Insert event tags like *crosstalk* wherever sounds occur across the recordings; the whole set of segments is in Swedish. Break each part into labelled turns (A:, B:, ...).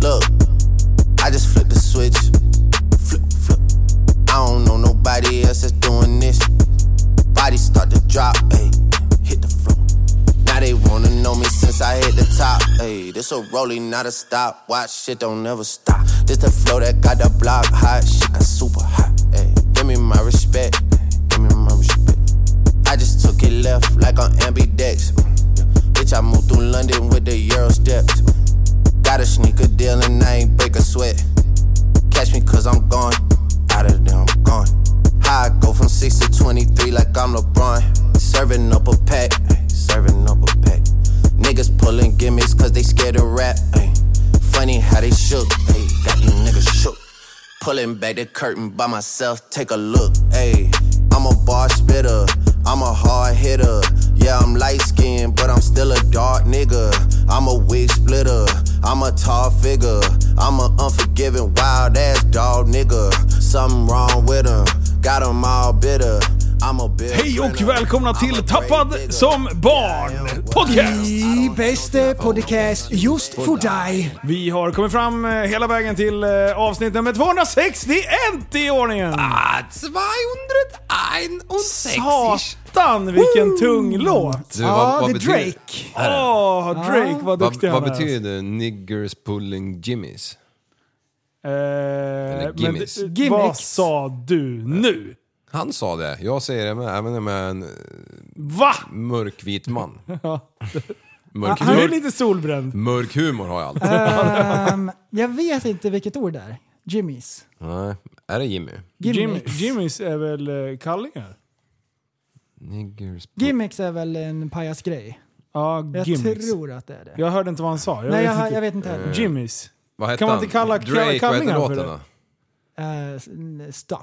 A: Look, I just flipped the switch. Flip, flip. I don't know nobody else that's doing this. Body start to drop, ayy. Hit the floor. Now they wanna know me since I hit the top, ayy. This a rolling, not a stop. Watch shit don't never stop. This the flow that got the block hot. Shit got super hot, ayy. Give me my respect, ayy. give me my respect. I just took it left like on ambidex. Mm, yeah. Bitch, I moved through London with the Euro steps. Mm. Got a sneaker deal and I ain't break a sweat. Catch me cause I'm gone. Out of there, I'm gone. High, I go from 6 to 23 like I'm LeBron. Serving up a pack, ay, serving up a pack. Niggas pulling gimmicks cause they scared of rap. ay. Funny how they shook, ay. got these niggas shook. Pulling back the curtain by myself, take a look. Ayy, I'm a bar spitter, I'm a hard hitter. Yeah, I'm light skinned, but I'm still a dark nigga. I'm a wig splitter, I'm a tall figure. I'm a unforgiving, wild ass dog nigga. Something wrong with him, got 'em all bitter. I'm a bitter.
B: Hej och välkomna till Tappad som barn podcast!
C: I bästa podcast just för dig.
B: Vi har kommit fram eh, hela vägen till eh, avsnitt nummer 261 i ordningen!
D: Ah, 261.
B: Satan vilken tung låt!
D: Du,
C: Ja, det är
D: betyder-
C: Drake.
B: Åh,
C: Ah.
B: Drake vad
D: Vad,
B: duktig
D: vad
B: han är. alltså.
D: betyder niggers pulling jimmies?
B: Eh, men
D: gimmicks?
B: det-
C: Gimmicks.
B: Vad sa du nu?
D: Han sa det, jag säger det med, även med en eh,
B: Va? *laughs*
D: mörkvit man.
B: Han
D: Mörk,
B: han är
D: mörk,
B: lite solbränd.
D: mörk humor har
B: *laughs*
D: jag alltid.
C: Ehm, jag vet inte vilket ord det är. Jimmys.
D: Nej, är det Jimmy?
B: Jim,
C: Gimmicks.
B: Jimmys är väl eh, kallingar?
D: Niggers pull-
C: Gimmicks är väl en pajasgrej?
B: Ja,
C: Jag
B: gimmicks.
C: tror att det är det.
B: Jag hörde inte vad han sa. Jag
C: Nej,
B: vet
C: jag,
B: inte.
C: jag vet inte heller.
B: Jimmys.
D: Vad heter
B: Kan man
D: han?
B: inte kalla ka-
D: Drake, vad heter
B: kallingar för
D: låten
B: det?
D: då?
C: Eh, s- n- stop.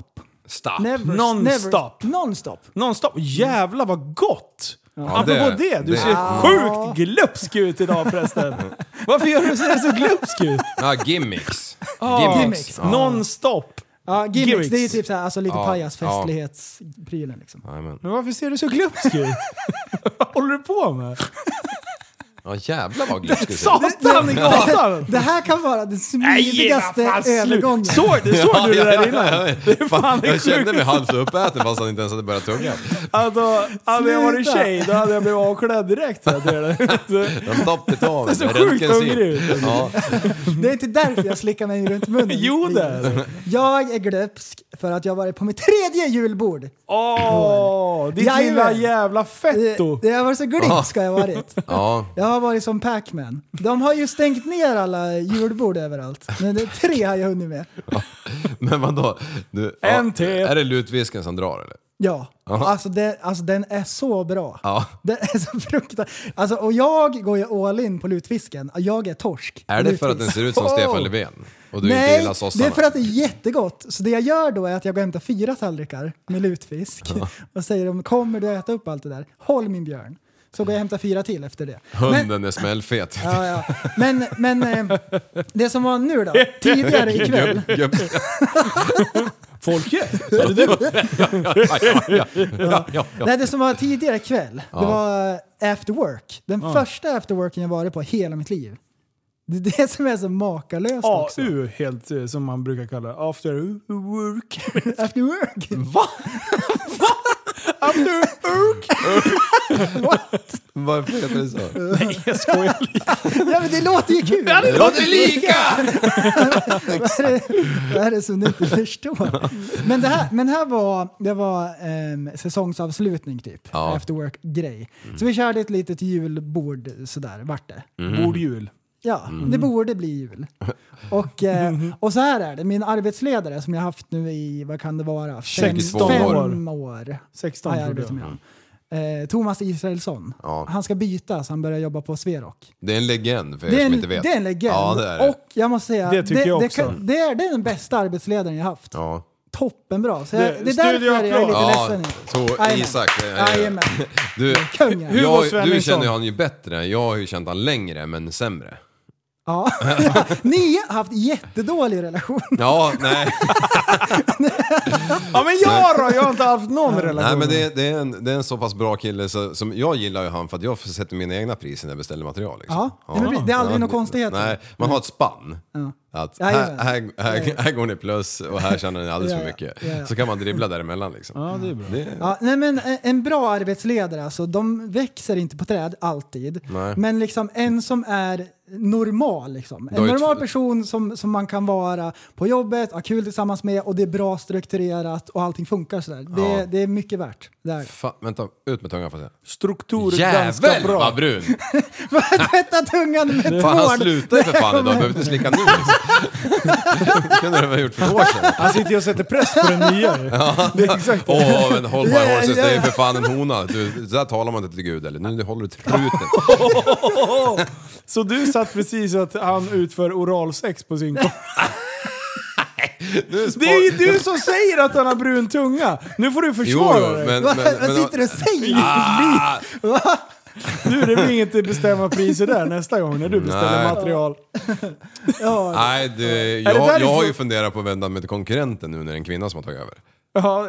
D: Stop.
C: Never,
B: Ah, Non-stop.
C: Never, non-stop.
B: Nonstop. Jävlar vad gott!
D: Ja,
B: Apropå det, Mm. du ser sjukt glupsk ut idag *laughs* förresten. Varför gör du så, så glupsk *laughs* ut?
D: Ja,
B: *laughs*
D: gimmicks.
C: gimmicks.
D: Ja.
B: Nonstop.
C: Ja, gimmicks,
B: Gimmicks.
C: det är ju typ såhär, alltså lite
D: Ja,
C: pajasfestlighetsprylen liksom.
D: Jajamän.
B: Men varför ser du så glupsk *laughs* ut? Vad håller du på med?
D: Ja, jävlar vad
B: *laughs*
D: glupsk du ser ut.
B: Satan i *laughs* gatan!
C: Det här kan vara den
B: Nej, ge
C: smidigaste
B: fan
C: övergången.
B: slut! Såg du, såg du det där innan? Det är fan det är
D: Jag kände mig
B: sjukt.
D: halvt uppäten fast han inte ens hade börjat tugga.
B: Alltså, hade jag varit
C: Sluta.
B: tjej då hade jag blivit avklädd direkt. så jag tror *laughs* det.
D: De doppade tån.
B: Det ser sjukt hungrig ut. *laughs*
D: Ja,
C: Det är inte därför jag slickar mig runt munnen.
B: Jo, det är *laughs* det.
C: Jag är glöpsk för att jag varit på mitt tredje julbord.
B: Åh, ditt
C: Jajamän. Eh,
B: lilla jävla fetto!
C: Det- Jag var så glöpsk har jag varit.
D: *laughs* ja.
C: Jag har varit som Pac-Man. De har ju stängt ner alla julbord överallt. Men det är tre har jag hunnit med.
D: *laughs* Men vadå? Du, ja,
B: En till.
D: Är det lutvisken som drar eller?
C: Ja,
D: Aha.
C: alltså, det, alltså den är så bra.
D: Ja.
C: Den är så fruktansvärt. Alltså, och jag går ju all in på lutfisken. Jag är torsk.
D: Är det för att den ser ut som Stefan Löfven? Och du inte
C: Nej,
D: gillar sossarna?
C: det är för att det är jättegott. Så det jag gör då är att jag går och hämtar fyra tallrikar med lutfisk *laughs* och säger om kommer du äta upp allt det där? Håll min björn. Så går jag och hämtar fyra till efter det. Men,
D: Hunden är smällfet.
C: ja, ja. men, men eh, det som var nu
D: *laughs*
C: då, tidigare ikväll.
D: Gubb, gubb.
B: Folke, är det du?
D: Ja, ja, ja, ja, ja, ja.
C: Nej, det som var tidigare ikväll, det var eh, after work. Den första after worken jag varit på hela mitt liv. Det är det som är så makalöst också.
B: AU helt eh, som man brukar kalla det. After work.
C: After work!
B: After work!
D: Varför heter det så?
B: Jag
D: *laughs*
B: skojar lite.
C: *laughs* Ja, men det låter ju kul!
D: Det låter lika!
C: *laughs* Vad är det- Vad är det som du inte förstår? Men det här, men här var, det var ehm, säsongsavslutning typ,
D: Ja.
C: after work-grej. Så vi körde ett litet julbord sådär, vart det.
D: Mhm.
B: God jul.
C: Ja,
D: Mm.
C: det borde bli jul. Och, eh,
B: Mm.
C: och så här är det, min arbetsledare som jag haft nu i, vad kan det vara, fem,
B: 16 år.
C: fem år.
B: 16
C: har jag
B: tror jag.
C: arbetat med. honom. Eh, Thomas Israelsson,
D: Ja.
C: han ska byta så han börjar jobba på Sverok.
D: Det är en legend för er
C: Det är,
D: som
C: en,
D: inte vet.
C: det är en legend.
D: Ja, det är det.
C: Och jag måste säga,
B: Det tycker jag
C: det,
B: också.
C: kan- det är det är den bästa arbetsledaren jag haft.
D: Ja.
C: Toppenbra. Så jag,
B: Det-
C: det, är därför jag är lite
B: studioapplåd.
D: Ja,
C: ledsen.
D: så
C: Jajamän.
D: Isak. eh, det är-
C: Jajamän.
D: Du,
C: Kungen.
B: Hur var
D: jag, du
B: Svenningsson?
D: känner ju han ju bättre. Jag har ju känt han längre, men sämre.
C: Ja. *laughs* Ni har haft jättedålig relation.
D: Ja, nej.
B: Ja men jag då? Jag har inte haft någon relation.
D: Nej men det, det, är en, det är en så pass bra kille så, som jag gillar ju han för att jag sätter mina egna priser när jag beställer material. Liksom.
C: Ja, nej, men precis. Det är aldrig några konstigheter.
D: Nej, man har ett spann. Att
C: Ja, ja,
D: här,
C: ja.
D: här, här, här går ni plus och här tjänar ni alldeles
C: Ja,
D: för
C: ja,
D: mycket.
C: ja, ja.
D: Så kan man dribbla däremellan liksom.
B: Ja, det är bra.
C: Ja, nej men en- en bra arbetsledare, alltså, de växer inte på träd alltid.
D: Nej.
C: Men liksom en som är normal. Liksom.
D: har
C: En
D: ju
C: normal
D: två-
C: person som, som man kan vara på jobbet, ha kul tillsammans med och det är bra strukturerat och allting funkar sådär. Det, det är mycket värt. Det
D: *laughs*
C: är.
D: Fan, vänta, ut med tungan får jag säga.
B: Struktur är ganska
D: Jävel
B: bra.
D: vad brun!
C: Tvätta tungan med
D: Fan han
C: tvål!
D: slutar ju för fan idag, behöver inte slicka nu liksom. Det kunde du ha gjort för ett år sedan.
B: Han sitter ju och sätter press på den
D: *laughs*
B: nya ju. Det är exakt
D: Åh, men hold my
C: Ja, ja,
D: horses, det är ju
C: ja.
D: för fan en hona. Du, så där talar man inte till Gud eller? Nu håller du
C: *laughs*
D: truten.
B: Så du satt precis att han utför oralsex på
D: *laughs*
B: sin kompis? Det är ju du som säger att han har brun tunga! Nu får du
D: Jo,
B: försvara
D: jo,
B: dig.
D: men... men,
B: *laughs*
C: Vad vad
D: men Ah.
C: sitter du och säger?
B: Du, det blir inget bestämma priser där nästa gång när du beställer
D: Nej.
B: material.
C: Ja,
D: Nej, det,
B: Är det liksom-
D: jag, jag har
B: därifrån-
D: ju funderat på att vända mig till konkurrenten nu när det är en kvinna som har tagit över.
B: Ja.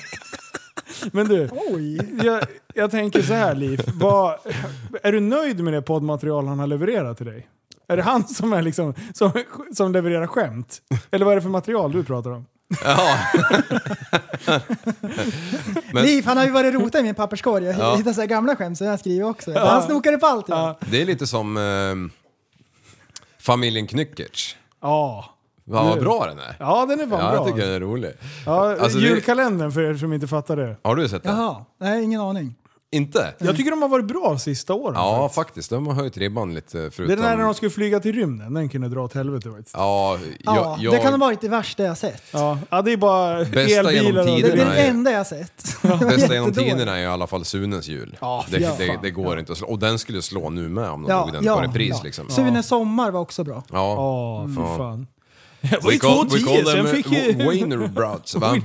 D: *laughs*
B: Men du,
C: oj.
B: jag, jag tänker så här Liv. Vad, är du nöjd med det poddmaterial han har levererat till dig? Är det han som, är liksom, som, som levererar skämt? Eller vad är det för material du pratar om?
D: Men-
C: Liv, han har ju varit rotad i min papperskorg. Jag
D: Ja.
C: hittar så här gamla skämt som jag skriver också. Han snokar upp allt. Ja.
D: Det är lite som eh, familjen Knyckertz.
B: Ja.
D: Vad vad bra den är.
B: Ja, den är fan
D: Ja, jag
B: bra.
D: tycker den är rolig.
B: Ja,
D: Alltså, det-
B: julkalendern för er som inte fattar det.
D: Har du sett den?
C: Jaha, nej ingen aning.
D: Inte?
B: Jag tycker de har varit bra sista åren.
D: Ja, faktiskt. De har höjt ribban lite eh,
B: det är
D: förutom...
B: den där när de skulle flyga till rymden, den kunde dra åt helvete faktiskt.
D: Ja,
C: Ja,
D: jag, jag...
C: Det kan ha varit det värsta jag sett.
B: Ja, ja det är bara
D: Bästa
B: elbilar
D: genom
B: och...
C: Det är
D: tiderna.
B: Det,
D: Nej.
C: det enda jag sett.
D: *laughs*
C: Det var
D: Bästa genom
C: jättedåligt.
D: tiderna är i alla fall Sunes jul.
B: Ja,
D: det,
B: fy fan.
D: det, det går inte att slå. Och den skulle slå nu med om de
C: Ja,
D: tog den
C: ja,
D: på repris
C: ja.
D: liksom.
C: Sunes sommar var också bra.
D: Ja.
B: ja, fy fan. Jag var
D: We
B: ju
D: call, we
B: 2,10
D: call
B: sen
D: them
B: fick ju... *laughs*
D: Wienerbrats, va?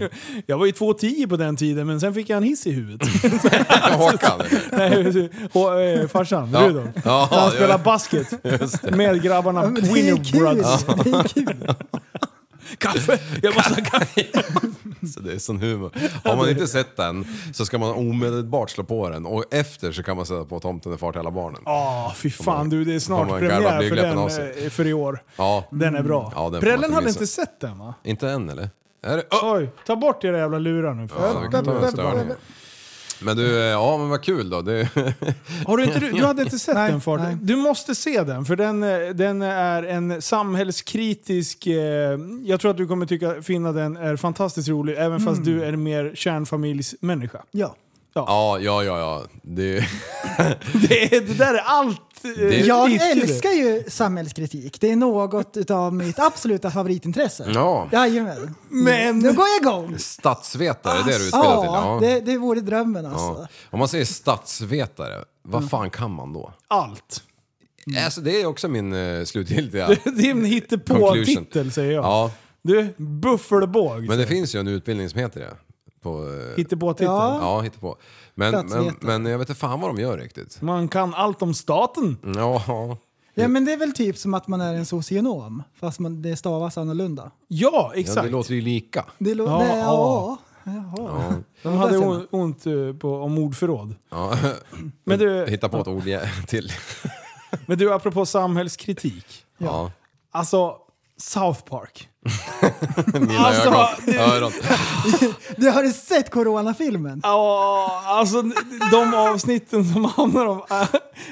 B: Jag var ju 2,10 på den tiden, men sen fick jag en hiss i
D: *laughs*
B: huvudet.
D: Håkan.
B: *laughs* Nej, och, eh, farsan,
D: Ja.
B: Rudolf.
D: Ja,
B: När han
D: ja.
B: spelade
D: *laughs*
B: basket med grabbarna
C: Ja,
B: på
C: men det är
B: Winner
C: kul.
B: Brothers.
C: Det är kul.
B: Kaffe! Jag måste ha kaffe.
D: Så det är sån humor. Har man inte sett den så ska man omedelbart slå på den och efter så kan man sätta på Tomten är far till alla barnen.
B: Ja, fy fan du, det är snart
D: Kommer man garva
B: premiär för,
D: blygdläppen
B: den,
D: av sig.
B: eh, för i år.
D: Ja.
B: Den är bra.
D: Mm, Ja, den får man
B: Prellen
D: inte
B: hade
D: missa.
B: inte sett den va?
D: Inte än eller? Är det? Oh!
B: Oj, ta bort era jävla lurar nu för
D: Ja, vi kan ta en störning. Men du, eh, ja men vad kul då. Det,
B: Har du, inte,
C: *laughs*
B: du hade inte sett
C: Nej,
B: den Fart?
C: nej.
B: Du måste se den, för den, eh, den är en samhällskritisk... Eh, jag tror att du kommer tycka, finna den är fantastiskt rolig, även fast
C: Mm.
B: du är mer kärnfamiljsmänniska. *laughs*
D: *laughs*
C: Ja.
D: *laughs* ja, ja, ja, ja. Det,
B: Det, är- det där är allt! eh,
C: Jag
B: skit i det.
C: älskar ju samhällskritik. Det är något utav mitt absoluta favoritintresse.
D: ja.
C: Jajamän.
B: Men-
C: Nu går jag igång.
D: Statsvetare, det är det du utbildad till?
C: Ja,
D: Ja.
C: det, det vore drömmen alltså.
D: ja. Om man säger statsvetare, vad fan kan man då?
B: Allt. *laughs*
D: Alltså det är också min eh, slutgiltiga...
B: Det är en
D: Conclusion.
B: hittepå-titel säger jag.
D: Ja,
B: Du, buffelbåg.
D: men det finns ju en utbildning som heter det. På, eh,
B: Hittepå-titel.
C: Ja.
D: ja, hittar på. Men, men,
C: Statsvetare.
D: men jag vet inte fan vad de gör riktigt.
B: Man kan allt om staten.
D: Ja,
C: Ja, men det är väl typ som att man är en socionom, fast man, det stavas annorlunda.
B: Ja,
D: ja
B: exakt.
D: det låter ju lika.
C: Det låter...
B: Ja,
C: Ja,
B: ja.
C: ja. Jaha.
B: De hade on- ont eh, på, om ordförråd.
D: Ja.
B: Men du,
D: Hitta på ett ord till.
B: men du, apropå samhällskritik.
D: Ja.
B: Alltså, South Park.
D: *laughs* Mina
B: *laughs* Alltså,
D: ögon.
B: det-
D: öron.
C: Du har du sett coronafilmen?
B: Ja, alltså de avsnitten som handlar om, eh,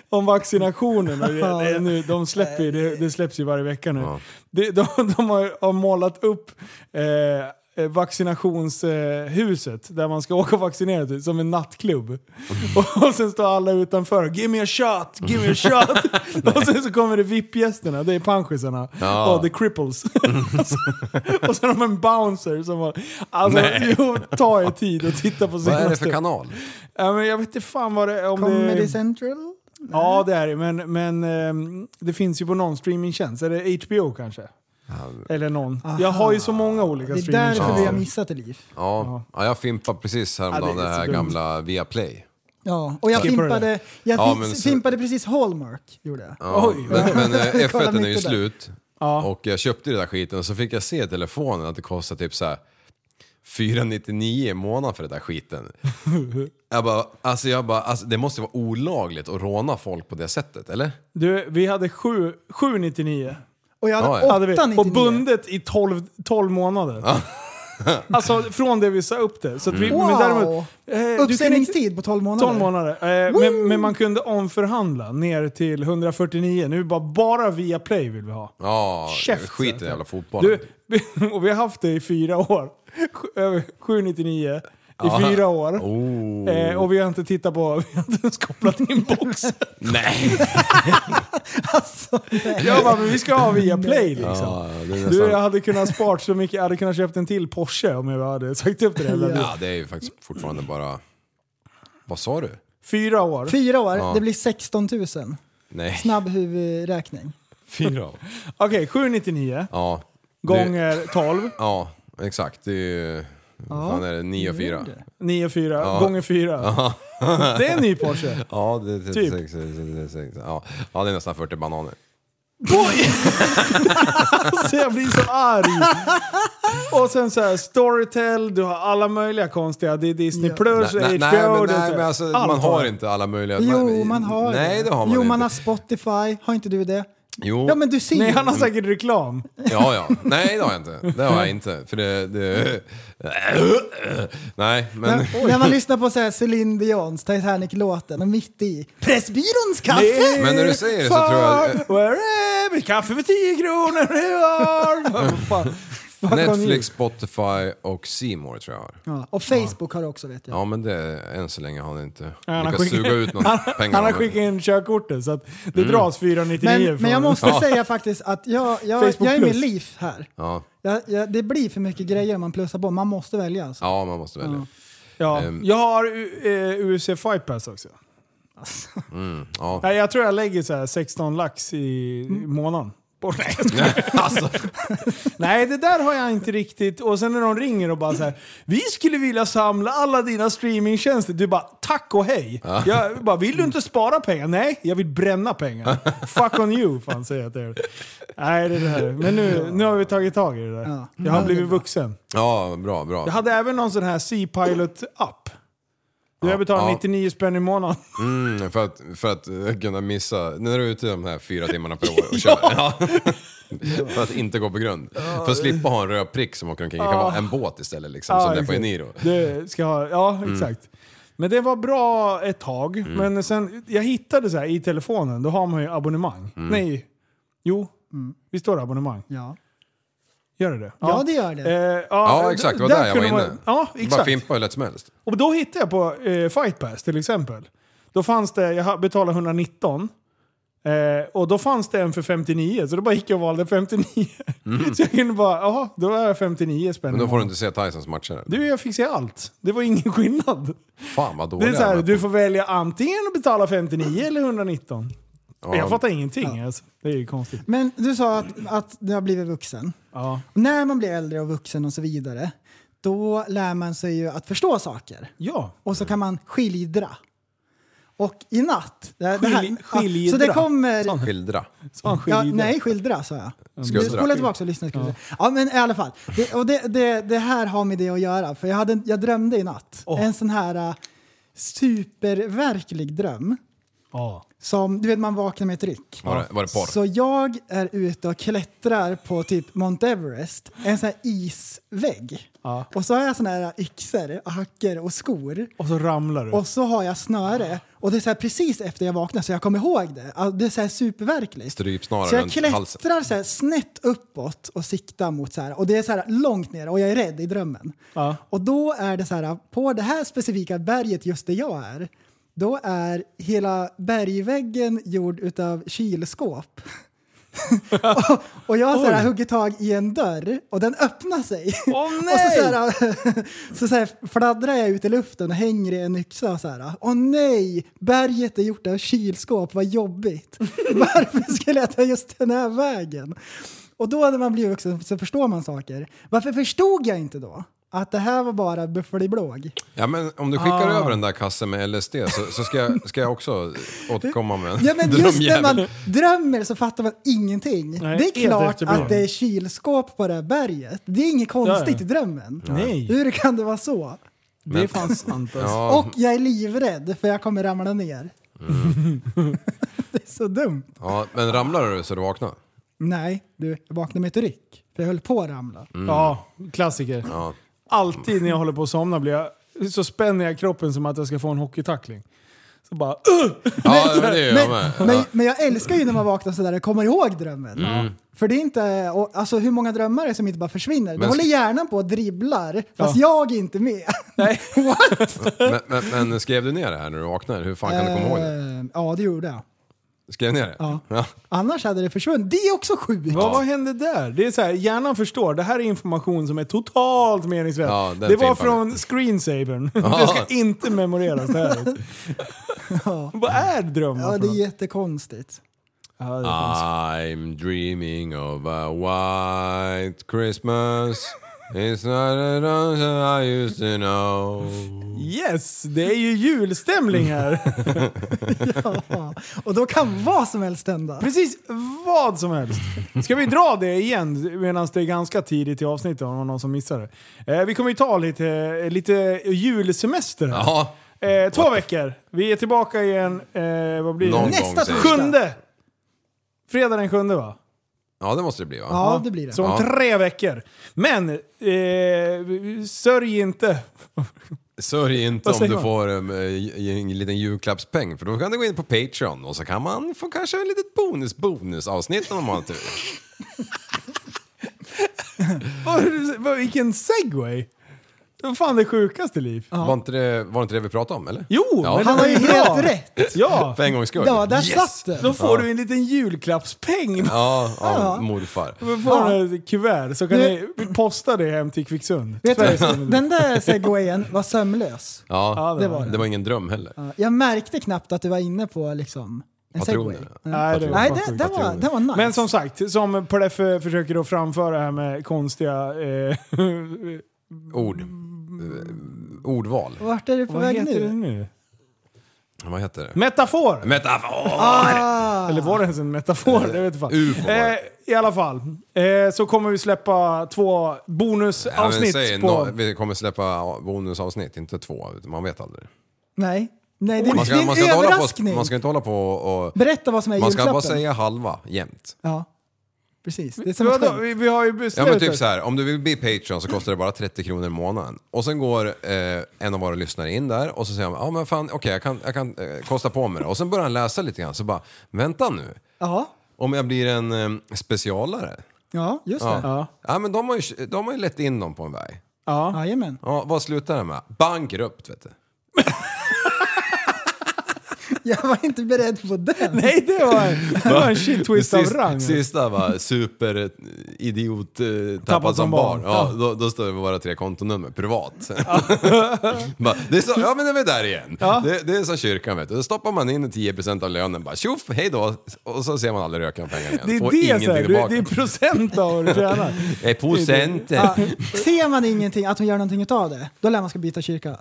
B: om vaccinationen. och det- det är Nu, de släpper, ju- det, det släpps ju varje vecka nu. De, de, de har, har målat upp eh, vaccinationshuset där man ska åka och vaccinera sig, som en nattklubb. Och, och sen står alla utanför “Give me a shot, give me a shot” och sen så kommer det VIP-gästerna, det är panschisarna
D: Ja.
B: och the cripples. *laughs* och sen har de en bouncer som har... Alltså, jo, ta er tid och titta på
D: Vad
B: senaste.
D: är det för kanal?
B: Ja, men jag vet inte fan vad det är. Om
C: Comedy
B: det...
C: Central?
B: Ja, det är det. Men, men ehm, det finns ju på någon streamingtjänst. Är det HBO kanske? Eller någon. Jag har ju så många olika
C: Det är därför vi
B: streamingtjänster.
C: har missat det liv.
D: Ja, ja jag fimpade precis häromdagen
B: Ja, det
D: det,
B: är så
D: här
B: dumt.
D: gamla Viaplay.
C: Ja, och jag
B: Skippar du
C: fimpade, jag
D: Ja,
C: fi-
D: men så-
C: fimpade precis Hallmark. Gjorde jag.
D: Ja,
B: Oj.
D: men men eh,
B: *laughs*
C: Kolla
D: F1 är ju
C: mycket där.
D: slut och jag köpte ju den där skiten och så fick jag se i telefonen att det kostar typ så här 499 i månaden för den
B: *laughs*
D: där skiten. Jag bara, alltså jag bara, alltså det måste vara olagligt att råna folk på det sättet, eller?
B: Du, vi hade sju- 799.
C: Och jag
D: Ja, ja.
C: hade
B: Hade vi. Och
C: 899.
B: bundet i 12, 12 månader. *laughs* alltså från det vi sa upp det. Så att vi, men
C: Wow.
B: däremot, eh, du kan inte-
C: Uppsägningstid på 12 månader.
B: 12 månader. Eh, men, men man kunde omförhandla ner till 149. Nu bara, bara via play vill vi ha.
D: Ja,
B: Käft,
D: skit i
B: alltså.
D: den jävla fotbollen.
B: Du, *laughs* och vi har haft det i fyra år. Sju- över 799 i
D: Ja.
B: fyra år.
D: Oh.
B: Eh, och vi har inte tittat på, *laughs* vi har inte ens kopplat in boxen. *laughs* Alltså,
D: Nej!
B: Jag bara, men vi ska ha via play liksom.
D: Ja, det är
B: Du, jag
D: nästan...
B: hade kunnat spart så mycket, jag hade kunnat köpt en till Porsche om jag hade sagt upp det där.
D: Ja, det är ju faktiskt fortfarande bara... Vad sa du?
B: Fyra år.
C: Fyra år,
D: Ja.
C: det blir 16 000.
D: Nej.
C: Snabb huvudräkning.
D: Fyra år.
B: Okej, 799
D: Ja. det-
B: gånger 12,
D: Ja, exakt. Det är ju... Vad fan är det? 9 och 4? *laughs*
B: 94 gånger 4. Det är en ny Porsche.
D: Ja, det är typ 36, 36. Ja. ja, det är nästan 40 bananer.
B: Alltså jag blir *laughs* så arg! Och sen så här, Storytel, du har alla möjliga konstiga. Det är Disney
C: Ja.
B: Plus,
D: nej,
B: HBO.
D: nej, men,
B: det är så här-
D: nej, men alltså,
B: allt
D: man har inte alla möjligheter.
C: Jo, man har
D: Nej, det har man
C: Jo,
D: inte.
C: man har Spotify. Har inte
D: *laughs*
C: du det?
D: Jo,
C: Ja, men du ser
B: Nej,
C: ju.
B: han har säkert reklam.
D: ja, ja. Nej, det har jag inte. Det har jag inte. För det... det... Nej, men...
C: När, när man lyssnar på så här Céline Dions Titanic-låten och mitt i Pressbyråns kaffe!
D: Men när du säger det så tror jag...
B: Where är mitt kaffe för 10 kronor nu
D: *laughs*
B: har? Vad fan? Fuck on you.
D: Netflix, Spotify och C More tror jag har.
C: Ja, och Facebook har det också vet jag.
D: Ja, men det... Än så länge har han inte
B: han har
D: lyckats
B: skickat-
D: suga ut någon pengar.
B: *laughs* Han har
D: av det. Mm.
B: skickat in körkortet så att det dras 499
C: Men,
B: från
C: men jag måste
D: Ja.
C: säga faktiskt att jag, jag,
B: Facebook
C: jag är med
B: Plus.
C: liv här.
D: Ja.
C: Jag, jag, det blir för mycket grejer man plussar på. Man måste välja alltså.
D: ja, man måste välja.
B: ja.
D: Ehm.
B: Jag har U- eh, UFC Fight Pass också.
D: Ja.
B: Nej, jag tror jag lägger så här 16 lax i i månaden. Bort. *laughs* Nej, jag skojar. Nej, det där har jag inte riktigt. Och sen när de ringer och bara så här, Vi skulle vilja samla alla dina streamingtjänster. Du bara, tack och hej. Jag bara, vill du inte spara pengar? Nej, jag vill bränna pengar. Fuck on you, fan säger jag till er. Nej, det är det här. Men nu, nu har vi tagit tag i det där.
C: Ja.
B: Jag har blivit vuxen.
D: ja, bra, bra.
B: Jag hade även någon sån här Sea Pilot app. Jag betalar
D: Ja.
B: 99 spänn i månaden.
D: Mm, för, att, för att eh, kunna missa, när du är ute de här fyra timmarna per
B: *laughs*
D: år och kör. ja. för att inte gå på grund. För att slippa ha en röd prick som åker omkring. Det kan vara en båt istället liksom,
B: Ja,
D: som det är på
B: exakt.
D: Eniro. Mm.
B: Det ska ha, ja, exakt. Men det var bra ett tag. Men sen, jag hittade så här i telefonen, då har man ju abonnemang.
D: Mm.
B: Nej, jo. Vi står det abonnemang?
C: Ja.
B: Gör det det?
C: Mm. Ja, det gör det.
B: Eh,
D: Ja, exakt. Det var där jag var
B: kunde man-
D: inne.
B: Ja,
D: Bara
B: exakt.
D: fimpa hur lätt som helst.
B: Och då hittade jag på eh, Fight Pass till exempel. Då fanns det, jag betalade 119. Eh, och då fanns det en för 59, så då bara gick jag och valde 59. *laughs* Så jag kunde bara, jaha, då är jag 59 spänn.
D: Mm. Men då får du inte se Tysons matcher.
B: Du, jag fick se allt. Det var ingen skillnad.
D: Fan vad
B: Det
D: dåliga
B: är så
D: de
B: här,
D: är.
B: du får välja antingen att betala 59 eller 119.
D: Ja.
B: Jag fattar ingenting alltså. Det är ju konstigt.
C: Men du sa att, att du har blivit vuxen.
B: Ja.
C: När man blir äldre och vuxen och så vidare, då lär man sig ju att förstå saker.
B: ja.
C: Och så kan man skildra. Och i natt... Det, det här,
B: Skil- skildra?
C: Så det kommer...
D: Skildra.
B: Så han skiljer
C: Ja, nej, skildra sa jag.
D: Skuldra.
C: Spola tillbaka och lyssna. skulle jag säga. Ja, men i alla fall. Det, och det, det, det här har med det att göra. För jag, hade, en- jag drömde i natt.
B: Åh.
C: En sån här äh, superverklig dröm.
B: Ja.
C: Som, du vet man vaknar med ett ryck.
D: Var det, var det porr?
C: Så jag är ute och klättrar på typ Mount Everest, en sån här isvägg.
B: Ja.
C: Och så har jag såna här yxor, och hackor och skor.
B: Och så ramlar du.
C: Och så har jag snöre. Och det är så här precis efter jag vaknar så jag kommer ihåg det. Alltså, det är så här superverkligt.
D: Strypsnara
C: Så jag
D: runt halsen.
C: klättrar så här snett uppåt och siktar mot så här. Och det är så här långt ner och jag är rädd i drömmen.
B: Ja.
C: Och då är det så här, på det här specifika berget just där jag är, då är hela bergväggen gjord utav kylskåp. och, *laughs* och jag har så här, huggit tag i en dörr och den öppnar sig.
B: Åh,
C: *laughs* Och så, så,
B: nej!
C: här, *laughs* så, så här, fladdrar jag ut i luften och hänger i en yxa och så här. Åh nej, berget är gjort av kylskåp, vad jobbigt. *laughs* Varför skulle jag ta just den här vägen? Och då när man blir vuxen så förstår man saker. Varför förstod jag inte då? Att det här var bara buffeliblåg.
D: Ja, men om du skickar
C: Ah.
D: över den där kassen med LSD så, så ska, jag, ska jag också återkomma med en
C: Ja
D: *laughs*
C: men just när
D: drömjävel.
C: man drömmer så fattar man ingenting.
B: Nej,
C: det
B: helt
C: är klart
B: efterbliven.
C: att det är kylskåp på det här berget. Det är inget konstigt i drömmen.
B: Nej.
C: Hur kan det vara så?
B: Det är fan sant alltså.
D: *laughs* Ja,
C: Och jag är livrädd för jag kommer ramla ner.
D: Mm.
C: *laughs* det är så dumt.
D: ja, men ramlar du så du vaknar?
C: Nej, du, jag vaknade med ett ryck. För jag höll på att ramla.
D: mm.
B: Ja, klassiker.
D: Ja.
B: Alltid när jag håller på att somna blir jag, så spänner jag kroppen som att jag ska få en hockeytackling. Så bara uh!
D: Ja, men det gör jag med.
C: Men, men, men jag älskar ju när man vaknar sådär och kommer ihåg drömmen.
D: Mm.
C: För det är inte, och, alltså hur många drömmar är det som inte bara försvinner? Då
D: Men-
C: håller hjärnan på och dribblar, fast jag är inte med.
B: Nej.
D: Men, men, men skrev du ner det här när du vaknade? Hur fan kan du komma ihåg det?
C: Eh, Ja, det gjorde jag.
D: Skrev ner det?
C: ja.
D: Ja.
C: Annars hade det försvunnit. Det är också sjukt.
B: Vad, vad hände där? Det är så här, hjärnan förstår, det här är information som är totalt meningslös.
D: Ja, den
B: det var
D: fimpar
B: från screensavern.
D: *laughs*
B: Det ska inte memoreras. Det här. *laughs* Vad är drömmar
C: Ja,
B: för
C: det är
B: något?
C: jättekonstigt.
B: Ja, det är
D: I'm dreaming of a white Christmas It's not a dancer I used to know
B: Yes, det är ju julstämning
C: *laughs*
B: här.
C: Ja. Och då kan vad som helst hända.
B: Precis vad som helst. Ska vi dra det igen medan det är ganska tidigt i avsnittet om det var någon som missade det? Eh, vi kommer ju ta lite, eh, lite julsemester här.
D: Ja,
B: Eh, två veckor. Vi är tillbaka igen, eh, vad blir
D: någon
B: det?
C: Nästa
D: gång säger jag.
C: torsdag.
B: Sjunde! Fredag den sjunde va?
D: Ja, det måste det bli va?
C: Ja, det blir det.
B: Så om
D: Ja.
B: tre veckor. Men, eh, sörj inte. *laughs*
D: Sörj inte
B: Vad
D: om
B: säger
D: du
B: man?
D: får en, eh, en liten julklappspeng för då kan du gå in på Patreon och så kan man få kanske ett litet bonus bonus avsnitt om man har tur.
B: Vad- vad- Vilken segway! Det var fan det sjukaste liv.
D: Var, inte det, var inte det vi pratade om eller?
B: Jo,
D: Ja.
B: men
C: Han
B: det
C: har
B: var
C: ju
B: bra.
C: helt rätt.
B: Ja,
D: För en gångs skull.
C: Ja, där satt
B: då
C: den.
B: får du en liten julklappspeng.
D: Ja, ja, morfar.
B: Du får ett kuvert så kan ni posta det hem till Kvicksund.
C: Vet du,
B: Sveriges
C: vad?
B: Radio.
C: den där segwayen var sömlös.
D: Ja,
B: det var
D: det var ingen dröm heller.
C: Ja, Jag märkte knappt att du var inne på liksom, en segway.
D: Patroner.
B: Nej, det var
C: Nej,
B: fan
C: det,
B: sjukt.
C: det, var, det var nice.
B: Men som sagt, som Pleffe försöker då framföra här med konstiga... Eh, *laughs*
D: Ord. Eh, Ordval.
C: Vart är du på
B: vad
C: väg
B: heter det
C: nu?
B: nu?
D: Vad heter
B: Mm.
D: det?
B: Metafor!
D: Metafor!
C: Ah,
B: Eller var det ens en metafor? Jag vet inte fan.
D: UFO var det.
B: I alla fall, eh, så kommer vi släppa två
D: Ja, men
B: bonusavsnitt
D: säg,
B: på...
D: nå- vi kommer släppa bonusavsnitt, inte två. utan Man vet aldrig.
C: nej. Nej, det,
D: Man ska,
C: det är en
D: man ska, inte, hålla på,
C: överraskning.
D: man ska inte hålla på och...
C: Berätta vad som är i
D: Man ska
C: julklappen.
D: bara säga halva jämt.
C: Ja, precis. Det är som ett
B: Vadå?
C: skämt.
B: Vi, vi har ju
D: Ja
B: beslutat.
D: men typ så här, om du vill bli Patreon så kostar det bara 30 kronor i månaden. Och sen går eh, en av våra lyssnare in där och så säger han, ja men fan okej jag kan, jag kan eh, kosta på mig det. Och sen börjar han läsa lite grann så bara, vänta nu.
C: Ja,
D: Om jag blir en eh, specialare.
C: ja just det.
D: Ja. ja men de har, ju, de har ju lett in dem på en väg.
B: Ja.
C: Jajamän.
D: Ja, vad slutar det med? Bankrupt vet du.
C: Jag var inte beredd på den.
B: Nej, det var, det var en
D: *laughs*
B: shit twist av
D: Sist-
B: rang.
D: Sista var superidiot eh, tappad,
B: Tappad som
D: som barn.
B: barn.
D: Ja, då, då står det våra tre
B: *laughs*
D: kontonummer privat. *laughs* bara, det är så, ja men det är vi där igen. Det, det är som kyrkan vet du. Då stoppar man in 10% av lönen bara tjoff, hej då. Och så ser man aldrig röka pengar igen.
B: Det är
D: Får
B: det, så
D: ingenting
B: här, du,
D: tillbaka.
B: det är procent av
D: *laughs*
B: vad du tjänar.
D: Eh, procent.
C: Ja, ser man ingenting, att hon gör någonting utav det, då lär man ska byta kyrka.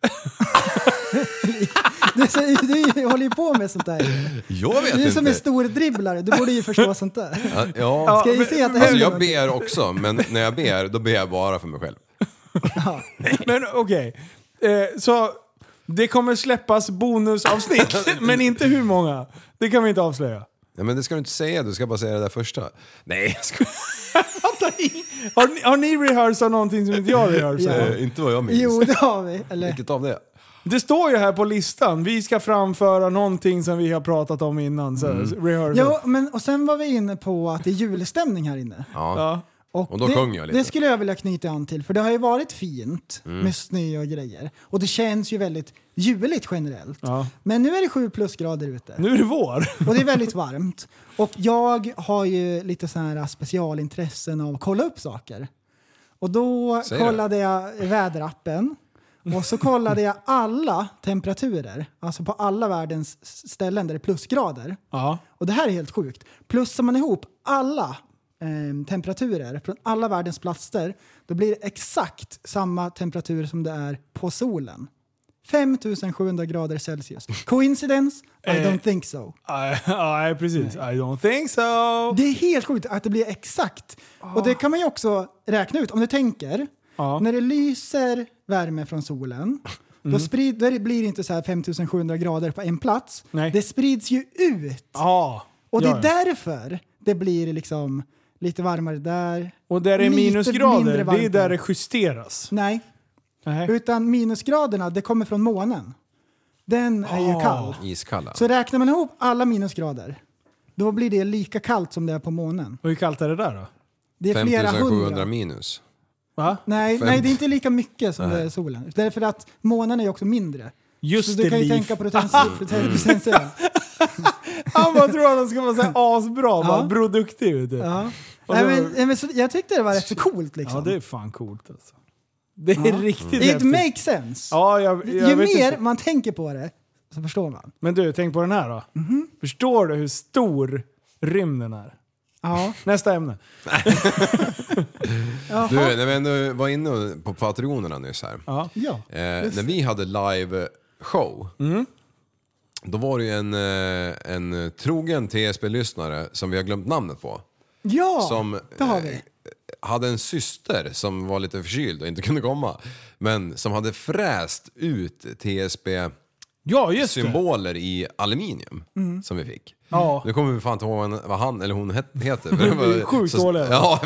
C: *laughs* du, säger- du, håller ju på med sånt där
D: Jag vet
C: Du är som
D: inte.
C: en stor dribblare, du borde ju förstå sånt där.
D: Ja, ja.
C: Ska jag se att det
D: alltså, jag
C: händer någonting?
D: ber också, men när jag ber, då ber jag bara för mig själv.
B: Men okej. Eh, så Det kommer släppas
D: *laughs*
B: bonusavsnitt, men inte hur många. Det kan vi inte avslöja.
D: Nej, men det ska du inte säga, du ska bara säga det där första. Nej, jag ska...
B: Har ni, har ni rehearsat någonting som inte jag rehearsar?
D: eh, inte vad jag minns.
C: Jo, det har vi. Eller?
D: Vilket av det?
B: Det står ju här på listan, vi ska framföra någonting som vi har pratat om innan. Så
D: Mm.
B: rehearsal.
C: Jo, men och sen var vi inne på att det är julstämning här inne.
D: Ja.
B: Ja.
C: Och,
D: Och då
C: det,
D: sjöng jag lite. Mm.
C: det skulle jag vilja knyta an till, för det har ju varit fint med snö och grejer. Och det känns ju väldigt juligt generellt.
B: Ja.
C: Men nu är det sju plusgrader ute.
B: Nu är det vår.
C: Och det är väldigt varmt. Och jag har ju lite så här specialintressen av att kolla upp saker. Och då
D: Säg det.
C: kollade jag väderappen. Och så kollade jag alla temperaturer, alltså på alla världens s- ställen där det är plusgrader.
B: Ja.
C: Och det här är helt sjukt. Plussar man ihop alla eh, temperaturer från alla världens platser, då blir det exakt samma temperatur som det är på solen. 5700 grader Celsius. Coincidence? I
B: Eh.
C: don't think so.
B: Nej, *laughs* nej, precis. I don't think so.
C: Det är helt sjukt att det blir exakt. Och det kan man ju också räkna ut om du tänker.
B: Ja. Mm.
C: När det lyser värme från solen, då sprider, det blir det inte så här 5700 grader på en plats.
B: Nej.
C: Det sprids ju ut.
B: Ja.
C: Och det
B: Ja,
C: är
B: ja.
C: därför det blir liksom lite varmare där.
B: Och där det är
C: Lite mindre
B: minusgrader,
C: varmt
B: det är där
C: där.
B: det justeras.
C: Nej,
B: Nej.
C: utan minusgraderna det kommer från månen. Den är ju
B: Ah.
C: kall.
D: Iskalla.
C: Så räknar man ihop alla minusgrader, då blir det lika kallt som det är på månen.
B: Och hur kallt är det där då?
C: Det är flera
D: 5700
C: hundra.
D: minus.
C: *laughs*
B: Va?
C: Nej,
D: Fem-
C: nej, det är inte lika mycket som det är solen. Därför att månen är ju också mindre.
B: Just
C: så
B: det,
C: du kan ju
B: Liv.
C: tänka på potential-
D: Ah. Mm. *laughs*
C: potentialen.
B: Han bara tror att han ska vara så här asbra, bara
C: Ja.
B: produktiv. Vet du. Ja.
C: Ja.
B: Och
C: Nej,
B: så-
C: men, nej, men, så- jag tyckte det var rätt så coolt liksom.
B: det är fan coolt alltså. Det är riktigt
C: It
B: häftigt.
C: makes sense.
B: Ja, jag, jag
C: Ju
B: vet
C: mer
B: inte.
C: man tänker på det så förstår man.
B: Men du, tänk på den här då.
C: Mhm.
B: Förstår du hur stor rymden är?
C: Ja.
B: Nästa ämne.
D: Du, *laughs* när vi ändå var inne på Patrionerna nyss här.
B: Ja.
C: ja.
D: Eh, när vi hade live show,
C: Mm.
D: då var det ju en, eh, en trogen TSB-lyssnare som vi har glömt namnet på.
C: Ja,
D: som
C: det har
D: eh,
C: vi.
D: hade en syster som var lite förkyld och inte *laughs* kunde komma. Men som hade fräst ut TSB-symboler
B: Ja, just det. Mm.
D: i aluminium som vi fick.
B: Ja.
D: Nu kommer vi fan inte ihåg vad han- vad han eller hon
B: *laughs*
D: het- heter. för det
B: Vi är
D: var-
B: sjukt
D: så-
B: dåliga.
D: Ja,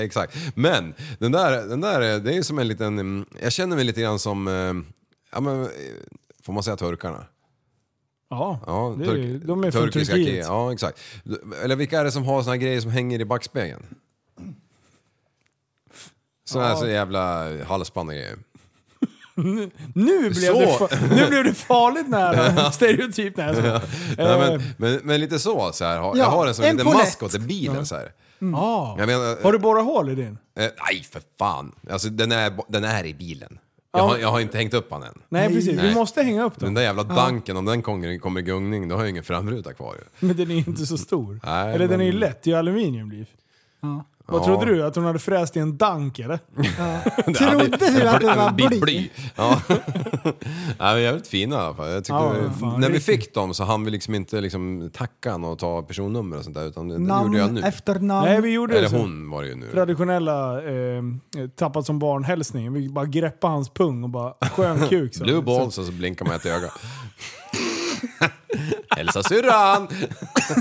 D: *laughs* exakt. Men den där, den där är- det är som en liten... mm, Jag känner mig lite grann som... eh, Ja, men, eh, får man säga turkarna?
B: Ja,
D: Ja,
B: det är,
D: turk-
B: de är från
D: turkiska
B: Turkiet.
D: krig- Ja, exakt. Eller vilka är det som har såna här grejer som hänger i backspegeln? Såna här så jävla halsband och grejer.
B: Nu blev,
D: Så.
B: det fa- nu blev det farligt
D: *laughs*
B: nära stereotyp. När jag sa.
D: Nej, men, men, men lite så, så här. har-
C: Ja,
D: jag har en som
C: en
D: en liten
C: polett.
D: maskot i bilen så här.
B: Ja.
D: Jag menar,
B: Har du borrat hål i din?
D: Eh, nej, för fan. Alltså, den, är, den är i bilen.
B: Ja,
D: Jag har,
B: men-
D: jag har inte hängt upp han än.
B: Nej, precis. Vi
D: Nej.
B: måste hänga upp
D: Den
B: den.
D: där jävla danken, om den kommer, kommer i gungning, då har jag ingen framruta kvar ju.
B: Men den är ju inte så stor.
D: Nej,
B: eller den är ju
D: men-
B: lätt, det är ju aluminium. Liv.
C: Ja.
B: Vad
D: Ja.
B: trodde du? Att hon hade fräst i en dank eller?
C: Trodde du att det var
D: Bli-
C: bly?
D: Ja. *laughs* Nej, men jävligt fina i alla fall. Jag tyckte,
B: Ja, ja, fan,
D: när vi
B: riktigt.
D: fick dem så hann vi liksom inte liksom tacka han och ta personnummer och sånt där, utan det, det gjorde jag
C: Namn
D: nu.
C: efter namn.
B: Nej, vi gjorde det
D: Eller
B: så.
D: hon var det ju nu.
B: Traditionella eh, tappat som barn-hälsningen. Vi bara greppade hans pung och bara skön kuk.
C: liksom.
B: Så.
D: Blue balls och så blinkar man ett öga. *laughs* Hälsa syrran!
B: Så,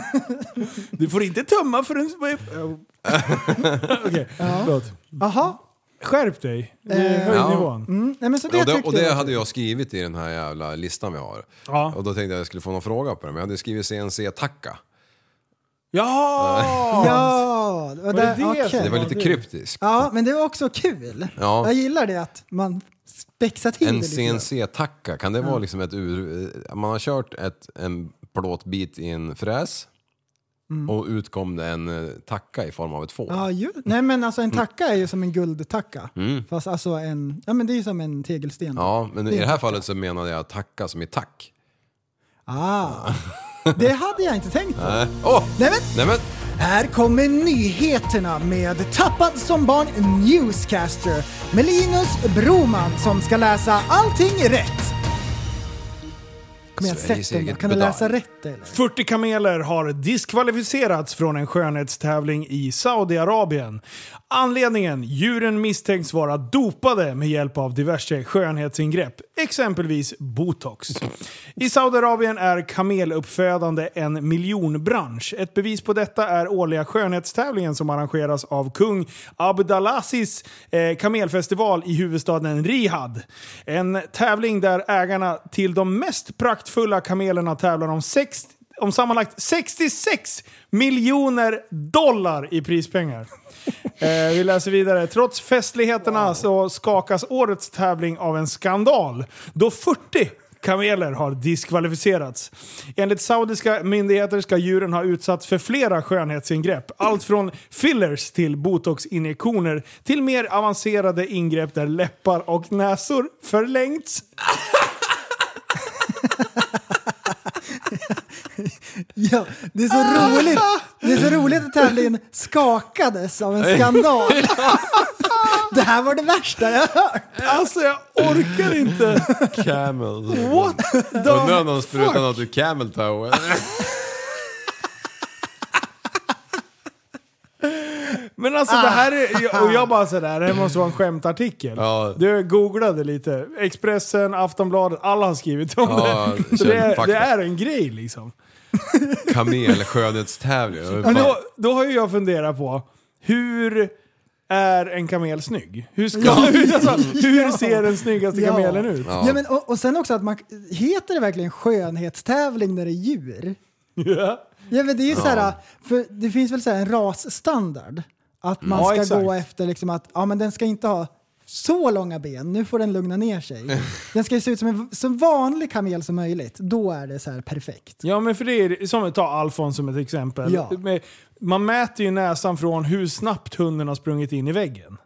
B: du får inte tumma förrän... *laughs* Okej, förlåt.
C: Jaha.
B: Skärp dig. Eh,
C: Eh,
B: Höj
D: ja.
B: nivån.
C: Mm. Nej, men så *laughs* det
D: Och det,
C: tyckte
D: och det
C: jag.
D: hade jag skrivit i den här jävla listan vi har.
B: Ja.
D: Och då tänkte jag att jag skulle få någon fråga på den, men jag hade skrivit CNC-tacka.
B: Ja!
C: Ja, det var
B: Vad är
C: där,
B: det
C: okej.
B: för-
D: Det var
B: Ja,
D: lite
B: det-
D: kryptiskt.
C: Ja, men det var också kul.
D: Ja.
C: Jag gillar det att man spexar till
D: En
C: det lite.
D: CNC-tacka, kan det vara liksom ett ur... eh, Man har kört ett, en plåtbit i en fräs och utkom det en eh, tacka i form av ett får.
C: Mm. Ja, ju. Nej men alltså
D: Mm.
C: en tacka är ju som en guldtacka. Fast alltså en, ja men det är ju som en tegelsten.
D: Ja, men i det här fallet så menade jag tacka som i tack.
C: Ah. Det hade jag inte tänkt på.
D: Äh. Åh!
C: Nej men,
D: Nej men!
C: här kommer nyheterna med Tappad som barn Newscaster med Linus Broman som ska läsa allting rätt. Kom igen,
D: Sveriges
C: sätt den då.
D: eget
C: Kan du
D: bedar.
C: läsa rätt inte. Eller?
B: 40 kameler har diskvalificerats från en skönhetstävling i Saudiarabien. Anledningen? Djuren misstänks vara dopade med hjälp av diverse skönhetsingrepp, exempelvis botox. I Saudiarabien är kameluppfödande en miljonbransch. Ett bevis på detta är årliga skönhetstävlingen som arrangeras av kung Abdalazis eh, kamelfestival i huvudstaden Riyadh. En tävling där ägarna till de mest praktfulla kamelerna tävlar om, sex, om sammanlagt 66 miljoner dollar i prispengar. Eh, vi läser vidare. Trots festligheterna så skakas årets tävling av en skandal. Då 40 kameler har diskvalificerats. Enligt saudiska myndigheter ska djuren ha utsatts för flera skönhetsingrepp. Allt från fillers till botoxinjektioner till mer avancerade ingrepp där läppar och näsor förlängts.
C: Ja, det är så roligt. Det är så roligt att tävlingen skakades av
D: *laughs*
C: en skandal. Det här var det värsta jag hört.
B: Alltså jag orkar inte!
D: Camel.
B: What
D: Undrar om
B: the...
D: de sprutar något ur camel toe.
B: Men alltså det här är... Och jag bara sådär, det här måste vara en skämtartikel.
D: Ja.
B: Du googlade lite. Expressen, Aftonbladet, alla har skrivit om
D: Ja,
B: det. Så det,
D: fakta.
B: det är en grej liksom.
D: Kamel skönhetstävling.
B: Men då, då har ju jag funderat på, hur är en kamel snygg? Hur, ska, *laughs* alltså, hur ser den snyggaste
C: Ja.
B: kamelen ut?
C: Ja. men, och, och sen också att man, heter det verkligen skönhetstävling när det är djur?
B: Ja.
C: Ja, men det är ju så här, för det finns väl så här en rasstandard? Att man
B: Ja,
C: ska
B: exakt.
C: gå efter liksom att ja, men den ska inte ha så långa ben, nu får den lugna ner *laughs* sig. Den ska ju se ut som en så vanlig kamel som möjligt. Då är det så här perfekt.
B: Ja men för det är som ta Alfons som ett exempel.
C: Ja.
B: Men Man mäter ju näsan från hur snabbt hunden har sprungit in i väggen.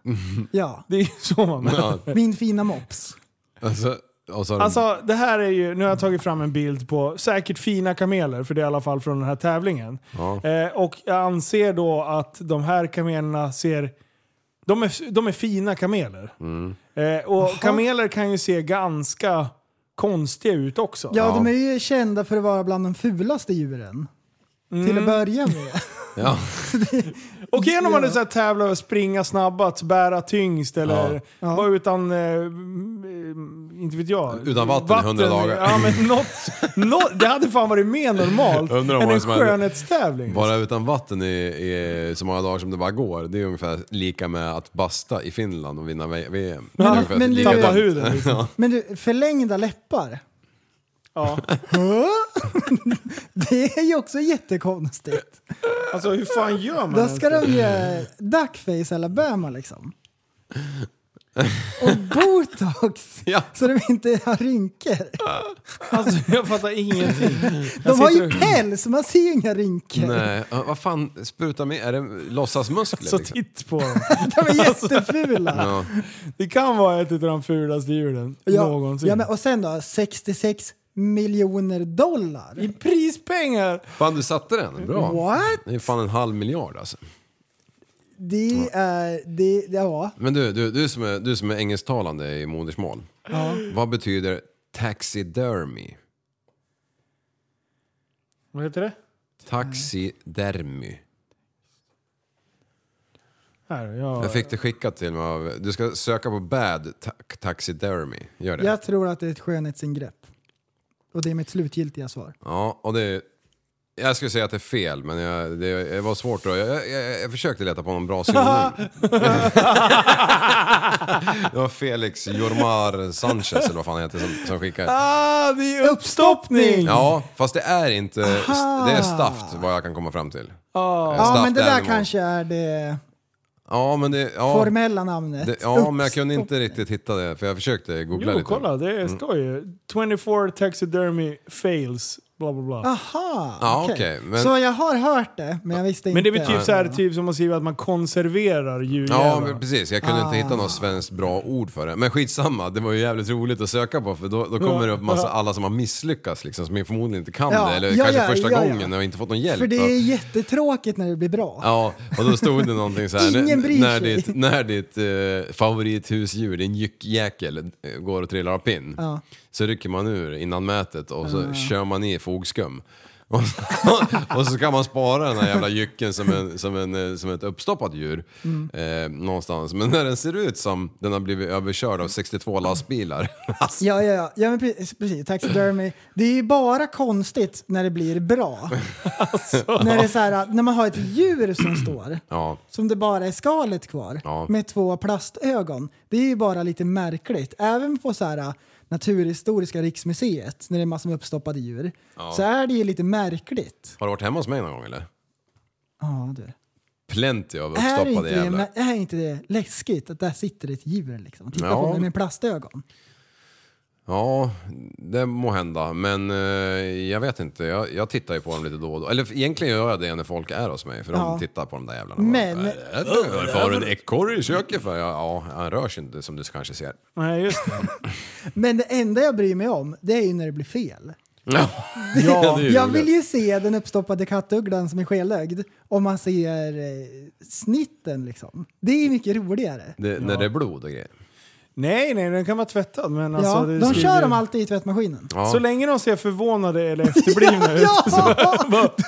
C: Ja.
B: Det är ju så man mäter.
C: Min fina mops.
D: Alltså, och så har de-
B: Alltså det här är ju, nu har jag tagit fram en bild på säkert fina kameler, för det är i alla fall från den här tävlingen.
D: Ja.
B: Eh, och jag anser då att de här kamelerna ser, de är, de är fina kameler.
D: Mm.
B: Eh, och kameler kan ju se ganska konstiga ut också.
C: Ja, de är ju kända för att vara bland de fulaste djuren. Till
B: Mm.
C: att börja med.
D: ja.
B: Och genom man hade tävla och springa snabbast, bära tyngst eller
C: Ja.
B: vara utan, eh, mm, inte vet jag.
D: Utan vatten i 100 dagar.
B: Ja, men något, något, det hade fan varit mer
D: *laughs*
B: normalt
D: Jag undrar om
B: än
D: vad
B: en
D: som hade-
B: skönhetstävling.
D: Vara utan vatten i, i så många dagar som det bara går, det är ungefär lika med att basta i Finland och vinna V- VM. Det är
C: Men-
D: ungefär
C: men
D: lika
B: Tappa
D: dumt.
B: huden *laughs* liksom.
C: Men du, förlängda läppar. *laughs*
B: Ja.
C: Det är ju också jättekonstigt.
B: Alltså hur fan gör man?
C: Då
B: ens
C: ska
B: det?
C: de ju duckface Alabama liksom. Och botox.
D: *laughs* Ja.
C: Så de inte har rynkor.
B: Alltså *laughs* jag fattar ingenting.
C: De har ju
B: sitter-
C: päls, man ser ju inga rynkor.
D: Nej, ja, vad fan sprutar med? Är det låtsasmuskler?
B: Så
D: liksom?
B: Alltså, titt på
C: *laughs*
B: dem.
C: De
D: *laughs*
C: är jättefula.
D: Alltså, ja.
B: Det kan vara ett av de fulaste djuren
C: Ja,
B: någonsin.
C: ja, men, och sen då, 66 miljoner dollar.
B: I prispengar!
D: Fan, du satte den. Bra.
C: What?
D: Det är fan en halv miljard alltså.
C: Det är... Det, ja.
D: Men du, du, du, som, är, du som är engelsktalande i modersmål. Vad betyder taxidermy?
B: Vad heter det?
D: Taxidermy.
B: Här, jag,
D: Jag fick det skickat till mig av... Du ska söka på bad ta taxidermy. Gör det.
C: Jag tror att det är ett skönhetsingrepp. Och det är mitt slutgiltiga svar.
D: Ja, och det... Jag skulle säga att det är fel, men jag, det, det var svårt. Då. Jag, jag, jag försökte leta på någon bra
C: *laughs*
D: synonym. det var Felix Jormar Sanchez, eller vad fan han heter, som, som skickade.
B: Ah, det är uppstoppning!
D: Ja, fast det är inte... Det är staft, vad jag kan komma fram till. Oh.
C: Ja, men det där kanske är det
D: Ja, men det... Ja,
C: formella namnet.
D: det, ja men jag kunde inte riktigt hitta det, för jag försökte googla
B: Jo,
D: lite.
B: kolla, det står ju 24 taxidermy fails, bla bla bla.
C: Ah, Aha,
D: Ja,
C: okej.
D: okej, men-
C: Så jag har hört det, men jag visste inte.
B: Men det är väl typ, så här, typ som att skriva att man konserverar
D: Ja,
B: djurjävlar.
D: men precis. Jag kunde inte
C: Ah.
D: hitta något svenskt bra ord för det. Men skitsamma, det var ju jävligt roligt att söka på för då, då kommer det upp massa alla som har misslyckats liksom, som förmodligen inte kan
C: Ja,
D: det. Eller
C: ja,
D: kanske
C: ja,
D: första
C: ja, ja.
D: gången och inte fått någon hjälp.
C: För det är
D: Och-
C: jättetråkigt när det blir bra.
D: Ja, och då stod det någonting så här.
C: Ingen bryr
D: när
C: sig.
D: ditt, när ditt eh, favorithusdjur, din jyckjäkel, eh,
C: Ah.
D: går och trillar av pinn. Så rycker man ur innan mätet och så kör man i fogskum. *laughs* Och så, och så kan man spara den här jävla jycken som, en, som, en, eh, som ett uppstoppat djur
C: Mm.
D: eh, någonstans. Men när den ser ut som den har blivit överkörd av 62
C: *laughs*
D: lastbilar. Alltså,
C: Ja, ja, ja. ja men precis, precis. Taxidermy. Det är ju bara konstigt när det
D: *laughs*
C: blir bra.
D: Alltså.
C: När, det är så här, när man har ett djur som står,
D: ja.
C: som det bara är skalet kvar,
D: Ja.
C: med två plastögon. Det är ju bara lite märkligt. Även på så här, äh, Naturhistoriska riksmuseet, när det är massor med uppstoppade djur, så är det ju lite märkligt.
D: Har du varit hemma hos mig någon gång eller?
C: Ja, du.
D: Plenty av
C: Är
D: uppstoppade
C: inte, det,
D: jävlar.
C: mä- är inte det läskigt att där sitter ett djur liksom? Titta
D: Ja.
C: på mig med plastögon.
D: Ja, det må hända. Men eh, jag vet inte. Jag, jag tittar ju på dem lite då och då. Eller egentligen gör jag det när folk är hos mig. För
C: Ja.
D: de tittar på de där jävlarna.
C: Men-
D: Vad är det för- Varför har du en ekorre i köket för? Ja, ja, han rör sig inte som du kanske ser.
B: Nej, just det.
C: Men det enda jag bryr mig om, det är ju när det blir fel.
D: *laughs* Ja,
B: Ja,
D: det är
C: *laughs* Jag
D: roligt.
C: vill ju se den uppstoppade kattugglan som är skelögd om man ser eh, snitten liksom. Det är mycket roligare.
D: Det, När det är blod och grejer.
B: Nej, nej, den kan vara tvättad. Men alltså,
C: ja,
B: det
C: de
B: skulle-
C: kör dem alltid i tvättmaskinen.
D: Ja.
B: Så länge de ser förvånade eller efterblivna ut.
C: Ja!
D: *laughs*
C: *laughs*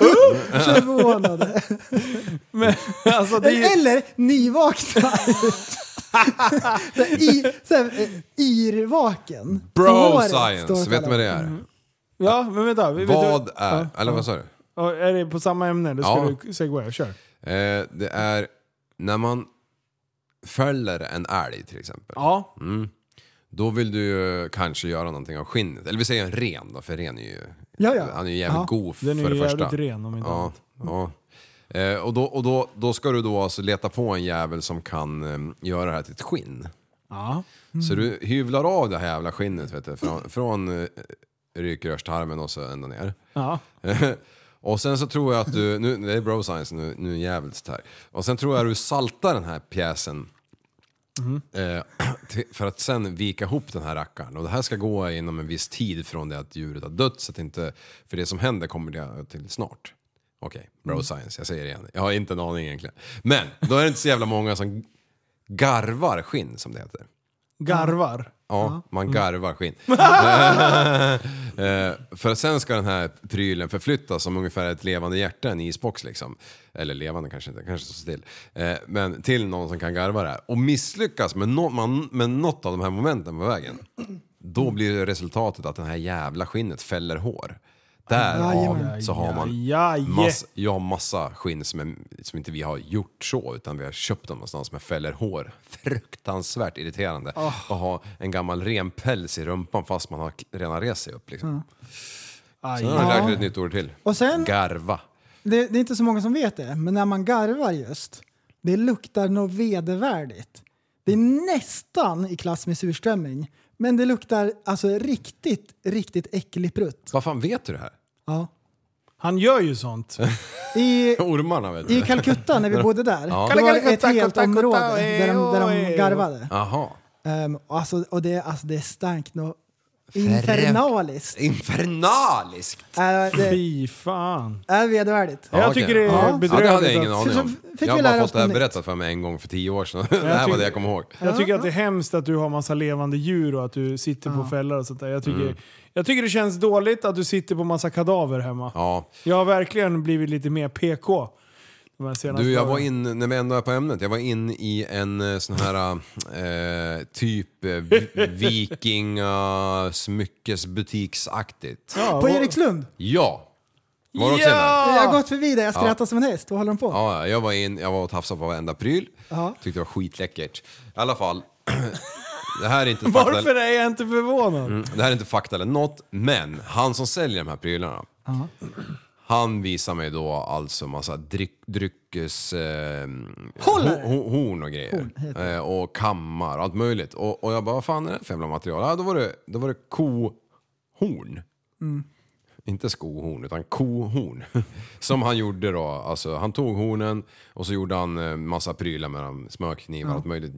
C: Förvånade.
B: Men, *laughs* alltså, det är ju...
C: Eller
D: *laughs*
C: nyvakna ut. Så här, I, så här, eh, yrvaken.
D: Bro
C: Håret står Mm.
D: science,
C: och
D: vet du vad det är?
B: Ja, men vänta. vi- vet
D: Vad
B: du-
D: är... Eller vad sa du?
B: Ja, är det på samma ämne? Då ska
D: Ja.
B: du segwaya. Kör.
D: Eh, det är när man fäller en älg till exempel.
B: Ja.
D: Då vill du ju kanske göra någonting av skinnet. Eller vi säger en ren då, för ren är ju...
C: Ja, ja.
D: Han är ju jävligt
C: Ja.
D: god för
B: Den är
D: det
B: ju
D: första.
B: jävligt ren om inte
D: ja,
B: annat.
D: ja. Eh, Och, då, och då, då ska du då alltså leta på en jävel som kan eh, göra det här till ett skinn.
B: Ja.
D: Så du hyvlar av det här jävla skinnet vet du, från, från eh, rykrörstarmen och så ända ner.
B: ja.
D: *laughs* Och sen så tror jag att du, nu, det är bro science nu, nu är jävligt här. Och sen tror jag att du saltar den här pjäsen eh, *clears throat* till, för att sen vika ihop den här rackaren. Och det här ska gå inom en viss tid från det att djuret har dött så att inte, för det som händer kommer det till snart. Okej, bro science, jag säger det igen. Jag har inte en aning egentligen. Men då är det inte så jävla många som garvar skinn som det heter.
B: Garvar.
D: Ja, man garvar skinn. *laughs* Eh, för sen ska den här prylen förflyttas som ungefär ett levande hjärta, en isbox liksom. Eller levande kanske inte, kanske står still. Eh, men till någon som kan garva det här. Och misslyckas med, nå- man, med något av de här momenten på vägen, då blir resultatet att det här jävla skinnet fäller hår. Därav
C: Jajamän.
D: så har man
B: Ja, ja.
D: mass, jag har massa skinn som, är, som inte vi har gjort så, utan vi har köpt dem någonstans med fäller hår. Fruktansvärt irriterande att ha en gammal renpäls i rumpan fast man har k- redan rest sig upp. Liksom.
B: Aj.
D: Sen har du lärt dig ett nytt ord till.
C: Och sen-
D: Garva.
C: Det, det är inte så många som vet det, men när man garvar just, det luktar något vedervärdigt. Det är nästan i klass med surströmming, men det luktar alltså riktigt, riktigt äcklig prutt.
D: Vad fan vet du det här? *laughs*
C: Ja.
B: Han gör ju sånt.
C: I,
D: Ormarna vet
C: I
D: du.
C: Calcutta när vi bodde där, då var det ett
B: Calcutta,
C: helt
B: Calcutta,
C: område där de, där
B: eh,
C: de
B: eh,
C: garvade.
D: Jaha.
C: Ehm, och alltså, och det, alltså det stank något infernaliskt.
D: Infernaliskt!
C: Äh, det
B: Fy fan.
C: är vedervärdigt.
B: Jag
D: okej.
B: tycker det är
D: ja.
B: bedrövligt
D: Ja, det hade jag ingen
B: att-
D: aning
C: Så-
D: om.
C: så fick
D: Jag har
C: vi
D: bara
C: lära
D: fått
C: oss
D: det här
C: något nytt.
D: berättat för mig en gång för tio år sedan. Det här var
B: tycker-
D: det jag kommer ihåg.
B: Jag tycker att det är hemskt att du har massa levande djur och att du sitter på fällor och sånt där. Jag tycker,
D: Mm.
B: jag tycker det känns dåligt att du sitter på massa kadaver hemma.
D: Ja.
B: Jag har verkligen blivit lite mer PK. De här senaste
D: Du, jag var
B: åren.
D: inne, när vi ändå är på ämnet, jag var inne i en eh, sån här eh, typ eh, vi- vikinga smyckesbutiksaktigt.
B: Ja,
C: På
B: vad-
C: Erikslund!
D: Ja! Var du också inne?
B: Ja!
C: Jag har gått förbi där, jag skrattar som en häst. Vad håller de på?
D: Ja, ja, jag var in, jag var och tafsade på varenda pryl.
C: Ja.
D: Tyckte det var skitläckert. I alla fall, *clears throat* det här är inte fakta,
B: Varför är jag inte förvånad?
D: det här är inte fakta eller något, men han som säljer de här prylarna, han visar mig då alltså massa dryck, dryckes... Eh,
C: Håller!
D: ho- ho- horn och grejer. eh, och kammar och allt möjligt. Och, och jag bara, vad fan är det för jävla material? Ja, då var det, då var det kohorn. Inte skohorn, utan kohorn. *laughs* Som han gjorde då. Alltså, han tog hornen och så gjorde han eh, massa prylar med dem. Smörknivar allt möjligt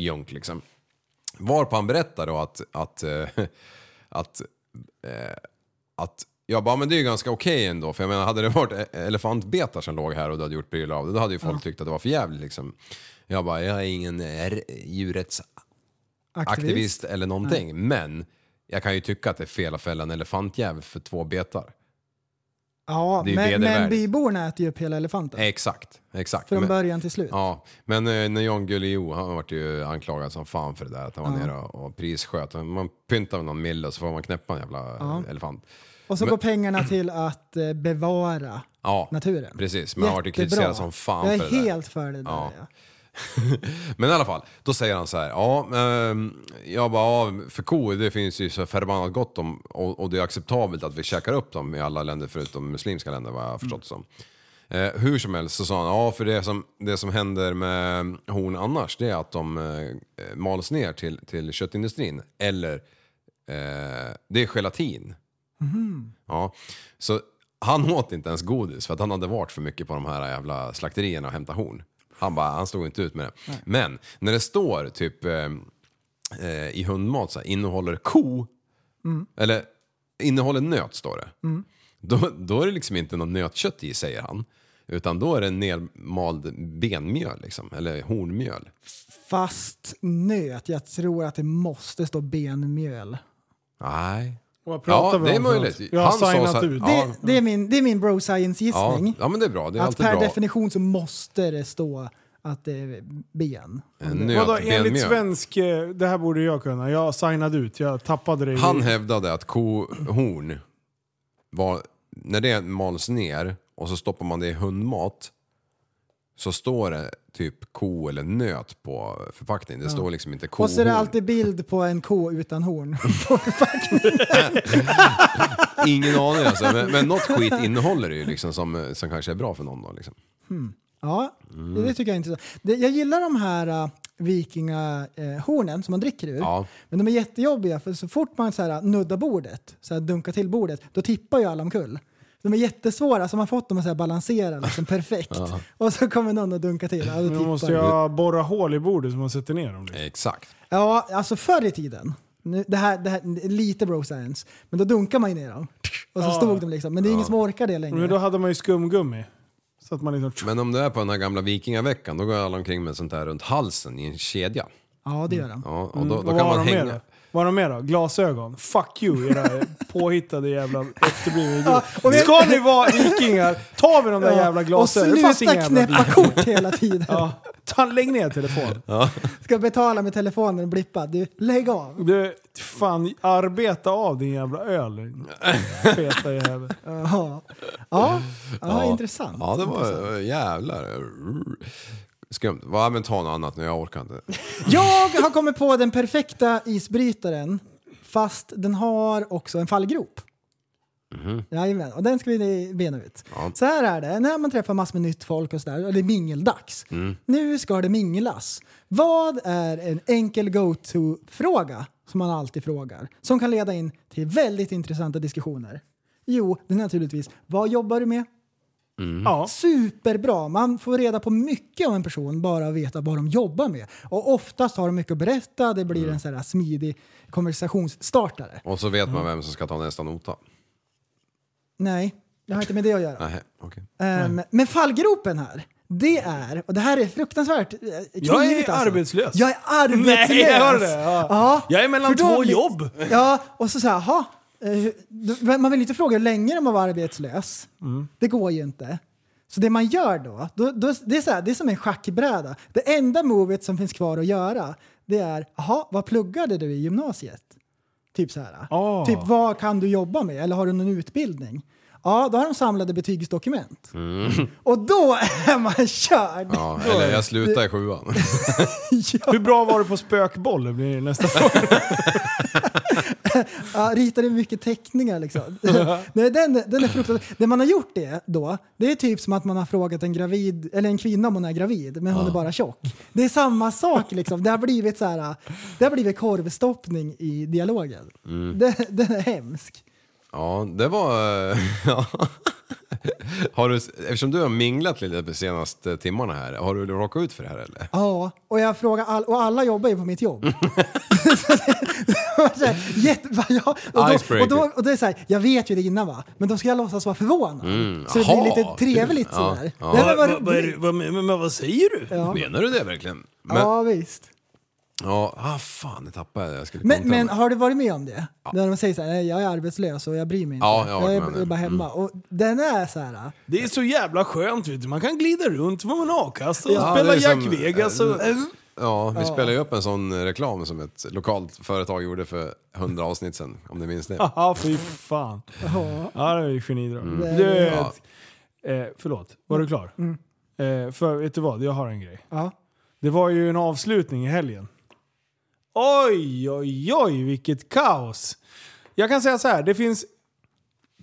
D: junk liksom. Varpå han berättar då att, att, eh, *laughs* att eh, att jag bara, men det är ju ganska okej ändå. För jag menar, hade det varit e- elefantbetar som låg här och du hade gjort prylar av det, då hade ju folk tyckt att det var för jävligt liksom. Jag bara, jag är ingen eh, djurrättsaktivist
C: Aktivist.
D: eller någonting, men jag kan ju tycka att det är fel att fälla en elefantjävel för två betar.
C: Ja,
D: Det är ju
C: men, men
D: vedervärdigt.
C: byborna äter ju upp hela elefanten.
D: Exakt, exakt.
C: Från
D: Men-
C: början till slut.
D: Ja, men eh, när Jan Guillou, han vart ju anklagad som fan för det där att han var nere och och prissköt. Man pyntar med någon mille och så får man knäppa en jävla eh, elefant.
C: Och så
D: Men-
C: går pengarna till att eh, bevara
D: Ja,
C: naturen.
D: precis. Men han vart ju
C: Jättebra.
D: kritiserad som fan
C: Jag är
D: för det där.
C: helt för det där. Ja.
D: Ja. Men i alla fall, då säger han så här. Ja, ehm, jag bara, ja, för kor det finns ju så förbannat gott om och, och det är acceptabelt att vi käkar upp dem i alla länder förutom muslimska länder vad jag har förstått som. Eh, hur som helst så sa han, ja för det som, det som händer med horn annars det är att de eh, mals ner till, till köttindustrin eller eh, det är gelatin. Ja, så han *laughs* åt inte ens godis för att han hade varit för mycket på de här jävla slakterierna och hämtat horn. Han, bara, han stod inte ut med det. Men när det står typ eh, eh, i hundmat så här, innehåller ko, eller innehåller nöt står det. Då, då är det liksom inte något nötkött i säger han. Utan då är det nermald benmjöl liksom, eller hornmjöl.
C: Fast nöt. Jag tror att det måste stå benmjöl.
D: Nej.
B: Vad pratar vi
D: det är
B: om för
D: möjligt.
B: något? Jag har
D: Han sa så
B: signat
D: här-
B: ut.
D: Ja.
C: Det, det, är min, det är min bro
D: Ja,
C: science-gissning.
D: ja men det är bra, det är
C: att
D: alltid
C: per
D: bra.
C: definition så måste det stå att det är ben.
D: Eh,
B: Vadå,
D: Nöt,
B: enligt
D: benmjöl.
B: svensk... eh, Det här borde jag kunna. Jag signade ut, jag tappade det. i-
C: Mm.
D: Han hävdade att kohorn, var, när det mals ner och så stoppar man det i hundmat så står det typ ko eller nöt på förpackningen. Det står liksom inte kohorn.
C: Och så är det alltid bild på en ko utan horn.
D: *laughs* Ingen aning alltså. Men, men något skit innehåller det ju liksom som, som kanske är bra för någon då liksom.
C: Ja,
D: Mm.
C: det tycker jag är intressant. Det, jag gillar de här uh, vikingahornen som man dricker ur.
D: Ja.
C: Men de är jättejobbiga för så fort man så här, äh, nuddar bordet, så här, dunkar till bordet, då tippar ju alla omkull. De är jättesvåra, så man har fått dem att så här, balansera liksom, perfekt. *laughs* Och så kommer någon och dunkar till. Ja, då
B: Nu
C: tippar
B: måste
C: de.
B: jag borra hål i bordet så man sätter ner dem. Liksom.
D: Exakt.
C: ja, alltså förr i tiden, nu, det, här, det här det är lite bro science, men då dunkar man ju ner dem. Och så stod de liksom, men det är ingen som orkar det längre.
B: Men då hade man ju skumgummi. Så att man liksom...
D: Men om du är på den här gamla vikingaveckan då går alla omkring med sånt här runt halsen i en kedja.
C: Ja, det gör de.
D: Ja, och då, då
B: Och
D: kan
B: vad
D: man
B: har de med då?
D: hänga.
B: Vad har de med då? Glasögon? Fuck you era påhittade jävla efterblivna
C: och
B: idioter.
C: vi-
B: Ska ni vara vikingar, ta vi de där jävla glasögonen. Det
C: och
B: fanns inga
C: sluta
B: jävla
C: knäppa
B: bilar.
C: kort
B: *laughs*
C: hela tiden.
B: Ja, ta, lägg ner telefonen.
C: Ska betala med telefonen och blippa. Du, lägg av.
B: Du, fan arbeta av din jävla öl. din Feta jävel.
C: Ja, ja, ja intressant.
D: Ja, det var jävlar. Skumt. Va, men ta något annat nu, jag orkar inte.
C: Jag har kommit på den perfekta isbrytaren fast den har också en fallgrop.
D: Mhm.
C: Jajamän, och den ska vi bena ut. Så här är det, när man träffar massor med nytt folk och sådär, och det är mingeldags.
D: Mm.
C: Nu ska det minglas. Vad är en enkel go-to-fråga som man alltid frågar? Som kan leda in till väldigt intressanta diskussioner. Jo, det är naturligtvis, vad jobbar du med?
B: Ja.
C: Superbra! Man får reda på mycket om en person bara att veta vad de jobbar med. Och oftast har de mycket att berätta, det blir en sån här smidig konversationsstartare.
D: Och så vet man vem som ska ta nästa nota.
C: Nej, det har inte med det att göra.
D: Nej, okej.
C: Ehm, Men fallgropen här, det är, och det här är fruktansvärt eh,
B: Jag är
C: knivigt
B: arbetslös.
C: Jag är arbetslös!
B: Nej, jag hör det, ja. Jag är mellan
C: för då
B: två
C: blir-
B: jobb.
C: Ja, och så så här, aha, eh, hur- då- man vill ju inte fråga hur länge de har varit arbetslös.
B: Mm.
C: Det går ju inte. Så det man gör då, då, då det, är så här, det är som en schackbräda. Det enda movet som finns kvar att göra, det är, jaha, vad pluggade du i gymnasiet? Typ så här.
B: Ah.
C: Typ vad kan du jobba med? Eller har du någon utbildning? Ja, då har de samlade betygsdokument. Och då *laughs* är man körd!
D: Ja, eller jag slutar i sjuan.
B: Hur bra var du på spökboll? Det blir nästa fråga.
C: Ja, ritar det mycket teckningar liksom. Nej, den, den är fruktansvärd. Det man har gjort det då, det är typ som att man har frågat en gravid, eller en kvinna om hon är gravid, men hon är bara tjock. Det är samma sak liksom. Det har blivit så här, det har blivit korvstoppning i dialogen. Den, den är hemsk.
D: Ja, det var... eh, *laughs* Ja. Har du, eftersom du har minglat lite de senaste timmarna här, har du råkat ut för det här eller?
C: Ja, och jag frågar all, och alla jobbar ju på mitt jobb. *laughs* Så det- det var så här, jätte- *laughs* va, ja, och, då,
D: Icebreaker.
C: och, då, och det är så här, jag vet ju det innan va, men då ska jag låtsas vara förvånad. så det blir
D: Mm, aha,
C: lite trevligt
D: kul.
C: sådär.
D: Ja,
C: Nej, men vad-
B: vad, vad, vad, vad säger du?
D: Menar du det verkligen? Men,
C: Ja, visst.
D: Ja, ah, fan, det tappade jag. jag skulle
C: Men,
D: kontra
C: men
D: med.
C: har du varit med om det? När de säger så här, "Nej, jag är arbetslös och jag bryr mig inte.
D: Ja, jag har varit
C: är,
D: med om det. Mm.
C: är bara hemma. Och den är så här.
B: Det är så jävla skönt vet du. Man kan glida runt, vara en a-kassa och
D: Ja,
B: spela
D: det är
B: Jack
D: som-
B: Vegas. Och,
D: Ja, vi spelade ju upp en sån reklam som ett lokalt företag gjorde för 100 avsnitt sedan, om ni minns det.
B: *laughs* Ja, fy fan. Ja, det är ju genidrag.
D: Mm.
C: Det är-
B: Du, eh, förlåt, var du klar? Eh, för vet du vad, jag har en grej.
C: Ja.
B: Det var ju en avslutning i helgen. Oj, oj, oj, vilket kaos! Jag kan säga så här, det finns...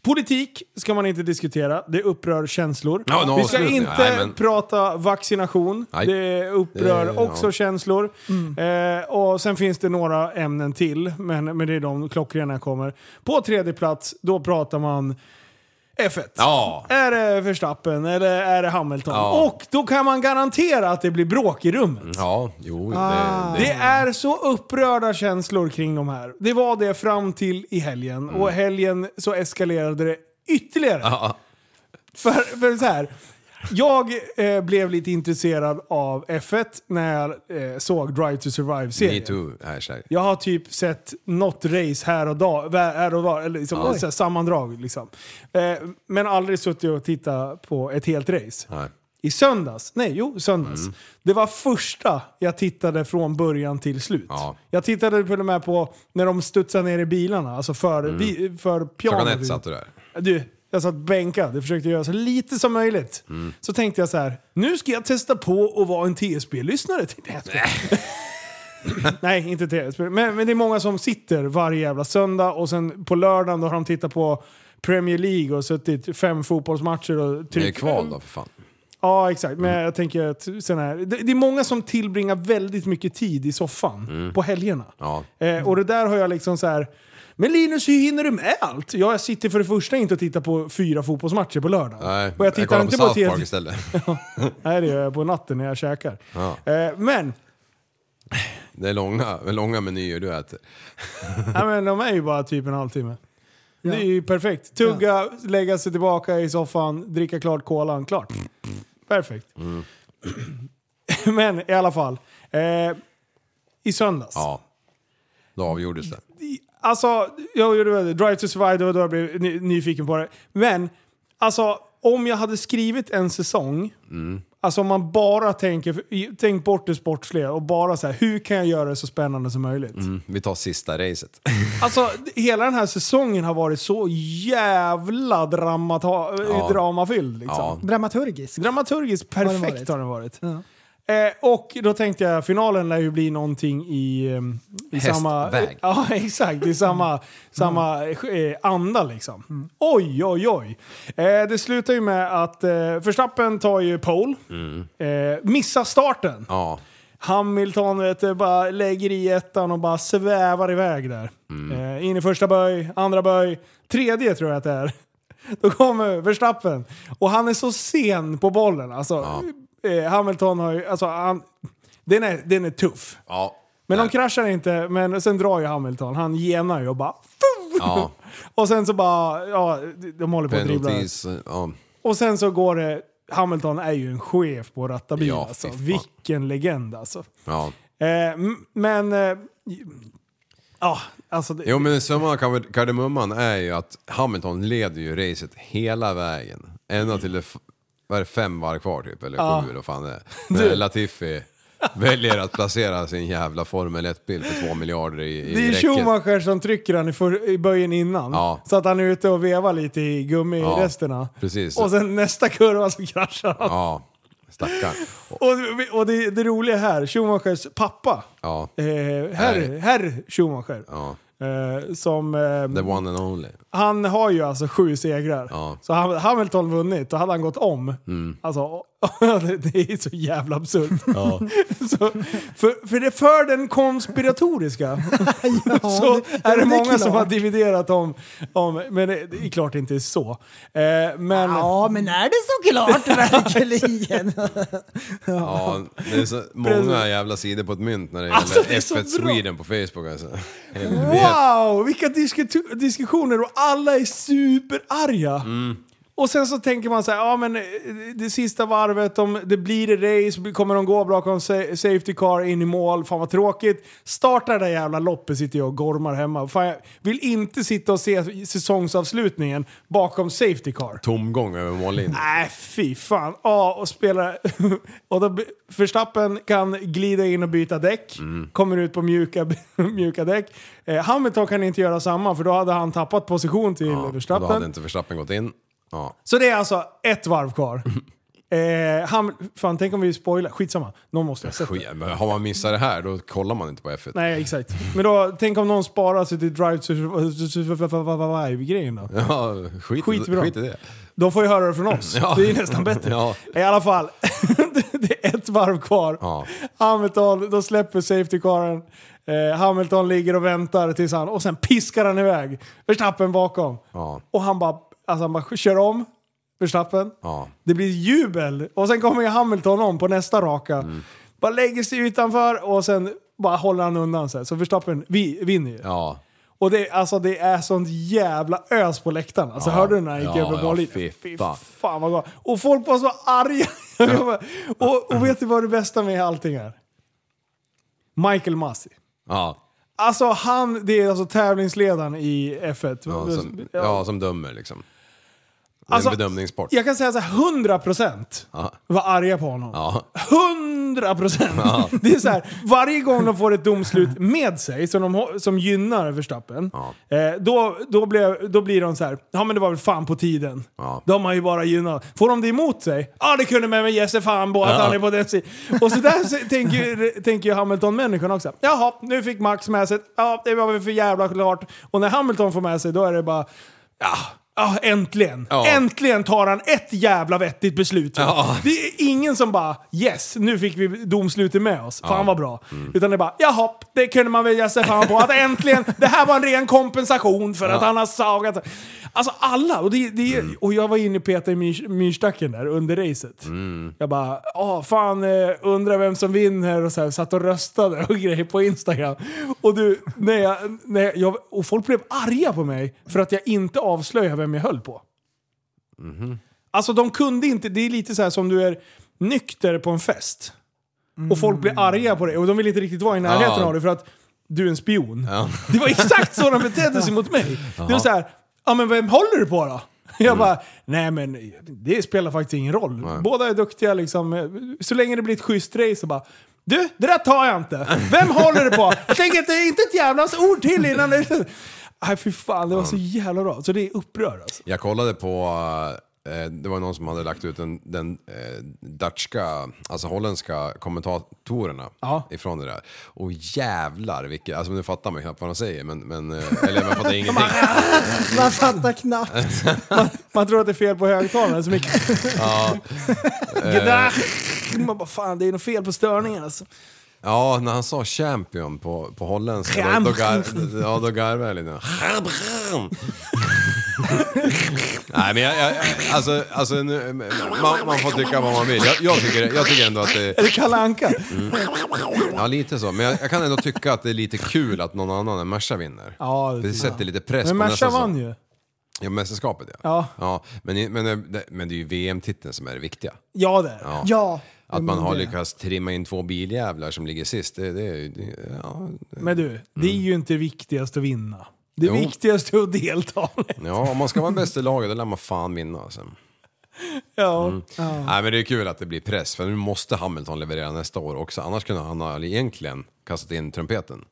B: Politik ska man inte diskutera, det upprör känslor.
D: Ja, en
B: Vi ska
D: avslutning.
B: inte
D: Nej, men-
B: prata vaccination,
D: Nej.
B: det upprör
D: Det-
B: också
D: ja.
B: känslor. Eh, och sen finns det några ämnen till, men, men det är de klockrena kommer. På tredje plats, då pratar man F1.
D: Ja,
B: Är det Verstappen eller är det Hamilton?
D: Ja.
B: Och då kan man garantera att det blir bråk i rummet.
D: ja, jo, det,
B: Det
D: det,
B: är så upprörda känslor kring de här. Det var det fram till i helgen
D: Mm.
B: och helgen så eskalerade det ytterligare. För, för så här. Jag eh, blev lite intresserad av F1 när jag eh, såg Drive to
D: me
B: Survive-serien.
D: too, hashtag.
B: Jag har typ sett något race här och, dag, vä- här och var, eller liksom,
C: Oj.
B: så här, sammandrag. Liksom. Eh, men aldrig suttit och tittat på ett helt race.
D: Nej.
B: I söndags, nej jo söndags.
D: Mm.
B: Det var första jag tittade från början till slut.
D: Ja.
B: Jag tittade till och med på när de studsade ner i bilarna, alltså för, vi, för pianot.
D: Mm. Klockan ett satt du där.
B: Du, jag satt bänkad och försökte göra så lite som möjligt. Så tänkte jag så här, nu ska jag testa på att vara en TSB-lyssnare. tänkte jag. *laughs* Nej, inte TSB. Men, men det är många som sitter varje jävla söndag och sen på lördagen då har de tittat på Premier League och suttit fem fotbollsmatcher och
D: Det är
B: tryckt
D: kval då, Mm. för fan.
B: Ja, exakt. Men jag tänker att sån här, det, det är många som tillbringar väldigt mycket tid i soffan på helgerna.
D: Mm. Ja.
B: Eh, och det där har jag liksom så här. Men Linus, hur hinner du med allt? Ja, jag sitter för det första inte och tittar på fyra fotbollsmatcher på lördagen.
D: Nej,
B: och jag tittar
D: kollar
B: inte
D: på
B: på,
D: South Park
B: TV.
D: istället. *laughs*
B: Nej, det gör jag på natten när jag käkar.
D: Ja.
B: Eh, men,
D: Det är långa, långa menyer du äter.
B: nej, men de är ju bara typ en halvtimme. Det är ju perfekt. Tugga, lägga sig tillbaka i soffan, dricka klart kolan, klart. Perfekt.
D: Mm.
B: men i alla fall. Eh, I söndags.
D: Ja. Då avgjordes det.
B: Alltså, jag gjorde väl det. Drive to Survive, det var då jag blev ny, nyfiken på det. Men, alltså om jag hade skrivit en säsong, alltså om man bara tänker, tänk bort det sportsliga och bara så här, hur kan jag göra det så spännande som möjligt?
D: Mm, Vi tar sista racet.
B: Alltså hela den här säsongen har varit så jävla dramata-
D: Ja.
B: dramafylld liksom.
D: Ja.
C: Dramaturgisk.
B: Dramaturgiskt
C: den
B: perfekt
C: varit?
B: har den varit.
C: Ja.
B: Eh, och då tänkte jag, finalen lär ju bli någonting i, ehm, i
D: Hästväg. Mm.
B: samma... *laughs* Ja, exakt. I samma, samma eh, anda liksom. Oj, oj, oj. Eh, det slutar ju med att eh, Verstappen tar ju pole. Eh, missar starten.
D: Mm. Ja.
B: Hamilton vet du, bara lägger i ettan och bara svävar iväg där.
D: Mm.
B: Eh, in i första böj, andra böj, tredje tror jag att det är. *laughs* Då kommer Verstappen. Och han är så sen på bollen. Alltså, eh, Hamilton har ju... Alltså, han, den, är, den är tuff.
D: ja.
B: Men de
D: Nej.
B: kraschar inte, men sen drar ju Hamilton. Han genar ju och bara... *laughs* fuff!
D: Ja.
B: Och sen så bara... Ja, de håller på att dribbla.
D: Penalties. Ja.
B: Och sen så går det... Hamilton är ju en chef på rattabil
D: Ja, fy
B: alltså.
D: fan.
B: Vilken legend alltså.
D: ja.
B: Eh, m- men... eh, Ja, alltså... Det,
D: Jo men summan av kard- kardemumman är ju att Hamilton leder ju racet hela vägen. Ända till det, f- vad är det, fem varv kvar typ, eller
B: Ja.
D: sju eller vad
B: *laughs*
D: fan det är. När Latifi väljer att placera sin jävla Formel 1-bil för två miljarder i, i
B: det är ju
D: räcket.
B: Schumacher som trycker han i, för, i böjen innan.
D: Ja.
B: Så att han är ute och vevar lite i
D: Ja,
B: gummiresterna.
D: precis.
B: Och sen nästa kurva så kraschar han.
D: Ja, stackarn. Och-
B: Och, och det, det roliga här, Schumachers pappa,
D: Ja,
B: eh, herr,
D: Herr.
B: herr Schumacher,
D: ja.
B: eh, som...
D: The
B: Eh,
D: one and only.
B: han har ju alltså sju segrar.
D: Ja.
B: Så hade Hamilton vunnit, då hade han gått om. Alltså, *laughs* det är så jävla absurt. *laughs* Så, för, för, det, för den konspiratoriska
C: Ja,
B: *laughs* så är det, många
C: klart.
B: som har dividerat om... om men det, det är klart det inte är så. Eh, men...
C: Ja, men är det
D: *laughs*
C: såklart verkligen?
D: Ja, det är så många jävla sidor på ett mynt när det gäller
B: Alltså, det är så
D: F1
B: bra.
D: Sweden på Facebook alltså. Helvete.
B: Wow, vilka disku- diskussioner och alla är superarga. Och sen så tänker man så här, ja men eh, det sista varvet, om det blir det race, kommer de gå bra, kommer sa- safety car in i mål, fan vad tråkigt. Startar det där jävla loppet sitter jag och gormar hemma. Fan, jag vill inte sitta och se säsongsavslutningen bakom safety car.
D: Tomgång över mållinjen.
B: Nej, fy fan. Ja, och spelare... och då, Förstappen kan glida in och byta däck. Kommer ut på mjuka, mjuka däck. Eh, Hamilton kan inte göra samma, för då hade han tappat position till
D: Då
B: Verstappen.
D: hade inte Verstappen gått in. Ja.
B: Så det är alltså ett varv kvar. eh, Ham- fan, tänk om vi spoilar. Skitsamma. Någon måste ha sett det.
D: Skit, men Har man missat det här då kollar man inte på F1.
B: Nej, exakt. Men då, tänk om någon sparar sig till Drive to Survive-grejen då.
D: Ja, skit,
B: Skitbra.
D: skit i det.
B: De får ju höra det från oss.
D: *laughs* Ja.
B: Det är ju nästan bättre.
D: Ja.
B: I alla fall, *laughs* det är ett varv kvar.
D: Ja.
B: Hamilton, då släpper safety caren. Eh, Hamilton ligger och väntar tills han... Och sen piskar han iväg. Verstappen bakom.
D: Ja.
B: Och han bara, alltså han bara kör om Verstappen.
D: Ja.
B: Det blir jubel. Och sen kommer ju Hamilton om på nästa raka.
D: Mm.
B: Bara lägger sig utanför och sen bara håller han undan sig. Så Verstappen vi, vinner ju.
D: Ja.
B: Och det, alltså, det är sånt jävla ös på läktaren. Alltså, hörde du när han gick
D: Ja,
B: över
D: ja,
B: mållinjen?
D: fy fan.
B: fan vad gott. Och folk var så arga. *laughs* Jag bara, och, och vet du vad det bästa med allting är? Michael Masi.
D: Ja.
B: Alltså han, det är alltså tävlingsledaren i F1.
D: Ja, som, ja, som dömer liksom. Det är
B: Alltså,
D: en bedömningssport.
B: Jag kan säga så här, 100%
D: Ja.
B: var arga på honom.
D: Ja.
B: 100 procent! *laughs* Det är så här, varje gång de får ett domslut med sig som, de, ho- som gynnar Verstappen, eh, då, då, blir, då blir de så här, ja men det var väl fan på tiden.
D: Ja.
B: De har ju bara gynnat. Får de det emot sig, ja det kunde man med Jesse fan på att
D: Ja.
B: han är på den sidan. Och så där så tänker, ju- tänker ju Hamilton-människan också. Jaha, nu fick Max med sig, ja det var väl för jävla klart. Och när Hamilton får med sig, då är det bara, ja. Ja, äntligen!
D: Ja.
B: Äntligen tar han ett jävla vettigt beslut.
D: Ja.
B: Det är ingen som bara yes, nu fick vi domslutet med oss. Fan vad bra. Utan det är bara jaha, det kunde man väl ge sig fan på. Att äntligen, det här var en ren kompensation för att han har sagat. Alltså alla, och, det, det, och jag var inne och petade i myr- myrstacken där under racet. Jag bara, ah fan eh, undrar vem som vinner och så här, satt och röstade och *laughs* grejer på Instagram. Och du, när jag, när jag- jag, och folk blev arga på mig för att jag inte avslöjade vem jag höll på. Alltså de kunde inte, det är lite så här som du är nykter på en fest. Och folk blir arga på dig och de vill inte riktigt vara i närheten
D: Mm. Ja.
B: av dig för att du är en spion.
D: Ja.
B: Det var exakt så de betedde sig mot mig. Det var så här, ja men vem håller du på då? Jag
D: Mm.
B: bara, nej men det spelar faktiskt ingen roll. Båda är duktiga liksom. Så länge det blir ett schysst race så bara, du det där tar jag inte. Vem håller du på? Jag tänker inte, inte ett jävlas ord till innan det... Nej fy fan, det var så jävla bra. Så det är upprör alltså.
D: Jag kollade på, eh, det var någon som hade lagt ut den, den eh, dutchka, alltså holländska kommentatorerna
B: Ja.
D: ifrån det där. Och jävlar vilket, alltså nu fattar man knappt vad de säger, men, men eh, eller man fattar ingenting.
C: Man fattar knappt.
B: Man tror att det är fel på högtalaren så mycket.
D: Eh,
B: Ja. Man bara fan, det är något fel på störningen alltså.
D: Ja, när han sa champion på, på holländska, då, då, gar, *laughs* ja, då garvade jag lite. Nej men jag, jag, alltså, alltså nu, man, man får tycka vad man vill. Jag, jag, tycker, jag tycker ändå att det
B: Eller Kalle Anka.
D: Mm. Ja, lite så. Men jag, jag kan ändå tycka att det är lite kul att någon annan än Merca vinner.
B: Ja, det
D: det
B: tycker jag.
D: sätter lite press
B: Men
D: på
B: Merca
D: nästan så-
B: vann ju.
D: Ja, mästerskapet ja.
B: Ja.
D: men, i- men, det- men det är ju VM-titeln som är det viktiga.
B: Ja det eh, är det.
C: Ja.
D: Att man
C: men
D: har
C: det-
D: lyckats trimma in två biljävlar som ligger sist, det, det, är ju- det ja,
B: Men du, det är ju inte viktigast att vinna. Det
D: Mm. Jo. Mm.
B: viktigaste är att delta.
D: ja, om man ska vara bäst i laget, då lär man fan vinna. Alltså.
B: Ja.
D: Mm. Nej, men det är kul att det blir press, för nu måste Hamilton leverera nästa år också. Annars kunde han ha egentligen kastat in trumpeten.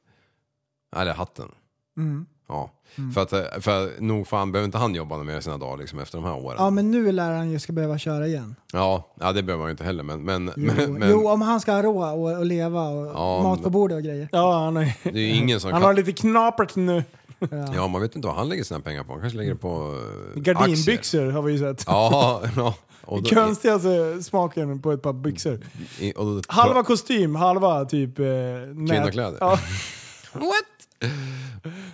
D: Eller hatten.
B: Mm.
D: Ja. För, att, för nog fan behöver inte han jobba mer i sina dagar liksom, efter de här åren.
C: Ja men nu lär han ju ska behöva köra igen.
D: Ja, ja det behöver man ju inte heller men, men,
C: Jo,
D: men, men
C: jo om han ska ha råd och, och leva och
D: Ja,
C: mat
D: men-
C: på bordet och grejer.
B: Ja, han, har,
D: det är ju ingen som
B: han har lite knapert nu.
D: Ja, man vet inte vad han lägger sina pengar på. Han kanske lägger det på eh, aktier.
B: Gardinbyxor har vi ju sett.
D: Ja, *laughs* ja. Och då, Mm.
B: Konstigaste smaken på ett par byxor.
D: i, och då,
B: Halva kostym, halva typ... Eh, nät-
D: Kvinnokläder.
B: Ja.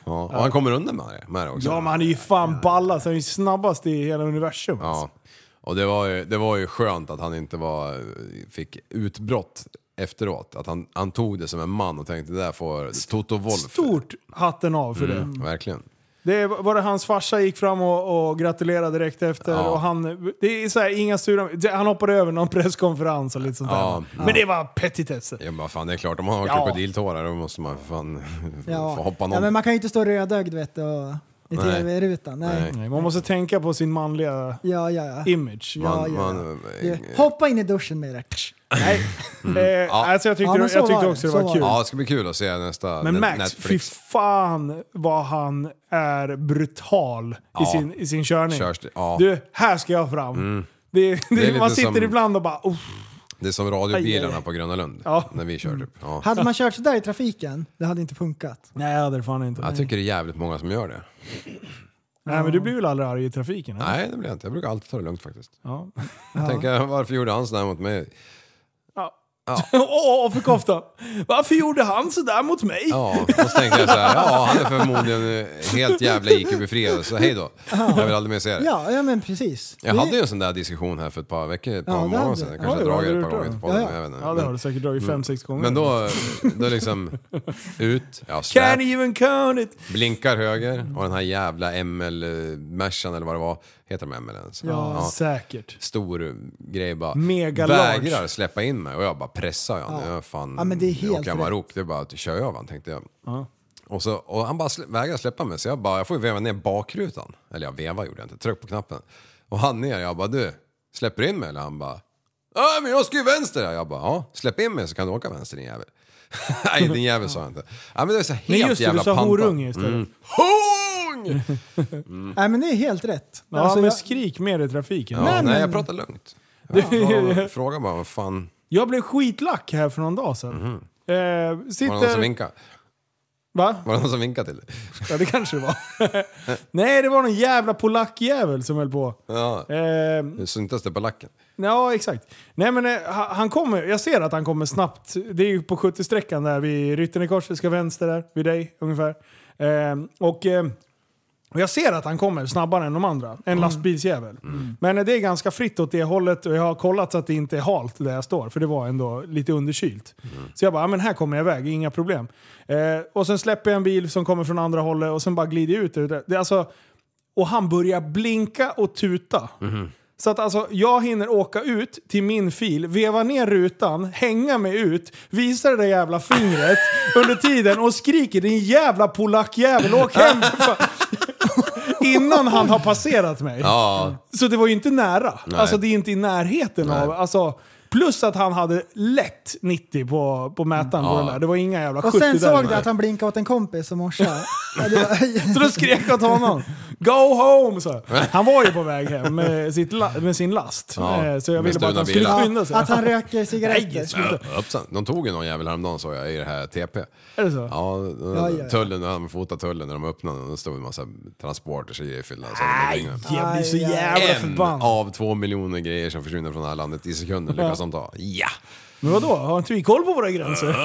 D: ja, och han kommer undan med det, med det också.
B: ja, men han är ju
D: *laughs*
B: fan ballast. Han är ju snabbast i hela universum. alltså.
D: Ja. Och det var, ju, det var ju skönt att han inte var, fick utbrott efteråt. Att han, han tog det som en man och tänkte det där får Toto Wolff. Mm.
B: Stort hatten av för det.
D: Verkligen.
B: Det var det hans farsa gick fram och, och gratulerade direkt efter.
D: Ja.
B: Och han, det är så här, inga sura, det- han hoppade över någon *laughs* presskonferens och lite sånt
D: Ja,
B: där. Men det var petitesser.
D: Ja, men fan, det är klart, om man har
B: Ja.
D: krokodiltårar då måste man för fan *laughs* få hoppa någon.
C: ja, men man kan ju inte stå rödögd vet du, och, i
D: Nej.
C: tv-rutan. Nej.
D: Nej.
B: Nej, Man måste tänka på sin manliga
C: Ja, ja, ja.
B: image.
C: Ja,
D: Man,
C: ja.
D: man, eh,
C: Du, hoppa in i duschen med det.
B: Nej. Eh, alltså jag tyckte,
C: Ja, men så
B: jag tyckte
C: var det,
B: också
C: så
B: det var
C: var
B: kul.
D: ja, det ska bli kul att se nästa
B: Men
D: Ne-
B: Max, fy
D: Netflix.
B: fan vad han är brutal i,
D: Ja.
B: sin, i sin körning.
D: Körs- ja.
B: Du, här ska jag fram. Det, det,
D: är lite
B: man sitter
D: som-
B: ibland och bara... "Uff."
D: Det är som
B: Aj, aj,
D: radiobilarna
B: aj.
D: på Gröna Lund,
B: Ja.
D: när vi kör typ. Ja.
C: Hade man kört sådär i trafiken, det hade inte funkat.
B: Nej, det är fan inte.
D: Jag tycker det är jävligt många som gör det.
B: Nej, men du blir väl aldrig arg i trafiken? eller?
D: Nej, det blir jag inte. Jag brukar alltid ta det lugnt faktiskt.
B: Ja.
D: *laughs* Jag tänker, varför gjorde han sådär mot mig?
B: Åh, *laughs* åh, för kofta! Varför gjorde han sådär mot mig?
D: Ja, och så tänker jag så här, ja han är förmodligen helt jävla IQ-befriad, så hej då. Jag vill aldrig mer se det.
C: Ja, ja men precis.
D: Jag
C: Det-
D: hade ju en sån där diskussion här för ett par veckor, ett par
C: Ja, det
D: månader
C: hade
D: sedan.
C: du.
D: Jag kanske
B: Ja,
D: har
B: det
D: dragit
B: hade
D: det ett
B: du gjort,
D: par gånger på
B: ja.
D: podden, jag vet inte.
B: Ja, det har du säkert dragit fem, sex gånger.
D: Men då, då liksom ut, ja, släp,
B: Can't even count it!
D: blinkar höger och den här jävla ml mercan eller vad det var. Heter de ML ens?
B: Ja, säkert.
D: Stor grej bara.
B: Mega large.
D: vägrar släppa in mig och jag bara pressar jag nu. Jag fan,
C: Ja, men det är helt
D: åker jag
C: rätt.
D: marok, det är bara att kör jag van tänkte jag. Och, så, och han bara slä, vägrar släppa mig så jag bara, jag får ju veva ner bakrutan. Eller jag vevar gjorde jag inte, tryck på knappen. Och han ner, jag bara du, släpper du in mig? Eller han bara, ja men jag ska ju vänster. här." Jag bara, ja släpp in mig så kan du åka vänster din jävel. *laughs* Nej din jävel sa jag inte. Ja, men det är så helt
B: Nej just det, du
D: jävla
B: sa
D: pantad.
B: horunge istället.
D: Horung! Mm.
C: Nej men det är helt rätt.
B: Ja,
C: Alltså,
B: men
C: jag-
B: skrik mer i trafiken.
D: Ja, nej, jag pratar lugnt. Jag
C: *laughs*
D: frågar- Frågar bara vad fan,
B: *laughs* Jag blev skitlack här för någon dag sedan. Eh,
D: Mhm. var det någon som
B: sitter...
D: vinkade?
B: Va?
D: Var det någon som vinkade till dig?
B: Ja det kanske det var. *laughs* Nej det var någon jävla polackjävel som höll på.
D: Ja,
B: Eh,
D: det syntes det på lacken.
B: ja exakt. Nej men eh, ha- han kommer, jag ser att han kommer snabbt. Det är ju på 70-sträckan där vid Ryttarnekorset, ska vänster där, vid dig ungefär. Eh, och, eh, och jag ser att han kommer snabbare än de andra, en lastbilsjävel. Men eh, det är ganska fritt åt det hållet och jag har kollat så att det inte är halt där jag står, för det var ändå lite underkylt. Så jag bara, "Ja, men här kommer jag iväg, inga problem. Eh, och sen släpper jag en bil som kommer från andra hållet och sen bara glider jag ut. ur Det, det, är alltså, och han börjar blinka och tuta.
D: Mhm.
B: Så att alltså, jag hinner åka ut till min fil, veva ner rutan, hänga mig ut, visa det där jävla
D: *laughs*
B: fingret under tiden och skriker din jävla polackjävel, åk
D: *laughs*
B: hem! för fan." Innan han har passerat mig.
D: Ja,
B: Så det var ju inte nära. Alltså det är inte i närheten
D: Nej.
B: av... Alltså, plus att han hade lätt 90 på, på mätaren på
D: Ja.
B: den där. Det var inga jävla
C: Och
B: 70
C: sen
B: där.
C: såg du att han blinkade åt en kompis
D: *laughs*
C: och morsa. Ja, det var-
B: Så då skrek jag åt honom. Go home! Så.
D: *laughs*
B: Han var ju på väg hem med, sitt la- med sin last.
D: Ja,
B: Eh, Så jag
D: med
B: ville bara att han
D: stulna
B: skulle
D: bilar.
B: skynda sig.
C: att han röker cigaretter.
B: alltså? Nej, sluta.
D: Hoppsan, de tog ju någon jävel häromdagen såg jag i det här TP.
B: Är det så?
D: Ja, den-
C: Ja, ja, ja.
D: tullen, när de fotade tullen när de öppnade den, då stod en massa transporters och grejer i fyllan. så hade de ringt.
B: Jag blir så
C: Aj, aj.
B: jävla
D: En
B: förbannad.
D: av två miljoner grejer som försvinner från det här landet i sekunder lyckas de ta. Ja!
B: Men vadå? Har inte vi koll på våra gränser?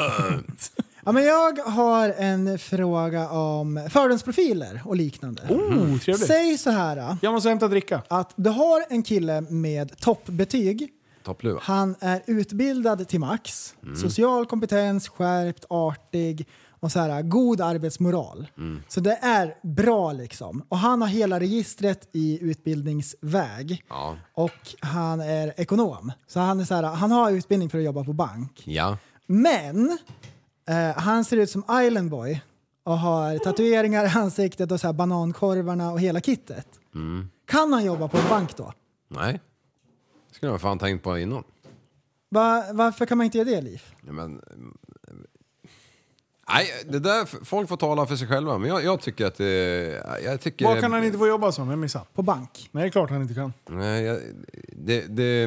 C: Ja, men jag har en fråga om fördomsprofiler och liknande.
B: Oh, trevligt.
C: Säg så här
B: Jag måste hämta dricka.
C: att du har en kille med toppbetyg.
D: Toppluva.
C: Han är utbildad till max. Social kompetens, skärpt, artig och så här, god arbetsmoral. Så det är bra liksom. Och han har hela registret i utbildningsväg.
D: Ja.
C: Och han är ekonom. Så han, är så här, han har utbildning för att jobba på bank.
D: Ja.
C: Men eh, han ser ut som Island Boy och har tatueringar i ansiktet och så här banankorvarna och hela kittet. Kan han jobba på en bank då?
D: Nej. Skulle man fan tänkt på innan.
C: Va, varför kan man inte göra det, Liv?
D: Ja, Men, nej, det där, folk får tala för sig själva, men jag, jag tycker att det... Jag tycker,
B: Vad kan han inte få jobba som? Jag missade.
C: På bank?
B: Nej, det är klart han inte kan.
D: Nej, jag, det, det,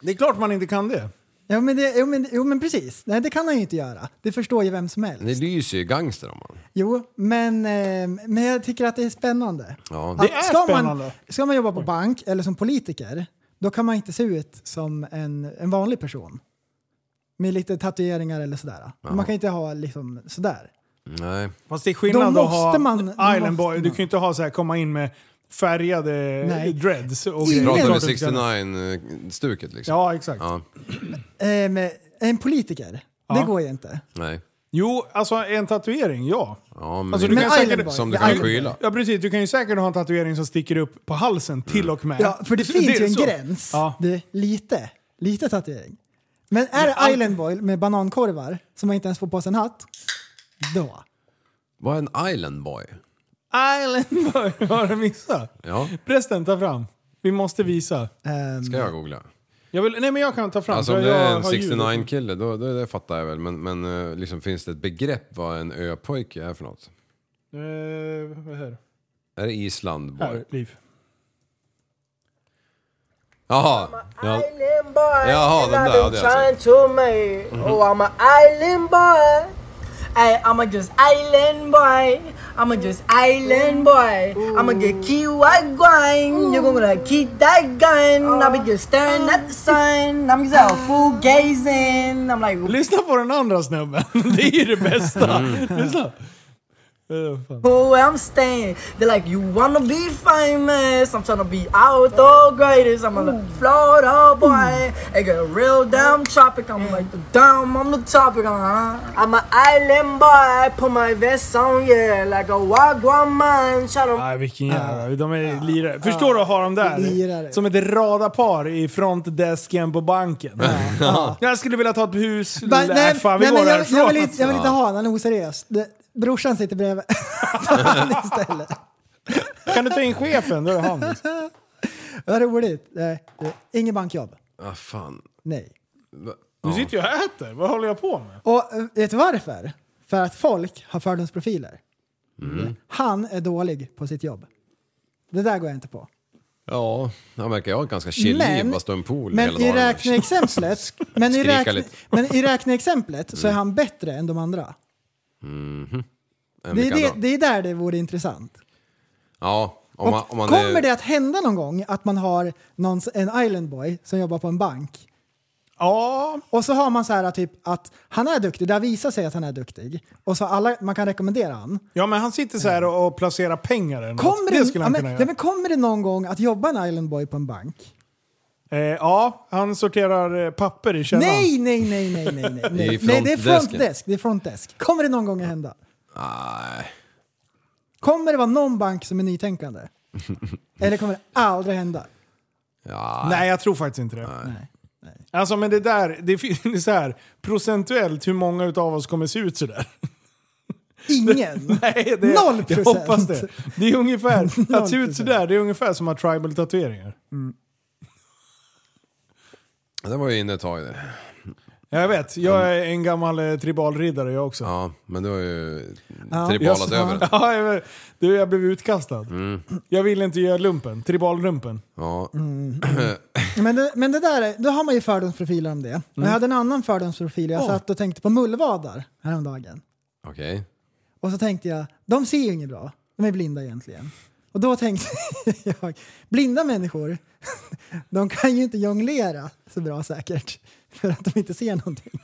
B: Det är klart man inte kan det.
C: Jo men, det, jo, men, jo men precis, nej det kan han ju inte göra. Det förstår ju vem som helst.
D: det lyser ju gangster om man.
C: Jo, men, eh, men jag tycker att det är spännande.
D: Ja.
B: Det är
C: ska Man,
B: spännande.
C: ska man jobba på bank eller som politiker, då kan man inte se ut som en, en vanlig person. Med lite tatueringar eller sådär. Man kan inte ha liksom sådär.
D: Nej.
B: Fast det är skillnad
C: Då
B: att ha
C: måste man- måste
B: Island Boy. Du
C: man.
B: kan ju inte ha så här, komma in med färgade
C: Nej.
B: dreads och
C: Ingen-
B: grejer.
D: Pratar
B: Klart
D: vi
B: att du kan.
D: 69-stuket liksom?
B: Ja, exakt.
D: Ja,
C: Eh, men en politiker, det går ju inte.
D: nej.
B: Jo, alltså en tatuering, ja.
D: Ja, men
B: Alltså,
D: det-
B: du kan
C: Men
B: säkert-
C: Island Boy.
D: som du kan
C: Island Boy.
D: skyla.
B: Ja precis, du kan ju säkert ha en tatuering som sticker upp på
D: Mm.
B: halsen till och med.
C: Ja, för det
B: Så-
C: finns ju
B: är
C: en
B: så.
C: gräns.
B: Ja. *laughs*
C: Du, lite. Lite tatuering. Men är det Island Boy med banankorvar som man inte ens får på sig en hatt, då.
D: Vad är en island boy?
B: Island boy, har du missat?
D: Ja,
B: Prästen, ta fram. Vi måste visa.
C: Ehm,
D: ska jag googla.
B: Jag vill, nej men jag kan ta fram.
D: Alltså
B: för
D: om det
B: jag
D: är en
B: har ljudet.
D: 69-kille, då, då det fattar jag väl. Men, men eh, liksom, finns det ett begrepp vad en öpojke är för något?
B: Eh, vad är det här?
D: Är det Island boy?
B: Här, Liv.
D: Jaha! Ja.
E: Island boy.
D: Jaha, den
E: and
D: där
E: I've
D: hade
E: been
D: jag
E: trying to make. Oh, I'm an island boy. Ay, I'm a just island boy. I'm a just island boy. I'm a get key white going. You're gonna keep that gun. I'll be just staring at the sun. I'm just out full gazing. I'm like,
B: Lyssna på den andra snubben. *laughs* Det är ju det bästa. Lyssna. Eh, fan.
E: Cool where I'm staying. They're like, you wanna be famous? I'm trying to be out the greatest. I'm on the Florida boy. I got a real damn tropic. I'm like the dumb, I'm the topic. Uh-huh. I'm an island boy. Put my vest on, yeah, like a wagwan man. Try to
B: Nej, vilken jävla... De är lirare. Förstår du att ha dem där?
C: Lirare.
B: Som ett radarpar i frontdesken på banken. Jag skulle vilja ta ett hus.
C: Ba-
B: *laughs* nej, fan, vi
C: nej,
B: går
C: men jag,
B: härifrån. alltså.
C: jag, vill inte, jag vill inte ha han, han är oseriös. Det, brorsan sitter bredvid. *laughs* Ta han istället.
B: Kan du ta in chefen? Då är det han.
C: Vad roligt. Nej, det- Inget bankjobb.
D: Ah, fan.
C: Nej.
D: Va-
B: Nu sitter jag och äter. Vad håller jag på med?
C: Och eh, vet du varför? För att folk har fördomsprofiler.
D: Mm.
C: Han är dålig på sitt jobb. Det där går jag inte på.
D: Ja, han verkar ju ha ett ganska chill liv, bara stå i en pool
C: men
D: hela
C: i
D: dagen.
C: räkneexemplet,
D: *laughs*
C: men, i
D: Skrika
C: räkne,
D: lite. Mm.
C: men i räkneexemplet så är han bättre än de andra.
D: En
C: Det är,
D: vecka
C: det,
D: Eh, då.
C: det är där det vore intressant.
D: Ja, om
C: Och
D: man, om man
C: kommer
D: är...
C: det att hända någon gång att man har någon, en islandboy som jobbar på en bank
B: Ja,
C: och så har man så här typ att han är duktig, det har visat sig att han är duktig och så alla, man kan rekommendera han.
B: ja men han sitter så här och och placerar pengar. eller något.
C: Mm. Kommer det,
B: det skulle han
C: ja,
B: kunna
C: men,
B: göra.
C: ja, men kommer det någon gång att jobba en islandboy på en bank?
B: Eh, ja, han sorterar eh, papper i källaren.
C: Nej, nej, nej, nej, nej, nej. nej.
D: I
C: nej *laughs* det är
D: frontdesken.
C: frontdesk. Det är frontdesk. Kommer det någon gång att hända?
D: Nej.
C: Kommer det vara någon bank som är *laughs* nytänkande? Eller kommer det aldrig hända?
D: Ja.
B: Nej, jag tror faktiskt inte det. Alltså men det där, *laughs* det finns så här procentuellt hur många utav oss kommer se ut sådär.
C: *laughs* Ingen.
B: *laughs* Nej, det,
C: Noll
B: jag
C: procent.
B: hoppas det. Det är
C: *laughs*
B: ungefär, att se ut
C: procent.
B: sådär, det är ungefär som att ha tribal tatueringar.
D: Det var ju inne ett tag det.
B: Jag vet, jag är en gammal eh, tribal riddare jag också.
D: Mm. Ja, men du har ju
C: Ja.
D: tribalat Mm.
C: Just-
D: över den.
B: *laughs* Ja, jag, vet. du, jag blev utkastad. Jag ville inte göra lumpen, tribal-lumpen.
D: Ja.
C: Men det, men det där, är- då har man ju fördomsprofiler om det. Men jag hade en annan fördomsprofil. Jag satt och tänkte på mullvadar häromdagen.
D: *clears throat* Okej.
C: Och så tänkte jag, de ser ju inget bra. De är blinda egentligen. Och då tänkte *laughs* jag, blinda människor, *laughs* de kan ju inte jonglera så bra säkert. För att de inte ser någonting.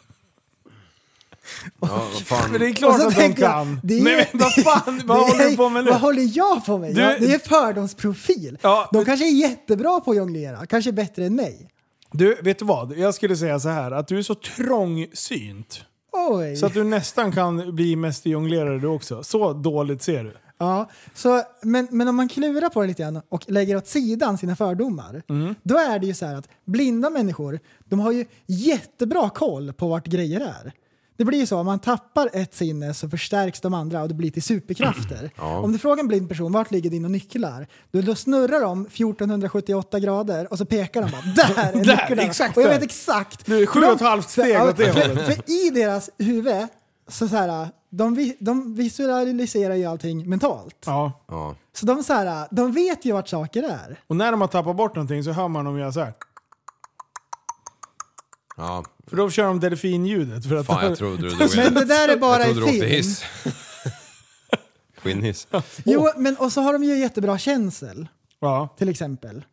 D: Ja, vad fan.
B: Men det är klart
C: Och så
B: att de
C: tänkte jag,
B: kan.
C: det är-
B: Nej men vad fan, vad
C: *laughs* Det är-
B: håller du på med nu?
C: Vad håller jag på med?
B: Du-
C: Ja, det är fördomsprofil.
B: Ja.
C: De kanske är jättebra på att jonglera, kanske bättre än mig.
B: Du, vet du vad? Jag skulle säga så här att du är så trångsynt.
C: Oj.
B: Så att du nästan kan bli mästerjonglerare du också. Så dåligt ser du.
C: Ja, så, men, men om man klurar på det lite grann och lägger åt sidan sina fördomar.
B: Mm.
C: Då är det ju så här att blinda människor, de har ju jättebra koll på vart grejer är. Det blir ju så, om man tappar ett sinne så förstärks de andra och det blir
B: *clears throat*
C: till superkrafter. Om du frågar en blind person vart ligger dina nycklar, då, då snurrar de 1478 grader och så pekar de bara *laughs* där är
B: Där,
C: nycklarna.
B: exakt
C: och jag
B: där.
C: vet exakt.
B: Du är sju och
C: För de-
B: ett halvt steg
C: Ja,
B: åt det
C: för-
B: hållet.
C: för i deras huvud, så, så här, de, vi- de visualiserar ju allting mentalt.
B: Ja.
D: Ja.
C: Så de, så här, de vet ju vart saker är.
B: Och när de har tappat bort någonting så hör man dem göra så här.
D: ja.
B: För då kör de delfinljudet. För att
D: Fan,
B: *laughs*
D: jag trodde du drog
C: Men
D: in.
C: det där är bara
D: Jag
C: i
D: trodde du åkte
C: film.
D: hiss. *laughs* Skinnhiss.
C: Jo, men, och så har de ju jättebra känsel,
B: Ja.
C: till exempel.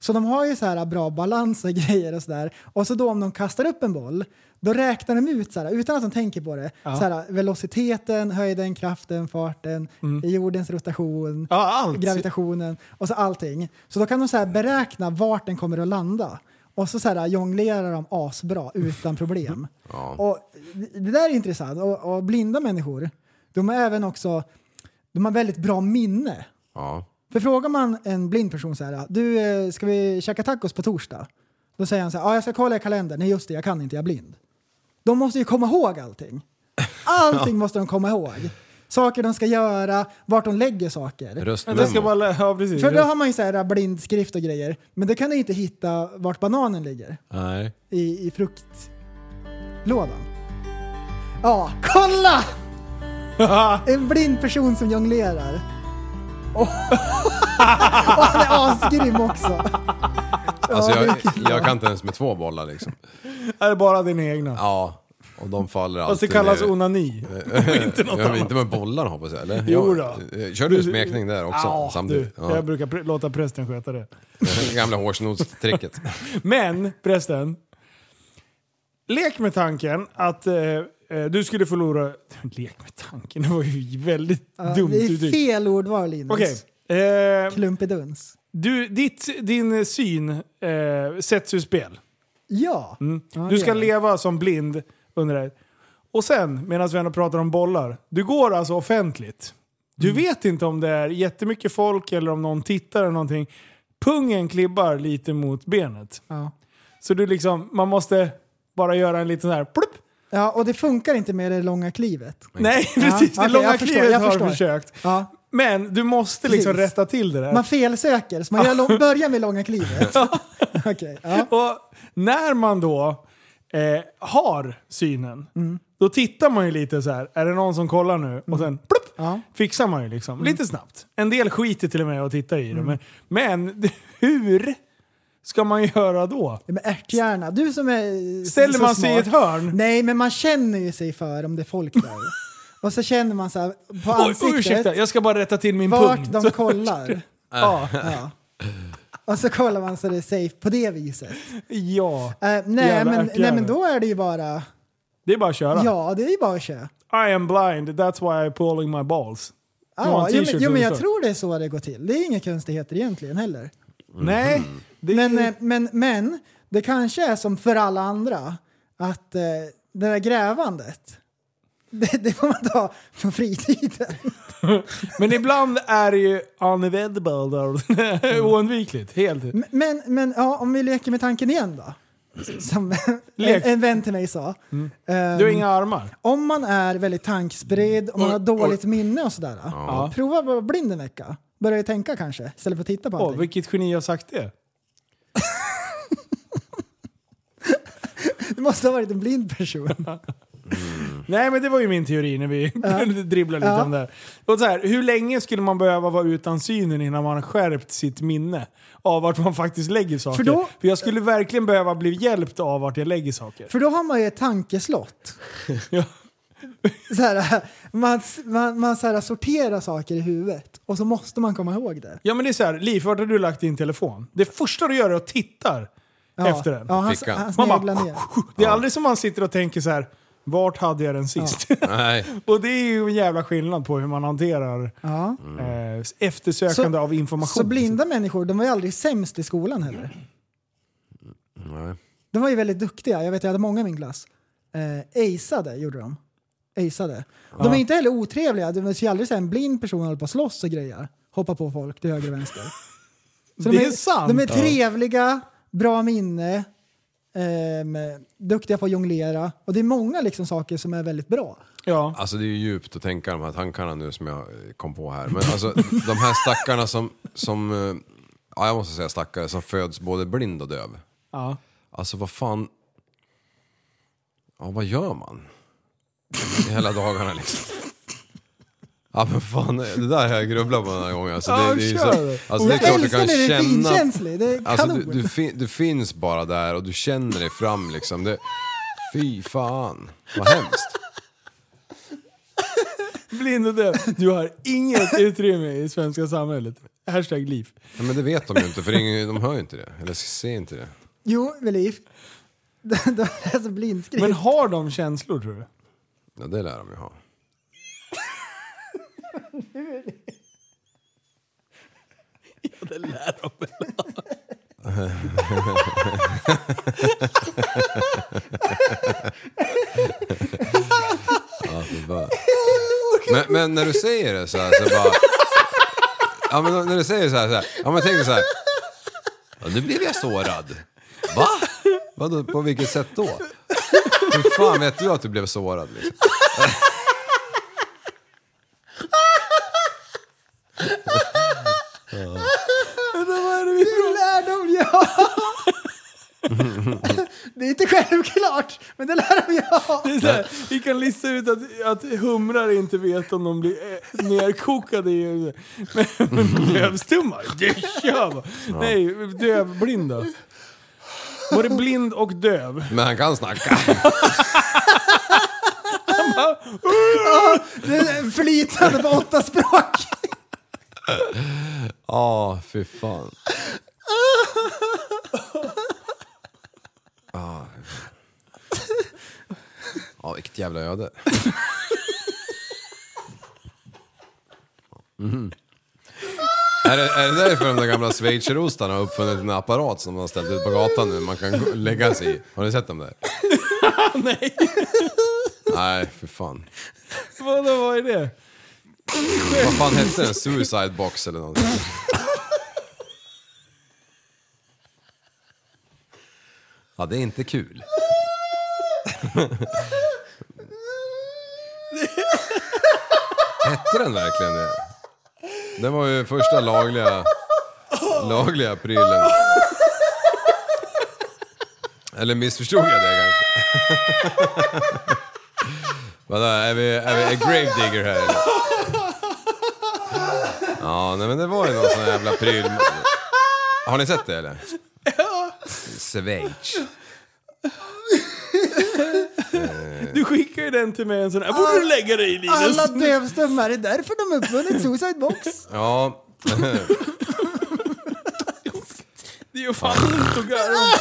C: Så de har ju så här bra balans och *laughs* grejer och sådär. Och så då om de kastar upp en boll, då räknar de ut så här, utan att de tänker på det, så här, velociteten, höjden, kraften, farten, jordens rotation,
B: Mm. Ja, allt.
C: gravitationen och så allting. Så då kan de så här beräkna vart den kommer att landa. Och så, så här, jonglerar de asbra utan problem. Och det det där är intressant. Och, och blinda människor, de är även också, de har väldigt bra minne.
D: Ja.
C: För frågar man en blind person så här, du eh, ska vi käka tacos på torsdag? Då säger han så här, ja jag ska kolla i kalendern, nej just det jag kan inte, jag är blind. De måste ju komma ihåg allting. Allting måste de komma ihåg. Saker de ska göra, vart de lägger saker.
B: Vänta, jag ska bara...
D: Röstmemo.
B: lä- Ja, precis.
C: För då har man ju så här äh, blindskrift och grejer, men då kan du inte hitta vart bananen ligger
D: Nej.
C: i, i fruktlådan. Ja,
B: *laughs*
C: kolla! En blind person som jonglerar. *laughs* Och, och han är asgrym också.
D: Alltså jag, jag kan inte ens med två bollar liksom.
B: Är det bara dina egna?
D: Ja, och de faller alltid
B: Fast det kallas
D: ner.
B: onani.
D: *laughs* inte något annat. Inte med bollar hoppas jag, eller?
B: Jo
D: Ja,
B: då.
D: eh, Kör du smekning där också
B: Ja,
D: samtidigt?
B: Du,
D: Ja.
B: Jag brukar pr- låta prästen sköta det.
D: *laughs* Gamla hårsnodstricket.
B: Men prästen, lek med tanken att eh, eh, du skulle förlora... *laughs* Lek med tanken, det var ju väldigt
C: Ja,
B: dumt
C: det är
B: uttryck.
C: fel ordval Linus.
B: Okej. Eh,
C: Klumpeduns.
B: du, ditt, din syn eh, sätts ur spel.
C: Ja. Ja, det
B: Mm. Du ska
C: gör det.
B: leva som blind under det här. Och sen, medan vi ändå pratar om bollar, du går alltså offentligt. Du
C: Mm.
B: vet inte om det är jättemycket folk eller om någon tittar eller någonting. Pungen klibbar lite mot benet.
C: Ja.
B: Så du liksom, man måste bara göra en liten så här plupp.
C: ja, och det funkar inte med det långa klivet.
B: Nej, precis. Det
C: okej,
B: långa
C: jag förstår,
B: klivet
C: jag
B: har
C: förstår.
B: försökt.
C: Ja.
B: Men du måste liksom
C: Precis.
B: rätta till det där.
C: Man felsöker, så man
B: *laughs*
C: gör lång, börjar med långa klivet. *laughs* Okej, ja.
B: Och när man då eh, har synen,
C: Mm.
B: då tittar man ju lite så här. är det någon som kollar nu? Och sen plupp,
C: Ja. Mm.
B: fixar man ju liksom. Lite snabbt. En del skiter till och med och tittar i det. Men, men hur ska man göra då?
C: Men ärthjärna, du som är
B: Ställer
C: så
B: man sig i
C: smart.
B: ett hörn?
C: Nej, men man känner ju sig för om det är folk
B: *laughs*
C: där. och så känner man så här på
B: Oj,
C: ansiktet
B: ursäkta, jag ska bara rätta till min
C: vart
B: pung.
C: de
B: Så-
C: kollar.
B: Ja,
C: Ja. Och så kollar man så det är safe på det viset.
B: *laughs* ja.
C: Eh,
B: Jävla
C: nej, men, nej,
B: ärthjärna.
C: men då är det ju bara...
B: Det är bara att köra.
C: Ja, det är ju bara att köra.
B: I am blind, that's why I'm pulling my balls. Du har
C: Ah, Ja,
B: en
C: jo, men,
B: t-shirt
C: jo,
B: som
C: men
B: det
C: jag
B: står.
C: tror det är så det går till. Det är inga konstigheter egentligen heller.
B: Mm. Nej, det är
C: Men, eh, men, men det kanske är som för alla andra att eh, det där grävandet, *laughs* det, det får man ta på fritiden.
B: Men ibland är det ju unavoidable, *laughs* oundvikligt. Helt.
C: Men- Men, men ja, om vi leker med tanken igen då. Som en,
B: Lek. Mm.
C: en vän till mig sa. Ehm,
B: Du har inga armar.
C: Om man är väldigt tankspridd, om man har dåligt minne och sådär.
B: Ja.
C: Prova att vara blind en vecka. Börja tänka kanske, istället för att titta på
B: Åh,
C: allting.
B: vilket geni har sagt det.
C: *laughs* Det måste ha varit en blind person.
B: Nej men det var ju min teori när vi *laughs* dribblade lite
C: Ja.
B: om det här. Och så här. Hur länge skulle man behöva vara utan synen innan man har skärpt sitt minne av vart man faktiskt lägger saker?
C: För då-
B: För jag skulle verkligen behöva bli hjälpt av vart jag lägger saker.
C: För då har man ju ett tankeslott.
B: *laughs* Ja.
C: Så här, man man, man så här, sorterar saker i huvudet och så måste man komma ihåg det.
B: Ja men det är så här, Liv, vart har du lagt din telefon? Det första du gör är att tittar efter den.
C: Ja, han,
D: Fickan.
C: han
B: Man bara-
C: sneglar ner.
B: Det är aldrig som man sitter och tänker så här. vart hade jag den sist? *laughs*
D: Nej.
B: Och det är ju en jävla skillnad på hur man hanterar
C: Ja.
B: eh, eftersökande
C: Så-
B: av information.
C: Så blinda människor, de var ju aldrig sämst i skolan heller.
D: Nej.
C: De var ju väldigt duktiga. Jag vet, jag hade många i min klass. Eh, aceade gjorde de. Aceade. De är inte heller otrevliga. Du ser ju aldrig så här, en blind person håller på och slåss och grejer. Hoppa på folk till höger
B: *laughs*
C: och vänster. Så
B: Det är sant.
C: De är trevliga, bra minne, ehm, duktiga på att jonglera. Och det är många liksom, saker som är väldigt bra.
B: Ja.
D: Alltså det är ju djupt att tänka de här tankarna nu som jag eh, kom på här. Men alltså de här stackarna som, som eh, ja jag måste säga stackare, som föds både blind och döv.
B: Ja.
D: Alltså vad fan, ja vad gör man? Hela dagarna liksom. Ja men fan, det där har jag grubblat på den här gången. Alltså, det,
B: Ja,
D: det är ju
B: kör.
D: så, alltså, det är
C: jag
D: klart du
C: älskar
D: kan
C: när du är
D: känna
C: finkänslig. Det är kanon.
D: Alltså, du, du, fin, du finns bara där och du känner dig fram liksom. Det, fy fan, vad hemskt.
B: Blind och döv. Du har inget utrymme i svenska samhället. Hashtag liv.
D: Ja, men det vet de ju inte, för ingen, de hör ju inte det. Eller ser inte det.
C: Jo, *laughs* Velif. De läser blindskrift.
B: Men har de känslor tror du?
D: Ja, det lär de ju ha. Ja, det var- men, men när du säger det så här så bara... Ja men när du säger så här, så här ja men tänk dig så här. Ja, nu blev jag sårad. Va? Vadå, på vilket sätt då? Hur fan vet du att du blev sårad liksom?
C: Hur lär de jag? det är inte självklart, men det lär de jag.
B: Det är så här, vi kan lista ut att, att humrar inte vet om de blir eh, nerkokade i *laughs* Men men dövstummar, det kör bara. Nej, dövblinda. Både blind och döv.
D: Men han kan snacka.
C: Det är Flytande på åtta språk.
D: Ja, fy fan. Ah, fy fan. Ja, vilket jävla öde. Mhm. Är, det, är det därför de där gamla schweizerostarna har uppfunnit en apparat som de har ställt ut på gatan nu man kan gå- lägga sig i? Har ni sett dem där?
B: *laughs* Nej,
D: Nej, för fan.
B: vadå, vad är det?
D: Vad fan hette den? Suicide box eller någonting? Ja, det är inte kul. Hette den verkligen det? Den var ju första lagliga, lagliga prylen. Eller missförstod jag det kanske? Vadå, är vi, är vi a gravedigger här eller? Ja, nej men det var ju någon sån här jävla pryl. Har ni sett det eller? Ja. Schweiz.
B: Du skickar ju den till mig en sån här. Borde du lägga dig i Linus?
C: Alla dövstummar, det är därför de uppfunnit Suicide Box.
D: Ja.
B: Det gör fan ont att garva.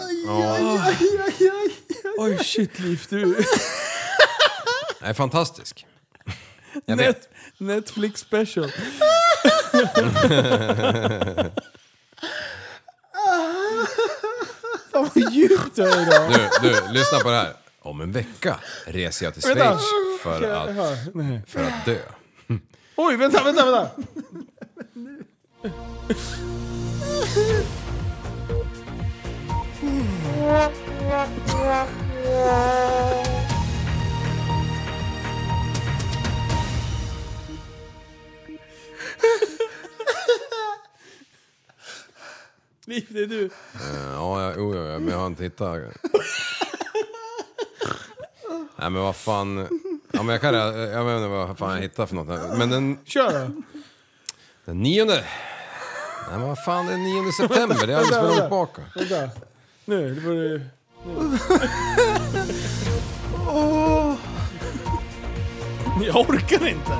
C: Aj, aj, aj.
B: Oj shit Liv, du.
D: Den är fantastisk. Jag vet.
B: Net, Netflix special. *laughs* Fan vad djupt det är idag.
D: Nu, du, lyssna på det här. Om en vecka reser jag till
B: Vänta.
D: Schweiz för att,
B: Nej.
D: för att dö.
B: Oj, vänta, vänta, vänta. Liv, det är du.
D: Ja, jag, jo, jo, jo, men jag har inte hittat...
B: *laughs*
D: Nej men vad fan. Ja, men jag, kan, jag, jag vet inte vad fan jag hittar för något. här. Men den
B: Kör då.
D: Den nionde. Nej men vad fan, det är nionde september. Det är alldeles för långt baka.
B: Vänta. Nu, det var det... Nu. Jag orkar inte.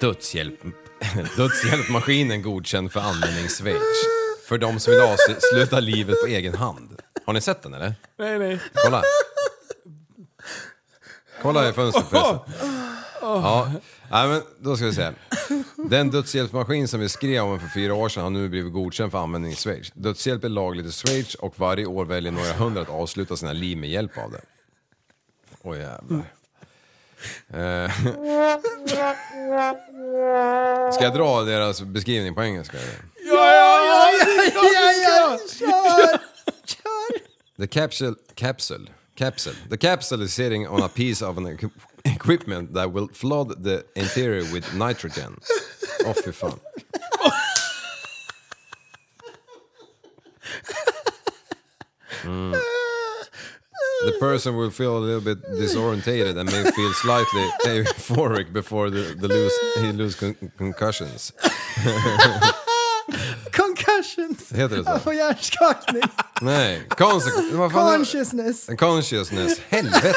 D: Dödshjälp. *laughs* Dödshjälpmaskinen godkänd för användning i Schweiz. För de som vill avsluta livet på egen hand. Har ni sett den eller?
B: Nej, nej.
D: Kolla. Kolla i fönstret förresten. Ja, nej, men då ska vi se. Den dödshjälpsmaskin som vi skrev om för fyra år sedan har nu blivit godkänd för användning i Schweiz. Dödshjälp är lagligt i Schweiz och varje år väljer några hundra att avsluta sina liv med hjälp av den. Åh jävlar. Eh, Ska jag dra deras beskrivning på engelska? eller? The capsule, capsule, capsule. The capsule is sitting on a piece of an equi- equipment that will flood the interior with nitrogen. Åh fy fan. Mm. The person will feel a little bit disorientated and may feel slightly euphoric before the, the lose, he lose con- concussions.
C: Concussions.
D: Heter det
C: Jag
D: så?
B: *laughs*
C: får hjärnskakning.
D: Nej, consequence. Vad fan är-
C: Consciousness.
D: Consciousness, helvete!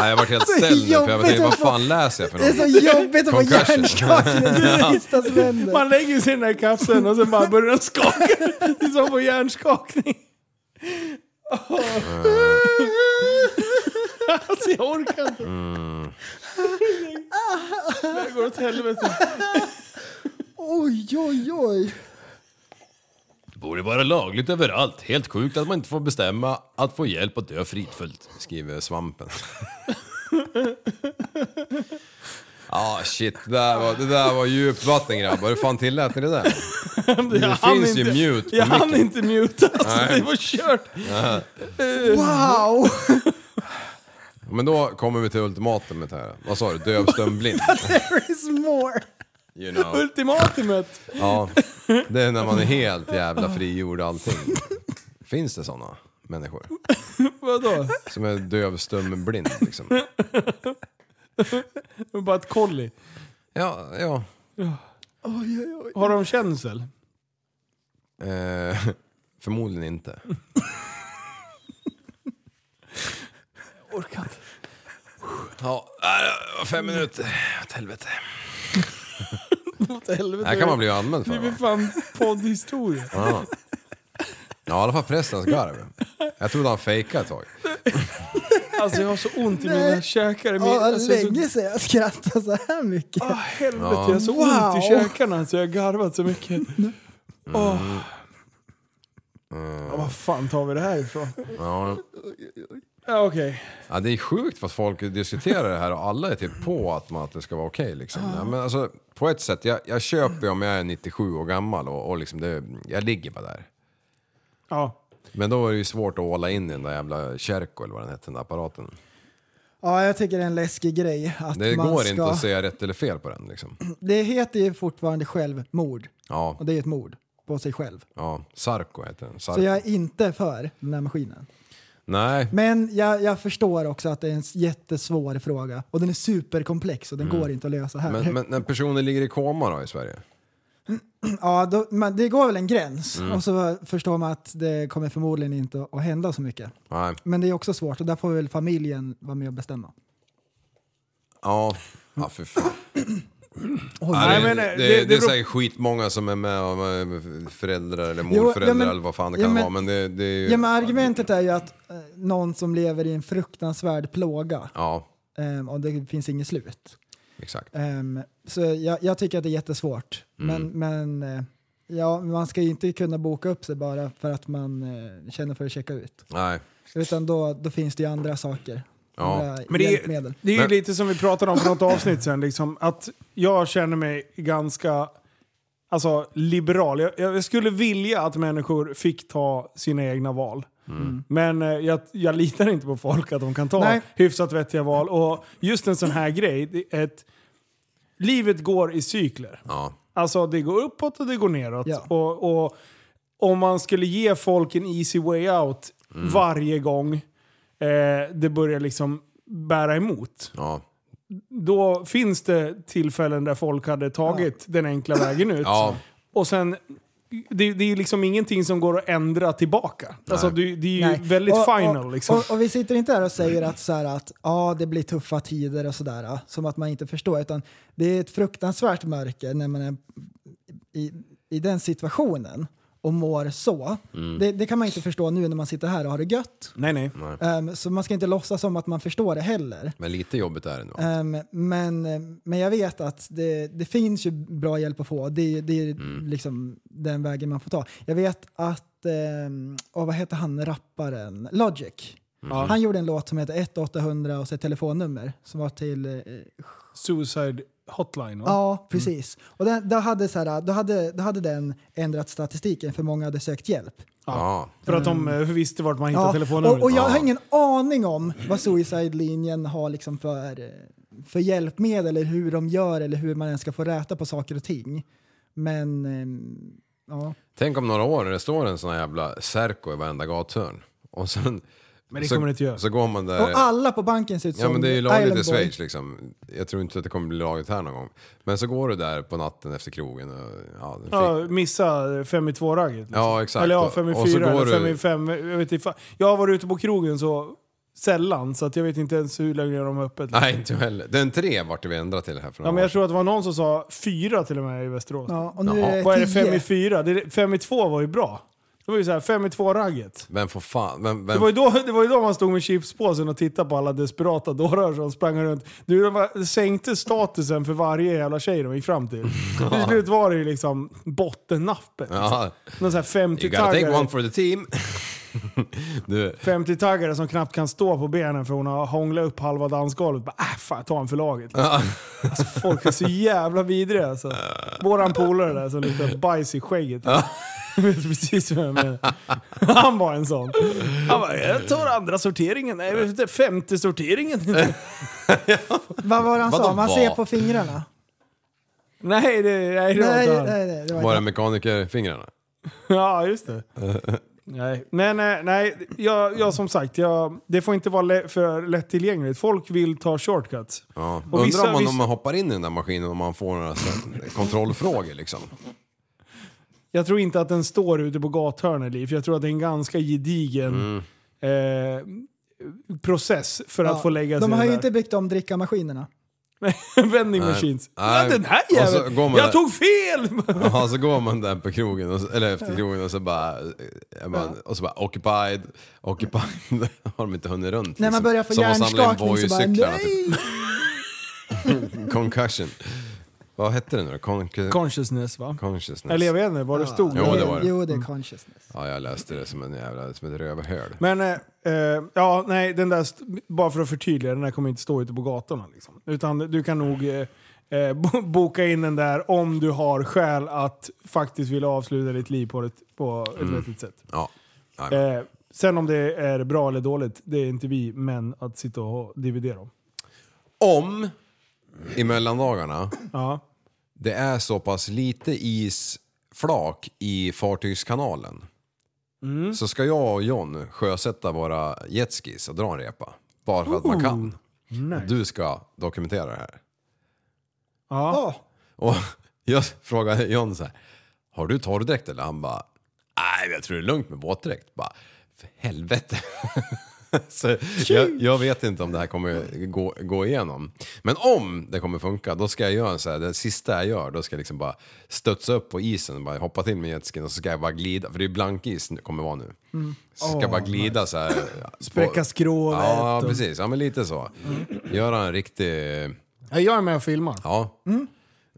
D: Nej, jag vart
C: *laughs*
D: helt ställd nu för jag
C: jobbigt
D: tänkte,
C: att
D: vad
C: få-
D: fan läser jag för
C: Det är så
D: något?
C: jobbigt att få
D: Concussion.
C: hjärnskakning. Det är det sista som händer.
B: Man lägger sig i den här kapseln och sen bara börjar den skaka. Det är som på *laughs* hjärnskakning. Åh. Mm. Alltså jag orkar inte. Det här går åt helvete.
C: Oj, oj, oj.
D: Borde vara lagligt överallt. Helt sjukt att man inte får bestämma att få hjälp att dö fridfullt, skriver Svampen. *laughs* Ja, Ah, shit. Det där var, det där var djupt vatten grabbar. Hur fan tillät ni det
C: *laughs*
D: där?
B: Jag
D: Det
B: hann
D: finns ju
B: inte-
D: mute på
B: Jag hann
D: micken.
B: inte muta.
D: *laughs*
B: Alltså, det var kört. Eh,
C: Wow!
D: Men då kommer vi till ultimatumet här. Vad sa du? Döv, stum, blind?
C: *laughs* There is more.
D: You know.
B: Ultimatumet. *laughs*
D: Ja, det är när man är helt jävla frigjord och allting. Finns det såna människor?
B: *laughs* Vadå?
D: Som är döv, stum, blind liksom?
B: *laughs* Det var bara ett kolli.
D: Ja, ja.
B: Har de känsel?
D: Eh, förmodligen inte.
B: *laughs* Orkar inte.
D: Ja, äh, det var fem minuter. Åt helvete.
B: *laughs* Åt helvete.
D: Det här kan man bli anmäld för.
B: Det blir
D: Va?
B: fan poddhistoria.
D: Ja. ja, i alla fall prästens garv. Jag trodde han fejkade ett tag.
B: Alltså jag har så ont i
C: Nej.
B: mina käkar. Min,
C: Ja,
B: alltså, jag har så,
C: länge sedan jag skrattade så här mycket.
B: ah, helvete,
D: Ja.
B: jag har så ont i
C: Wow.
B: käkarna så jag har garvat så mycket. Åh. Ja, vad fan tar vi det här ifrån?
D: Ja.
B: Ja, Okej.
D: Ja, det är sjukt vad folk diskuterar det här och alla är typ på att, man, att det ska vara okej. liksom. ja. men alltså, på ett sätt, jag, jag köper ju om jag är 97 år gammal och, och liksom det, jag ligger bara där.
B: Ja.
D: Men då är det ju svårt att åla in i den där jävla kärko eller vad den hette, den där apparaten.
C: Ja, jag tycker det är en läskig grej att
D: Det
C: man
D: går
C: ska...
D: inte att säga rätt eller fel på den liksom.
C: Det heter ju fortfarande självmord.
D: Ja,
C: Och det är ett mord på sig själv.
D: ja. Sarko heter den. Sarko.
C: Så jag är inte för den här maskinen.
D: Nej,
C: Men jag, jag förstår också att det är en s- jättesvår fråga. Och den är superkomplex och den går inte att lösa här.
D: Mm. men, men när personen ligger i koma då i Sverige?
C: *laughs* Ja, då, men det går väl en gräns.
D: Mm.
C: Och så förstår man att det kommer förmodligen inte att hända så mycket.
D: Nej.
C: Men det är också svårt och där får väl familjen vara med och bestämma.
D: Ja, ja för fan.
C: Oj.
D: Nej,
B: men,
D: det,
B: eh, det-
D: det, det,
B: det
D: är
B: beror-
D: säkert skitmånga som är med av eh, föräldrar eller
C: Jo,
D: morföräldrar
C: ja, men-
D: eller vad fan det
C: ja,
D: kan
C: men-
D: vara. Men det, det är ju...
C: Ja, men argumentet är ju att eh, någon som lever i en fruktansvärd plåga
D: Ja,
C: ehm, och det finns inget slut.
D: exakt.
C: Ehm, så jag, jag tycker att det är jättesvårt.
B: Mm.
C: Men, men eh, ja, man ska ju inte kunna boka upp sig bara för att man eh, känner för att checka ut.
D: Nej.
C: Utan då, då finns det ju andra saker.
D: Ja.
C: Andra
B: Men det är,
C: hjälpmedel.
B: det är ju
D: Men-
B: lite som vi pratade om för något avsnitt sen, liksom, att jag känner mig ganska alltså, liberal. Jag, jag skulle vilja att människor fick ta sina egna val. Men eh, jag, jag litar inte på folk att de kan ta
C: Nej.
B: hyfsat vettiga val. Och just en sån här grej, det är ett, livet går i cykler.
D: Ja.
B: Alltså det går uppåt och det går neråt.
C: Ja.
B: Och, och om man skulle ge folk en easy way out varje gång eh, det börjar liksom bära emot.
D: Ja.
B: Då finns det tillfällen där folk hade tagit den enkla vägen ut.
D: Ja.
B: Och sen, det, det är ju liksom ingengenting som går att ändra tillbaka. Alltså det, det är ju
C: Nej.
B: väldigt
C: Och-
B: final
C: och,
B: liksom.
C: Och, och vi sitter inte här och säger att, så här, att ja, det blir tuffa tider och sådär, ja, som att man inte förstår. Utan det är ett fruktansvärt mörker när man är i, i den situationen och mår så.
B: Mm.
C: Det, det kan man inte förstå nu när man sitter här och har det gött.
B: nej nej.
C: Ehm, så man ska inte låtsas som att man förstår det heller.
D: Men lite jobbigt är det nog.
C: Ehm, men, men jag vet att det, det finns ju bra hjälp att få. Det, är- det är liksom den vägen man får ta. Jag vet att, ehm, åh, vad heter han rapparen? Logic. Han gjorde en låt som heter 1-800 och så ett telefonnummer som var till... eh,
B: Suicide hotline va?
C: ja, precis. Och den, då, hade så här, då, hade, då hade den ändrat statistiken för många hade sökt hjälp.
D: Ja.
B: För att de eh, visste vart man hittade
C: Ja,
B: telefonnumret.
C: och, och jag har ingen aning om vad Suicide-linjen har liksom för, eh, för hjälpmedel eller hur de gör eller hur man ens ska få räta på saker och ting. Men ehm, ja.
D: Tänk om några år när det står en sån här jävla Serko i varenda gathörn. Och sen...
B: Men det
D: så,
B: kommer det inte göra.
D: Så går man där...
C: Och alla på banken ser ut som
D: Eh. Ja men det är ju lagligt i
C: Island Boy.
D: Schweiz liksom. Jag tror inte att det kommer bli lagligt här någon gång. Men så går du där på natten efter krogen och... Ja, fick,
B: Ja, missa fem i två-ragget. Liksom.
D: Ja, exakt.
B: Eller ja,
D: Och-
B: fem i
D: och så
B: fyra
D: går
B: eller
D: du-
B: fem i fem. Jag, vet inte, fan. jag har varit ute på krogen så sällan så att jag vet inte ens hur länge de har öppet.
D: Nej inte jag heller. Den tre vart det vi ändrat till här för några
B: Ja, men
D: år
B: jag tror att det var någon som sa fyra till och med i Västerås.
C: Ja, och nu
D: Jaha.
C: är det
B: Vad är det fem
C: tio.
B: i fyra? Det, är- fem i två var ju bra. Det var ju såhär, 5 i 2-ragget.
D: Vem får fan... Vem,
B: Det
D: vem,
B: var, ju då, det var ju då man stod med chipspåsen och tittade på alla desperata dårar som sprang runt. Du, de var, sänkte statusen för varje jävla tjej de gick fram
D: *laughs*
B: till. Till slut var det ju liksom bottennappet.
D: ja,
B: Någon sån här
D: you gotta take one
B: 50-taggare
D: for the team.
B: *laughs*
D: du,
B: 50 som knappt kan stå på benen för hon har hånglat upp halva dansgolvet. Bara, äh, fan, ta en för laget. Alltså, folk är så jävla vidriga alltså. Våran polare där som luktar bajs i skägget. Jag *laughs* vet precis vem jag menar. Han var en sån. Han bara, jag tar andra sorteringen. Nej, jag vet inte, femte sorteringen. *laughs*
C: Vad var det han
D: Vadå
C: sa? Man
D: vad?
C: ser på fingrarna.
B: nej, det, nej, det var
C: Nej,
B: inte han.
C: nej, nej. Det var
D: våra
C: inte.
D: mekanikerfingrarna.
B: Ja, just det. Nej, nej, nej. nej. Jag, jag, som sagt, jag, det får inte vara lä- för lättillgängligt. Folk vill ta shortcuts.
D: Ja.
B: Och
D: Undrar
B: vissa-
D: om, man,
B: vissa-
D: om man hoppar in i den där maskinen om man får några så här
B: *laughs*
D: kontrollfrågor liksom.
B: Jag tror inte att den står ute på gathörnet, Liv. Jag tror att det är en ganska gedigen
D: Mm.
B: eh, process för att få lägga sig
C: De har ju
B: där.
C: inte byggt om drickamaskinerna.
B: *laughs* Vending machines.
D: Nej.
B: Ja, Den här
D: Och så
B: jäveln!
D: går
B: Jag
D: man där.
B: tog fel!
D: Ja, så går man där på krogen, och så, eller efter krogen och så bara... eh, Man, och så bara occupied, occupied. *laughs* har de inte hunnit runt. liksom.
C: När man börjar få
D: Som att samla in
C: hjärnskakning så bara
D: Voi-cyklarna,
C: nej!
D: Typ. Concussion. Vad hette det nu då? Con-
B: Consciousness, va?
D: consciousness.
B: Eller jag vet inte var det stod.
D: Jo, det var det. Mm.
C: Jo, det är consciousness.
D: Ja, jag läste det som en jävla, som ett rövhöl.
B: Men, eh, eh, ja, nej, den där, st- bara för att förtydliga, den där kommer inte stå ute på gatorna. Liksom. Utan du kan nog eh, eh, bo- boka in den där om du har skäl att faktiskt vilja avsluta ditt liv på ett, på ett
D: Mm.
B: vettigt sätt.
D: Ja. Nej, men.
B: Eh, sen om det är bra eller dåligt, det är inte vi män att sitta och dividera om.
D: Om, i mellandagarna,
B: Ja.
D: det är så pass lite isflak i fartygskanalen. Så ska jag och John sjösätta våra jetskis och dra en repa. Bara för att man kan. Du ska dokumentera det här.
B: Ja.
D: Och *laughs* jag frågade John så här. Har du torrdräkt eller? Han bara. Nej, jag tror det är lugnt med våtdräkt. Bara, för helvete. *laughs* så jag, jag vet inte om det här kommer gå, gå igenom. Men om det kommer funka, då ska jag göra en så här, det sista jag gör, då ska jag liksom bara studsa upp på isen, och bara hoppa till med jetskin och så ska jag bara glida, för det är blankis det kommer vara nu. Så ska jag bara glida så här.
B: Mm. Spräcka skrovet.
D: Ja,
B: och- Mm.
D: precis. Ja, men lite så. Göra en riktig...
B: Ja, Jag är med och filmar.
D: Ja.
C: Mm.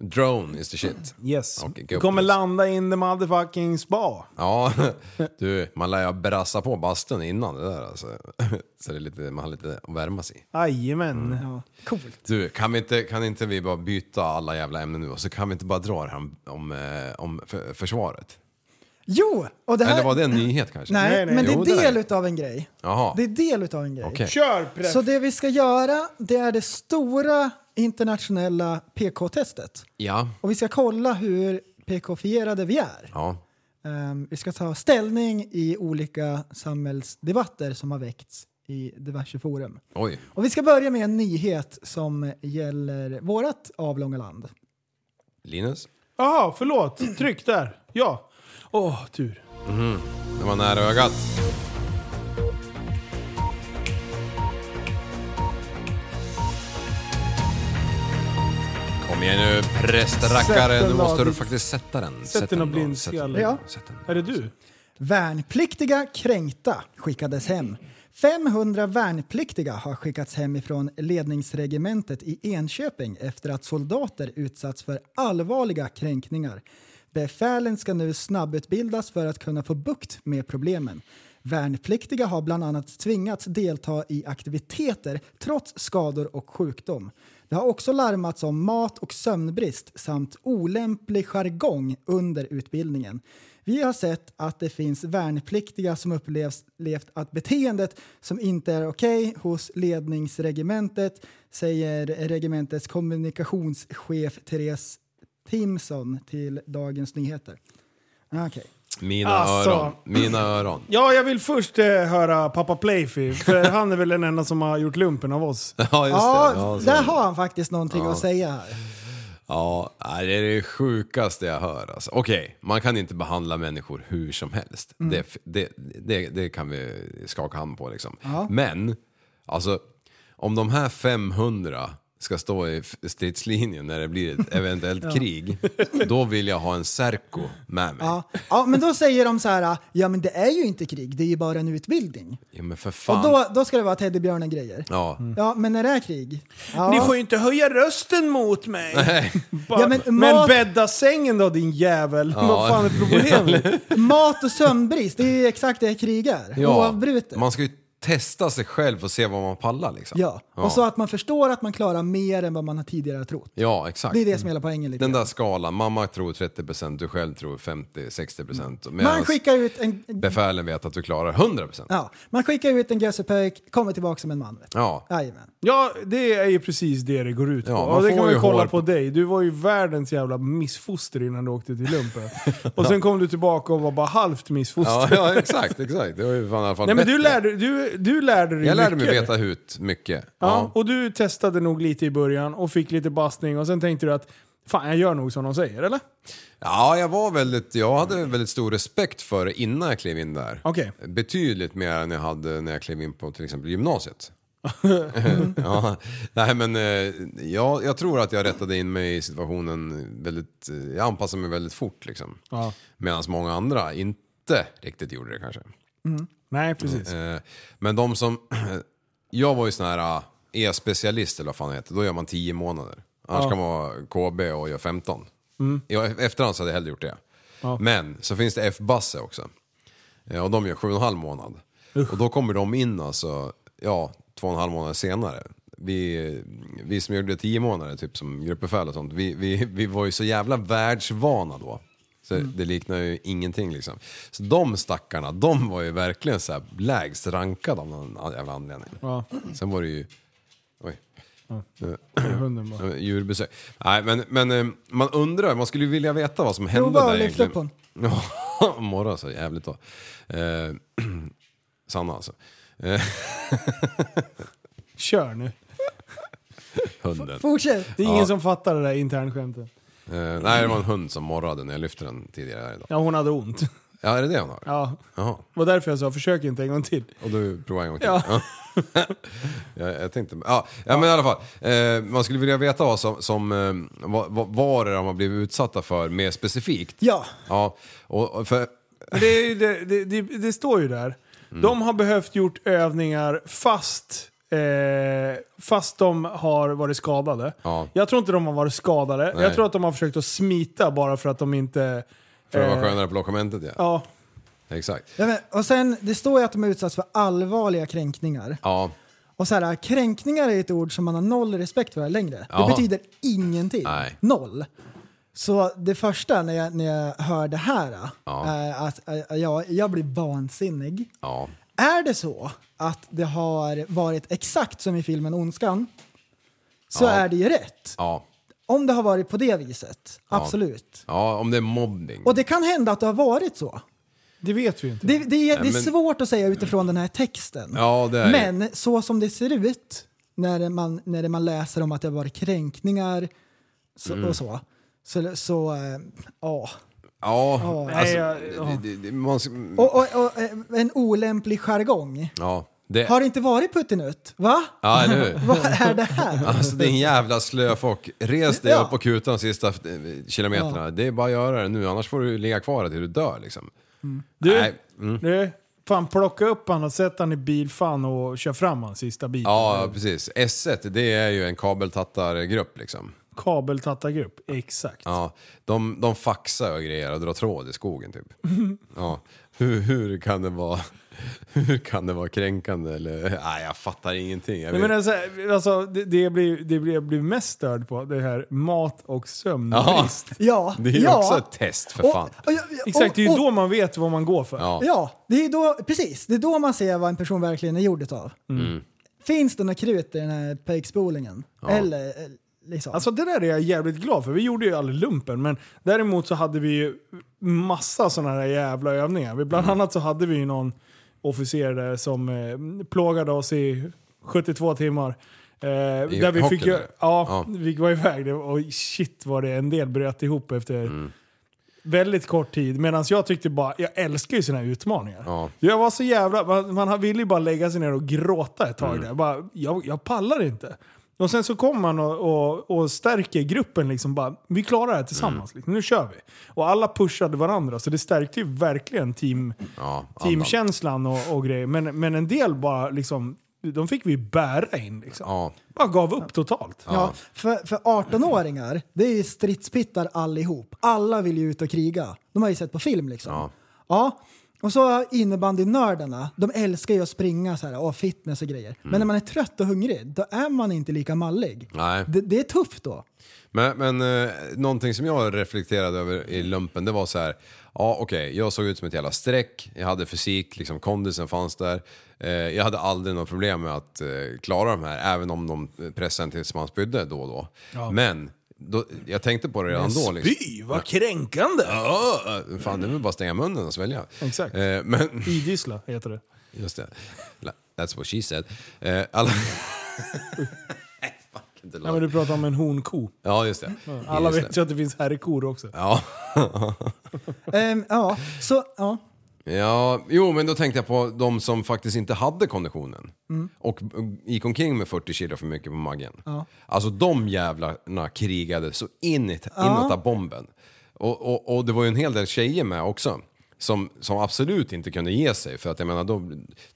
D: Drone is the shit.
B: Yes.
D: Okej, gå
B: Vi
D: upp
B: kommer
D: dit.
B: landa in the motherfucking spa.
D: Ja, *laughs* du, man lär ju brassa på bastun innan det där alltså. *laughs* Så det är lite, man har lite att värma sig i.
B: Jajamän. Ja.
D: Du, kan, vi inte, kan inte vi bara byta alla jävla ämnen nu och så kan vi inte bara dra det här om, om, eh, om för, försvaret?
C: Jo! Och det här,
D: Eller var det en nyhet kanske?
C: nej,
B: Nej, nej.
C: men det är
D: Jo, det är
C: del
D: det.
C: utav en grej.
D: Jaha,
C: Det är del utav en grej.
D: okej.
B: Kör press.
C: Så det vi ska göra, det är det stora internationella PK-testet.
D: Ja,
C: Och vi ska kolla hur PK-fierade vi är.
D: ja.
C: Ehm, vi ska ta ställning i olika samhällsdebatter som har väckts i diverse forum.
D: Oj.
C: Och vi ska börja med en nyhet som gäller vårt avlånga land.
D: Linus?
B: Jaha, förlåt. Tryck där. Ja. Åh, tur.
D: Det var nära ögat. Kom igen nu
B: Sätt
D: prästrackare,
B: den
D: nu
B: då,
D: måste du
B: ditt-
D: faktiskt sätta den.
B: Sätt den och
D: då,
B: blindskalle.
D: sätt den.
C: Ja.
D: Sätt den.
B: Är det du?
C: Värnpliktiga kränkta skickades hem. 500 värnpliktiga har skickats hem ifrån ledningsregementet i Enköping efter att soldater utsatts för allvarliga kränkningar. Befälen ska nu snabbutbildas för att kunna få bukt med problemen. Värnpliktiga har bland annat tvingats delta i aktiviteter trots skador och sjukdom. Det har också larmats om mat och sömnbrist samt olämplig jargong under utbildningen. Vi har sett att det finns värnpliktiga som upplevs levt att beteendet som inte är okej hos ledningsregementet, säger regementets kommunikationschef Therese Timson till Dagens Nyheter. Ah, Okej.
D: Mina
B: Alltså.
D: öron, mina öron. *laughs*
B: Ja, jag vill först eh, höra pappa Playfi, för han är väl den enda som har gjort lumpen av oss.
D: Ja, just
C: Ja,
D: det. Ja, så-
C: där har han faktiskt någonting att säga här.
D: Ja, nej, det är det sjukaste jag hör alltså. Okej, man kan inte behandla människor hur som helst.
C: Mm.
D: Det, det, det, det kan vi skaka hand på liksom. Men, alltså, om de här 500 ska stå i f- stridslinjen när det blir
C: *laughs*
D: ett eventuellt krig, då vill jag ha en Serco med mig. Ja.
C: Ja. ja, men då säger de så här, ja men det är ju inte krig, det är ju bara en utbildning.
D: men för fan.
C: Och då, Mm. då ska det vara teddybjörnen-grejer.
D: Ja.
C: Ja, men när det är krig? Ja.
B: Ni får ju inte höja rösten mot mig! *laughs* Bara,
C: Ja, men
B: men,
C: mat-
B: bädda sängen då din jävel! Vad fan är problemet?
C: Mat och sömnbrist, det är ju exakt det krig är.
D: Ja,
C: Oavbrutet.
D: Man ska ju testa sig själv och se vad man pallar liksom.
C: Ja. Och så att man förstår att man klarar mer än vad man har tidigare trott.
D: Ja, exakt.
C: Det är det som är hela poängen. Lite.
D: Den
C: grann.
D: där skalan, mamma tror 30%, du själv tror
B: Mm.
D: 50-60%.
C: Man
D: Medan
C: skickar ut en... en
D: befälen vet att du klarar 100%.
C: ja, man skickar ut en gösepöjk, kommer tillbaka som en man. Vet du.
D: Ja.
C: Jajamän.
B: Ja, det är ju precis det det går ut på.
D: Ja,
B: Ja, det
D: man får
B: kan man ju
D: ju
B: kolla
D: hår
B: på
D: på-
B: dig. Du var ju världens jävla missfoster innan du åkte till lumpen.
D: *laughs*
B: Och sen kom du tillbaka och var bara halvt missfoster.
D: Ja, ja, exakt, exakt. Det var ju fan i alla
B: *laughs*
D: fall
B: Nej
D: *laughs*
B: men du
D: bättre.
B: lärde, du, du lärde dig
D: Jag lärde mig
B: mycket.
D: veta hut mycket.
B: Ja,
D: Ja.
B: och du testade nog lite i början och fick lite bastning och sen tänkte du att fan jag gör nog som de säger eller?
D: ja, jag var väldigt, jag hade väldigt stor respekt för det innan jag klev in där.
B: Okej.
D: Betydligt mer än jag hade när jag klev in på till exempel gymnasiet. ja, nej men eh, jag, jag tror att jag rättade in mig i situationen väldigt, eh, jag anpassade mig väldigt fort liksom.
B: Ja.
D: Medan många andra inte riktigt gjorde det kanske.
B: Nej precis.
D: Eh, Men de som... *clears throat* Jag var ju sån här eh, e-specialist eller vad fan det heter. Då gör man 10 månader. Annars kan man vara KB och göra 15. Ja, e- efterhand så hade jag hellre gjort det. Men så finns det F-Basse också. Eh, Och de gör 7,5 månad. Och då kommer de in alltså, ja, 2,5 månader senare. Vi, vi som gjorde 10 månader, typ som gruppbefäl och sånt, vi, vi, vi var ju så jävla världsvana då. Så Det liknar ju ingenting liksom. Så de stackarna, de var ju verkligen så här lägst rankade av någon jävla anledning.
B: Ja,
D: Sen var det ju... Oj.
B: det är *laughs* hunden bara.
D: Eh, Djurbesök. Nej, men, men eh, man undrar, man skulle ju vilja veta vad som hände
C: bara
D: där
C: att lyfta
D: egentligen. *laughs* Ja, morgon så jävligt då. Eh, *clears throat* Sanna alltså. Eh,
B: Kör nu.
D: hunden.
C: Fortsätt!
B: Det är ingen som fattar det där internskämtet.
D: Eh, nej, det var en hund som morrade när jag lyfte den tidigare här idag.
B: Ja hon hade ont.
D: Ja, är det det hon har?
B: Ja,
D: Jaha.
B: det var därför jag sa försök inte en gång till.
D: Och du provar en gång till?
B: Ja.
D: Ja. *laughs* jag, jag tänkte... Ja, ja, men i alla fall. Eh, man skulle vilja veta vad som... som eh, vad, vad, vad det är de har blivit utsatta för mer specifikt.
C: Ja,
D: Ja, och, och för...
B: Men Det, är ju det, det, det, det står ju där. De har behövt gjort övningar fast, eh, fast de har varit skadade.
D: Ja.
B: Jag tror inte de har varit skadade.
D: Nej.
B: Jag tror att de har försökt att smita bara för att de inte...
D: För att vara
B: Eh,
D: skönare på lockamentet ja.
B: Ja,
D: Exakt.
C: Ja, men, och sen, det står ju att de är utsatts för allvarliga kränkningar.
D: Ja,
C: Och så här, kränkningar är ett ord som man har noll respekt för längre.
D: Ja.
C: Det betyder ingenting.
D: Nej.
C: Noll. Så det första när jag, när jag hör det här,
D: Ja.
C: eh, att eh, jag, jag blir vansinnig.
D: ja.
C: Är det så att det har varit exakt som i filmen Ondskan, så
D: Ja.
C: är det ju rätt.
D: Ja.
C: Om det har varit på det viset, absolut.
D: Ja, om det är mobbning.
C: Och det kan hända att det har varit så.
B: det vet vi ju inte.
C: Det, det, är- det är
D: men-
C: svårt att säga utifrån den här texten.
D: Ja, det är
C: Men så som det ser ut när man, när man läser om att det har varit kränkningar så,
D: Mm.
C: och så. Så, så eh, ja.
D: Ja, alltså,
B: Nej, jag- ja.
D: det, det, det, man, sk-
C: Och, och, och eh, en olämplig jargong.
D: ja, det,
C: Har det inte varit puttinutt? Va?
D: ja, eller hur?
C: *laughs* Vad är det
D: *laughs*
C: här?
D: Alltså din jävla slöfock, res dig
C: Ja.
D: upp på kutan sista eh, kilometerna. Det är bara att göra det nu, annars får du ligga kvar här till du dör liksom.
B: Du,
D: Nej. Mm.
B: du, fan plocka upp han och sätt han i bilfan och kör fram han sista bilen.
D: Ja, ja, precis. S1, det är ju en kabeltattargrupp liksom.
B: Kabeltattargrupp, exakt.
D: Ja, de, de faxar och grejer och drar tråd i skogen typ. Ja, hur, hur kan det vara... *laughs* Hur kan det vara kränkande eller... Nej, jag fattar ingenting. Jag
B: Nej,
D: vet-
B: men alltså, alltså, det, det, jag blir, det blir, jag blir mest störd på, det här mat och
D: Ja.
B: sömnbrist.
C: Ja.
D: Det är ju
C: ja.
D: också ett test för
C: Och-
D: fan.
C: och- och-
B: Exakt, det är ju
C: och-
B: då man vet vad man går för.
D: Ja.
C: Ja, det är då, precis. Det är då man ser vad en person verkligen är gjord av.
D: Mm.
C: Finns det något krut i den här pökspolingen? Eller eh, liksom...
B: Alltså det där är jag jävligt glad för. Vi gjorde ju aldrig lumpen, men däremot så hade vi ju massa sådana här jävla övningar. Vi- Bland
D: Mm.
B: annat så hade vi ju någon officer där som eh, plågade oss i 72 timmar. Eh, där vi
D: hockey,
B: fick, ju,
D: eller?
B: ja,
D: Ja.
B: vi fick vara iväg det, och shit var det en del bröt ihop efter
D: Mm.
B: väldigt kort tid. Medan jag tyckte bara, jag älskar ju såna här utmaningar.
D: Ja.
B: Jag var
D: Mm.
B: så jävla, man, man ville ju bara lägga sig ner och gråta ett tag där. Bara, jag, jag pallar inte. Och sen så kommer man och, och, och stärker gruppen liksom bara, vi klarar det här tillsammans,
D: Mm.
B: liksom. nu kör vi. Och alla pushade varandra, så det stärkte ju verkligen team,
D: Ja, andan.
B: teamkänslan och, och grejer. Men, men en del bara liksom, de fick vi bära in liksom.
D: Ja.
B: Bara gav upp totalt.
C: Ja, för, för 18-åringar, det är ju stridspittar allihop. Alla vill ju ut och kriga. De har ju sett på film liksom.
D: Ja.
C: Ja. Och så innebandynördarna, de älskar ju att springa så här, och fitness och grejer. Men när man är trött och hungrig, då är man inte lika mallig.
D: Nej.
C: Det, det är tufft då.
D: Men, men eh, någonting som jag reflekterade över i lumpen, det var så här. Ja okej, jag såg ut som ett jävla streck, jag hade fysik, liksom kondisen fanns där. Eh, jag hade aldrig något problem med att eh, klara de här, även om de pressade en till man spydde då och då. Men, då, jag tänkte på det redan då. Liksom.
B: Fy, vad kränkande!
D: Ja, eh, fan det är väl bara att stänga munnen och svälja.
B: Exakt.
D: Eh, men, *laughs*
B: Idissla heter det.
D: just det. That's what she said. Eh, alla... *laughs* Nej, fuck, inte
B: Ja, men
D: lag.
B: du pratar om en honko.
D: Ja, just det.
B: Alla
D: Just
B: vet
D: det.
B: ju att det finns herrkor också.
D: Ja. *laughs*
C: Ehm, ja, så ja.
D: Ja, jo men då tänkte jag på de som faktiskt inte hade konditionen och gick omkring med 40 kilo för mycket på magen. Alltså de jävlarna krigade så in i inåt av bomben. Och, och, och det var ju en hel del tjejer med också. Som, som absolut inte kunde ge sig för att jag menar då,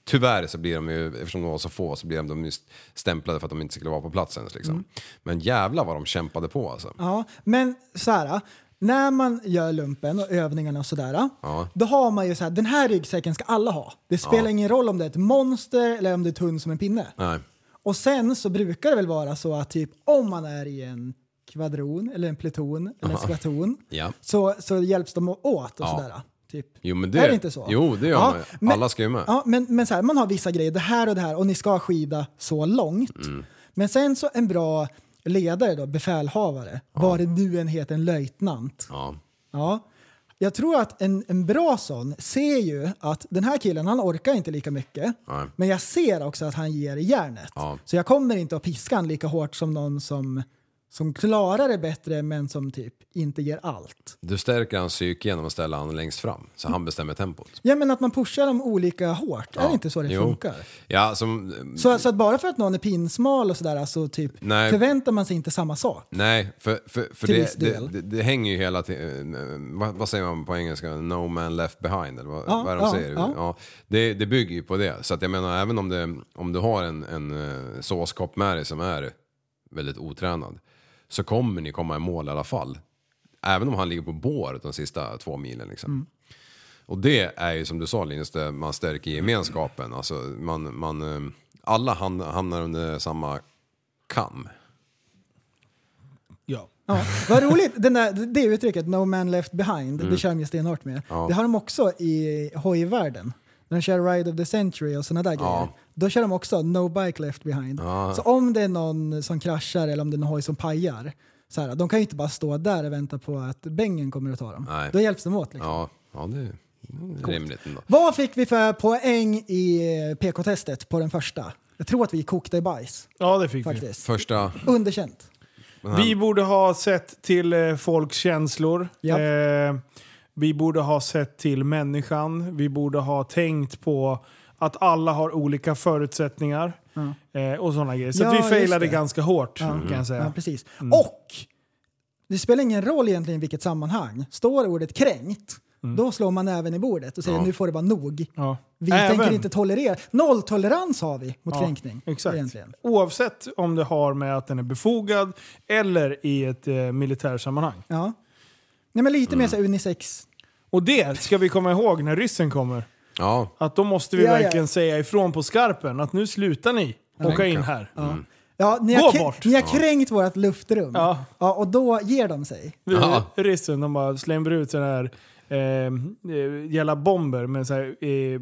D: tyvärr så blir de ju, eftersom de var så få så blir de ju stämplade för att de inte skulle vara på plats ens liksom. Men jävla vad de kämpade på alltså.
C: Ja, men så här. När man gör lumpen och övningarna och sådär,
D: Ja.
C: då har man ju så här, den här ryggsäcken ska alla ha. Det spelar
D: Ja.
C: ingen roll om det är ett monster eller om det är tunn som en pinne.
D: Nej.
C: Och sen så brukar det väl vara så att typ om man är i en kvadron eller en pluton eller en skvaton
D: *laughs* Ja.
C: så, så hjälps de åt och
D: Ja.
C: sådär. Typ.
D: Jo, men det-
C: är det inte så?
D: jo, det gör man ju. Alla ska ju med.
C: Ja, men, men så här, man har vissa grejer, det här och det här och ni ska skida så långt.
D: Mm.
C: Men sen så en bra ledare då, befälhavare, vad det nu än heter, en löjtnant.
D: Ja.
C: Ja. Jag tror att en, en bra sån ser ju att den här killen han orkar inte lika mycket.
D: Nej.
C: Men jag ser också att han ger järnet.
D: Ja.
C: Så jag kommer inte att piska han lika hårt som någon som, som klarar det bättre men som typ inte ger allt.
D: Du stärker hans psyke genom att ställa honom längst fram så han bestämmer tempot.
C: Ja men att man pushar dem olika hårt. Är
D: Ja.
C: det inte så det
D: Jo.
C: funkar?
D: Ja, som,
C: Så, så att bara för att någon är pinsmal och sådär så typ
D: Nej.
C: förväntar man sig inte samma sak.
D: nej, för, för, för
C: Till
D: det,
C: viss
D: det,
C: del.
D: det, det hänger ju hela tiden... eh, Vad, vad säger man på engelska? No man left behind, eller vad,
C: Ja,
D: vad är de
C: ja,
D: säger? Ja.
C: ja.
D: det, det bygger ju på det. Så att jag menar, även om, det, om du har en, en eh, såskopp med dig som är väldigt otränad så kommer ni komma i mål i alla fall. Även om han ligger på bår de sista två milen. Liksom.
C: Mm.
D: Och det är ju som du sa Linus, det man stärker gemenskapen. Alltså, man, man, eh, alla ham- hamnar under samma kam.
B: Ja.
C: Ja, vad roligt, den där, det uttrycket, no man left behind,
D: Mm.
C: det kör de ju stenhårt med. Det har de också i hojvärlden. När de kör Ride of the Century och sådana där grejer. Då kör de också no bike left behind. Så om det är någon som kraschar eller om det är någon hoj som pajar, så här, de kan ju inte bara stå där och vänta på att bängen kommer att ta dem.
D: Nej.
C: Då hjälps de åt. Liksom.
D: Ja, ja det är rimligt ändå.
C: Vad fick vi för poäng i PK-testet på den första? Jag tror att vi kokte i bajs
B: Ja, det fick vi.
C: faktiskt.
D: Första...
C: Underkänt.
B: Vi borde ha sett till eh, folks känslor.
C: Japp.
B: Eh, vi borde ha sett till människan. Vi borde ha tänkt på att alla har olika förutsättningar. Eh, och sådana grejer. Så
C: Ja,
B: att vi
C: just
B: failade
C: det.
B: ganska hårt kan jag
C: Ja,
B: säga.
C: precis.
B: Mm.
C: Och det spelar ingen roll egentligen i vilket sammanhang. Står ordet kränkt, då slår man även i bordet och säger nu får det vara nog.
B: Mm. Ja.
C: Vi
B: Även-
C: tänker inte tolerera. Nolltolerans har vi mot kränkning.
B: Exakt.
C: Egentligen.
B: Oavsett om det har med att den är befogad eller i ett eh, militärsammanhang.
C: Ja. Nej, men lite
B: Mm.
C: mer så här unisex.
B: Och det ska vi komma ihåg när ryssen kommer.
D: Ja,
B: Att då måste vi
C: Ja, ja.
B: verkligen säga ifrån på skarpen att nu slutar ni åka in här.
C: Ja, ni har,
B: Mm. Gå
C: krä-
B: bort.
C: Ni har kränkt vårt luftrum.
B: Ja.
C: och då ger de sig.
B: Du, Ryssen de bara slänger ut sådana här eh, eh, jävla bomber med så här, eh,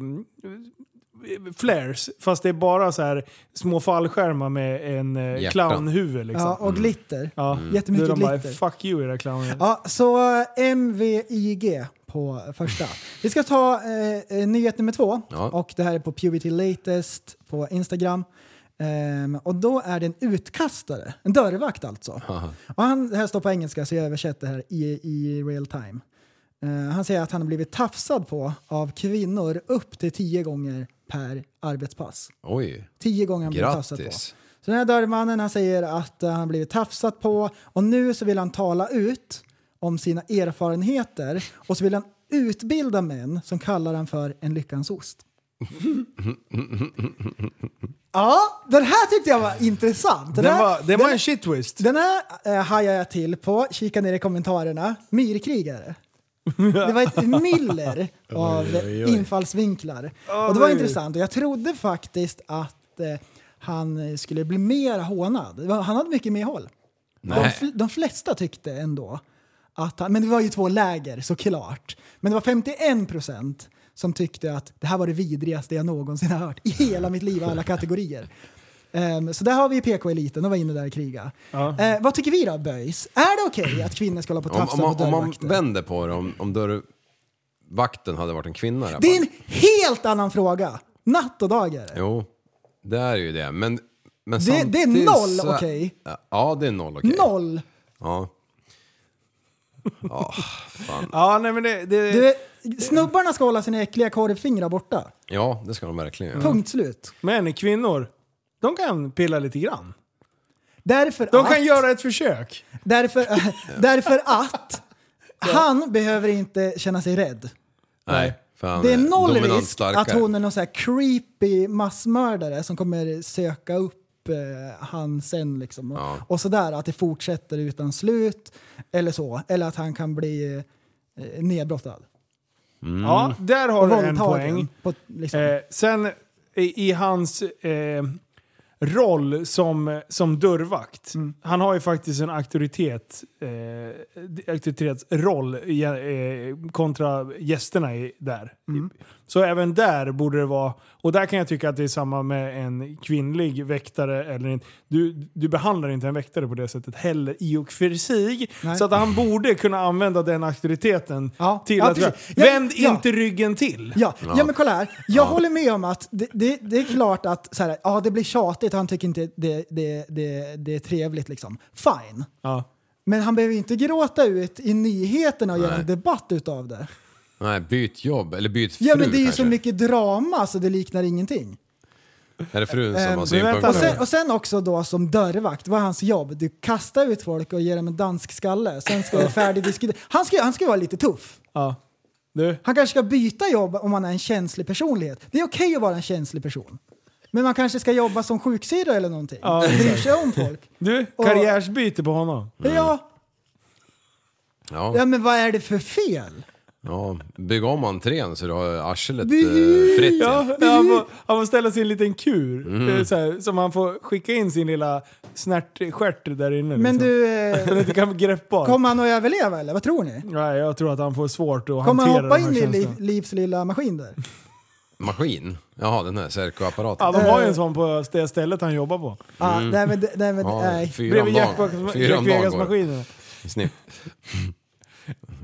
B: flares. Fast det är bara så här små fallskärmar med en eh,
D: Hjärtan.
B: clownhuvud liksom.
C: Ja,
B: Ja.
C: och glitter.
B: Då
C: Jättemycket
B: de bara,
C: glitter.
B: fuck you era clowner.
C: Ja, så eh, MVIG på första. Vi ska ta eh, eh, nyhet nummer två.
D: Ja.
C: Och det här är på Puberty Latest på Instagram. Ehm, och då är det en utkastare, en dörrvakt alltså. Och han, det här står på engelska så jag översätter här i, i real time. Eh, han säger att han har blivit tafsad på av kvinnor upp till tio gånger per arbetspass.
D: oj.
C: Tio gånger han blivit tafsad på.
D: Grattis.
C: Så den här dörrmannen han säger att eh, han blivit tafsat på och nu så vill han tala ut om sina erfarenheter och så vill han utbilda män som kallar han för en
B: *laughs*
C: lyckans ost. Ja, den här tyckte jag var intressant.
B: Den
C: här,
B: var, det
C: den,
B: var en shit twist.
C: den här eh, hajade jag till på, kika ner i kommentarerna, myrkrigare. Det var ett myller av infallsvinklar. Och det var
B: Oj.
C: intressant och jag trodde faktiskt att eh, han skulle bli mer hånad. Det var- Han hade mycket mer håll. De,
D: Nej.
C: fl- de flesta tyckte ändå att han, men det var ju två läger såklart. Men det var 51 procent som tyckte att det här var det vidrigaste jag någonsin har hört i hela mitt liv, alla kategorier. Ehm, så där har vi PK-eliten, de var inne där och kriga. Eh, vad tycker vi då, böjs? Är det okej att kvinnor ska hålla på och
D: Om, om,
C: tafsa
D: man,
C: på
D: om man
C: dörrvakter?
D: vänder på det, om, om dörrvakten hade varit en kvinna. där
C: Det är
D: bara-
C: en helt annan fråga! Natt och dag är det.
D: Jo, det är ju det. Men, men
C: Det- det är
D: samtidigt
C: noll
D: så-
C: okej.
D: Ja, det är noll okej.
C: Noll!
D: Ja.
B: Ja, nej men det... det
C: Du, snubbarna ska hålla sina äckliga korvfingrar borta.
D: ja, det ska de verkligen göra.
C: Punkt slut.
B: Men kvinnor, de kan pilla lite grann.
C: Därför
B: De
C: att...
B: kan göra ett försök.
C: Därför, *laughs* därför att han behöver inte känna sig rädd.
D: Nej, för han
C: Det är noll
D: dominant
C: risk
D: starkare.
C: att hon är någon så här creepy massmördare som kommer söka upp eh, han sen liksom. Och,
D: Ja.
C: och sådär, att det fortsätter utan slut eller så. Eller att han kan bli eh, nedbrottad.
B: Ja, där har du en poäng.
C: Våldtagen. På, liksom.
B: Eh, sen i, i hans eh, roll som, som dörrvakt.
C: Mm.
B: Han har ju faktiskt en auktoritet, eh, auktoritetsroll i, eh, kontra gästerna i, där.
C: Mm.
B: Så även där borde det vara, och där kan jag tycka att det är samma med en kvinnlig väktare. Eller en, du, du behandlar inte en väktare på det sättet heller i och för sig.
C: Nej.
B: Så att han borde kunna använda den auktoriteten
C: Ja,
B: till
C: ja,
B: att...
C: precis. Ja,
B: Vänd
C: ja.
B: inte ryggen till!
C: Ja, ja. men kolla här. Jag håller med om att det, det, det är klart att så här, ja, det blir tjatigt och han tycker inte det, det, det, det är trevligt liksom. Fine.
B: Ja.
C: Men han behöver ju inte gråta ut i nyheterna och göra en debatt utav det.
D: Nej, byt jobb. Eller byt fru
C: Ja men det är ju
D: kanske.
C: så mycket drama så det liknar ingenting.
D: Är det frun som
C: Ehm,
D: har
C: men
D: synpunkter?
C: Och sen, och sen också då som dörrvakt, vad är hans jobb? Du kastar ut folk och ger dem en dansk skalle. Sen ska det färdigdiskutera. Han ska, han ska vara lite tuff.
B: Ja. Du?
C: Han kanske ska byta jobb om man är en känslig personlighet. Det är okej att vara en känslig person. Men man kanske ska jobba som sjuksyrra eller någonting.
B: Ja,
C: Bryr sig om folk.
B: Du,
C: Och-
B: karriärsbyte på honom.
C: Ja, ja,
D: Ja.
C: men vad är det för fel?
D: ja, bygg om entrén så du har arslet eh,
C: By-
D: fritt. igen.
B: Ja, han, får, han får ställa sin liten kur.
D: Mm.
B: Det är Så här, som han får skicka in sin lilla snärtstjärt där inne. liksom.
C: Men du, eh,
B: Den inte kan greppa.
C: kommer han att överleva eller? Vad tror ni?
B: Nej, jag tror att han får svårt att
C: Kommer han
B: hantera
C: hoppa
B: de här
C: in i liv,
B: känslorna.
C: Livs lilla maskin där?
D: Maskin? Jaha, den här Serco-apparaten.
B: Ja, de har ju
C: Eh.
B: en sån på det stället han jobbar på.
C: Ah, nej men, nej, men
D: Ja,
C: nej.
D: fyra om
B: Bredvid Jack,
D: dagen. Fyra om dagen
B: Vegas
D: går det.
B: maskinerna.
D: Snitt.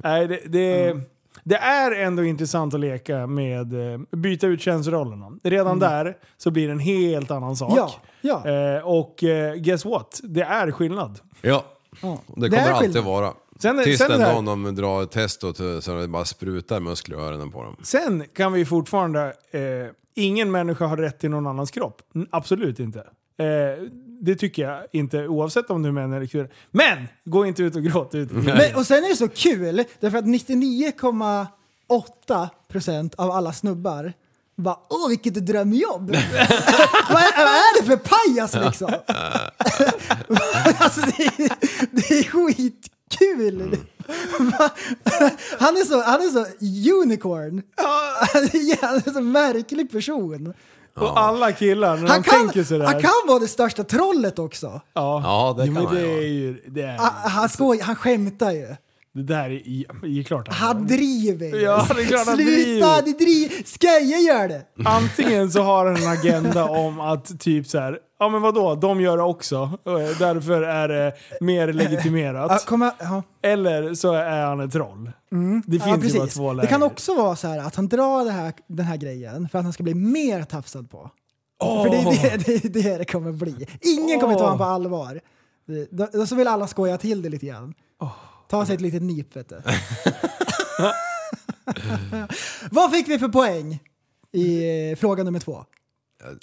B: Nej, det, det,
C: Mm.
B: det är ändå intressant att leka med, eh, byta ut könsrollerna. Redan där så blir det en helt annan sak.
C: Mm. Ja, ja.
B: Eh, och eh, guess what? Det är skillnad.
D: Ja.
C: Ja.
D: Det
C: Det
D: kommer
C: är
D: alltid
C: skillnad.
D: vara.
B: Sen är-
D: Tills
B: sen är
D: den
B: det här-
D: dagen de drar testot så det bara sprutar muskler och öronen på dem.
B: Sen kan vi fortfarande... Eh, ingen människa har rätt till någon annans kropp. N- Absolut inte. Eh, det tycker jag inte, oavsett om du är män eller kvinna. Men! Gå inte ut och gråt ut.
D: Mm.
C: Men, och sen är det så kul, därför att 99,8% av alla snubbar bara åh vilket
D: *laughs*
C: drömjobb! vad, är, vad är det för pajas liksom? *laughs* alltså det är, det är skitkul!
D: Mm.
C: Va? *laughs* han, är så, han är så unicorn! Han är- *laughs* han är en så märklig person.
B: Och alla killar, när
C: Han
B: de
C: kan,
B: tänker sådär.
C: han kan vara det största trollet
D: Mm.
C: också.
B: Ja,
D: Ja, det
B: Jo,
D: kan
B: men
D: han
B: det
D: göra.
B: är ju... Det, är,
C: Han, han, skoj, han skämtar ju.
B: det där är, är, är klart.
C: Han driver ju.
B: Ja, det är klart han
C: Sluta,
B: driver.
C: det driver. Skeje gör det.
B: Antingen så har han en agenda om att typ så här, ja men vadå, de gör det också. Eh, Därför är det mer
C: Ja,
B: legitimerat.
C: komma, ja.
B: Eller så är han ett troll. Det
C: Mm. Ja,
B: finns ju bara
C: precis.
B: två läger.
C: Det kan också vara så här att han drar det här, den här grejen för att han ska bli mer tafsad på. För det är det, det, är det det kommer bli. Ingen kommer ta
B: Åh.
C: honom på allvar. Det- Då, då så vill alla skoja till det lite grann. Ta sig ett litet nyp vet du. *laughs* Vad fick vi för poäng i eh, fråga nummer två?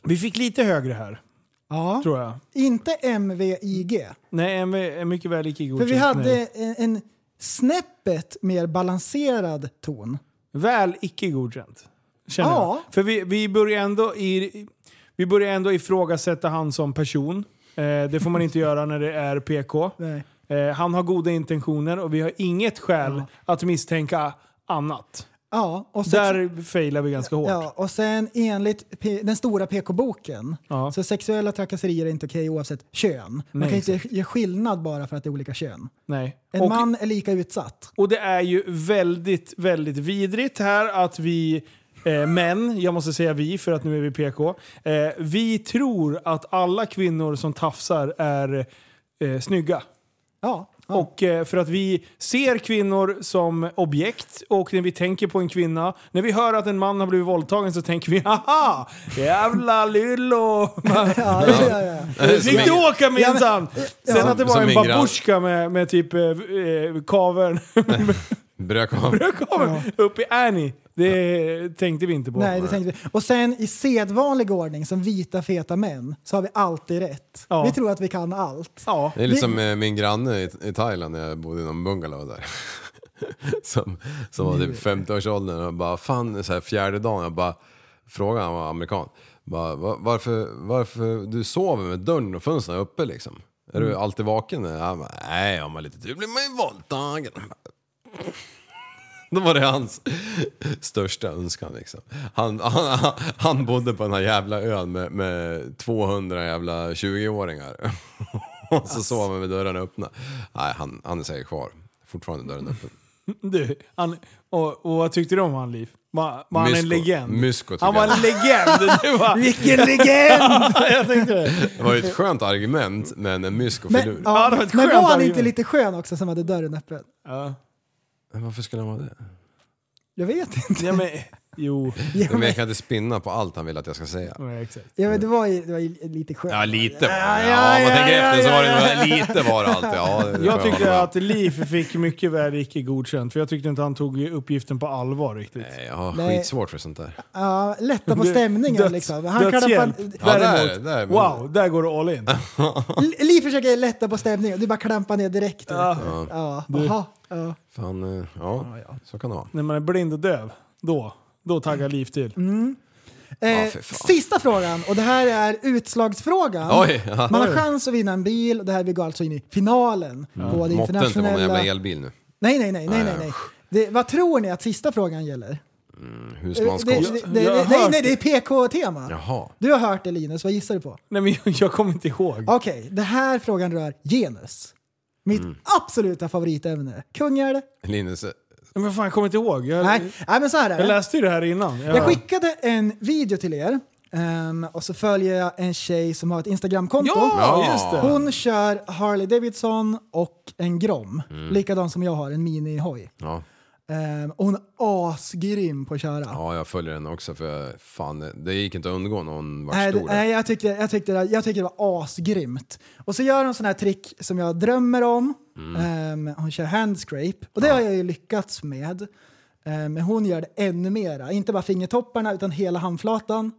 B: Vi fick lite högre här.
C: Ja.
B: tror jag.
C: Inte MVIG.
B: Nej, MV är mycket väl icke
C: För
B: godkänt.
C: vi hade
B: nej.
C: en, en snäppet mer balanserad ton.
B: Väl icke godkänt. Känner
C: Ja.
B: jag. För vi, vi, börjar ändå i, vi börjar ändå ifrågasätta han som person. Eh, det får man
C: *laughs*
B: inte göra när det är PK.
C: Nej.
B: Eh, han har goda intentioner och vi har inget skäl att misstänka annat.
C: Ja, och så-
B: Där failar vi ganska hårt.
C: Ja, och sen enligt P- den stora PK-boken
B: Ja.
C: så sexuella trakasserier är inte okej oavsett kön. Man
B: Nej,
C: kan inte ge skillnad bara för att det är olika kön.
B: Nej.
C: En
B: Och-
C: man är lika utsatt.
B: Och det är ju väldigt, väldigt vidrigt här att vi eh, män, jag måste säga vi för att nu är vi PK, eh, vi tror att alla kvinnor som tafsar är eh, snygga.
C: Ja, ja.
B: Och eh, för att vi ser kvinnor som objekt och när vi tänker på en kvinna, när vi hör att en man har blivit våldtagen så tänker vi haha, jävla lyllo!
C: *laughs*
B: *laughs*
C: ja, ja, ja, ja.
B: Det fick du åka minsann! Sen att det var
D: Som
B: en
D: min grann.
B: babusjka med, med typ eh, eh, kaveln
D: Brök av.
B: kommer upp i Annie. Det tänkte vi inte på.
C: Nej, det tänkte vi. Och sen i sedvanlig ordning som vita feta män så har vi alltid rätt.
B: Ja.
C: Vi tror att vi kan allt.
B: Ja.
D: Det är liksom eh, min granne i, i Thailand när jag bodde i någon bungalow där. *laughs* Som, som var typ 50-årsåldern och bara, fan, så här fjärde dagen, jag bara frågade, han var amerikan, bara, "Va- varför, varför du sover med dörren och fönstren uppe liksom? Är
B: Mm.
D: du alltid vaken? Han bara, nej, om man har lite tur blir man ju våldtagen. Då var det hans största önskan liksom. Han, han, han bodde på den här jävla ön med, med 200 jävla *laughs* 20-åringar. Och
B: Alltså.
D: så sov han med dörrarna öppna. Nej, han, han är säkert kvar. Fortfarande dörren öppen.
B: Du, han, och, och vad tyckte du om han Liv? Var, var han en
D: Mysko.
B: legend?
D: Mysko tycker
B: han var
D: jag.
B: en legend!
C: *laughs*
B: Du var,
C: Vilken legend!
D: Det var ju ett skönt argument, men en myskofigur.
C: Men,
D: Men,
B: *laughs* Ja,
C: ja,
B: det var ett
C: men
B: skönt
C: var han
B: argument.
C: inte lite skön också som hade dörren öppen?
B: ja.
D: varför skulle han vara det?
C: Jag vet inte.
B: Ja, men, jo.
C: Ja,
D: Men
C: men,
D: jag kan inte spinna på allt han vill att jag ska säga.
B: Ja, exakt.
C: ja, men det, var ju, det var ju lite skönt.
D: Ja, lite var
B: Ja,
D: det.
B: ja,
D: Ja, om man
B: ja,
D: tänker
B: ja,
D: efter så var det
B: ja, ja.
D: lite var det alltid. Ja, det får
B: Jag tyckte
D: hålla
B: att Liv fick mycket väl icke godkänt, för jag tyckte inte han tog uppgiften på allvar riktigt.
D: med. Jag har
C: Nej.
D: skitsvårt för sånt där.
C: Ja,
D: *laughs*
C: lätta på
B: Du,
C: stämningen
B: döds-
C: liksom. Han klappar,
B: dödshjälp.
D: Ja, där,
B: Däremot,
D: där, men-
B: wow, där går du all in.
C: Li- Li försöker lätta på stämningen, du bara klampar ner direkt. Ja. Ja. Jaha. Ja.
D: Fan, eh, ja, så kan det vara.
B: När man är blind och döv, då, då taggar Liv till.
C: Mm. Eh,
D: fy fan.
C: sista frågan, och det här är utslagsfrågan.
D: Oj, ja.
C: Man har chans att vinna en bil och det här vi går alltså in i finalen på det
D: Mm. Måtte inte vara någon
C: internationella...
D: jävla elbil nu.
C: nej, nej, nej, nej, nej. nej. Det, vad tror ni att sista frågan gäller? Eh, Det, det,
D: Husmanskost.
C: det,
B: Jag- jag har hört
C: det, nej, nej,
B: det.
C: det är PK-tema.
D: Jaha.
C: Du har hört det Linus, vad gissar du på?
B: Nej men jag, jag kommer inte ihåg.
C: Okej, det här frågan rör genus. Mitt
B: Mm.
C: absoluta favoritämne. Kungar?
D: Linus, eh,
B: Men vad fan, jag kommer inte ihåg. Jag,
C: Nej, nej men så här är det.
B: jag läste ju det här innan. Ja.
C: Jag skickade en video till er ehm, och så följer jag en tjej som har ett Instagramkonto.
B: Ja, just det.
C: Hon kör Harley Davidson och en Grom.
B: Mm.
C: Likadan som jag har, en mini-hoj.
D: ja.
C: Ehm, och hon är asgrym på att köra.
D: ja, jag följer den också för jag- fan, det gick inte att undgå när hon var
C: Nej, det,
D: stor.
C: nej jag, tyckte, jag, tyckte det, jag tyckte det var asgrymt. Och så gör hon sån här trick som jag drömmer om. Ehm, hon kör handscrape. Och det har jag ju lyckats med. Ehm, men hon gör det ännu mera. Inte bara fingertopparna utan hela handflatan.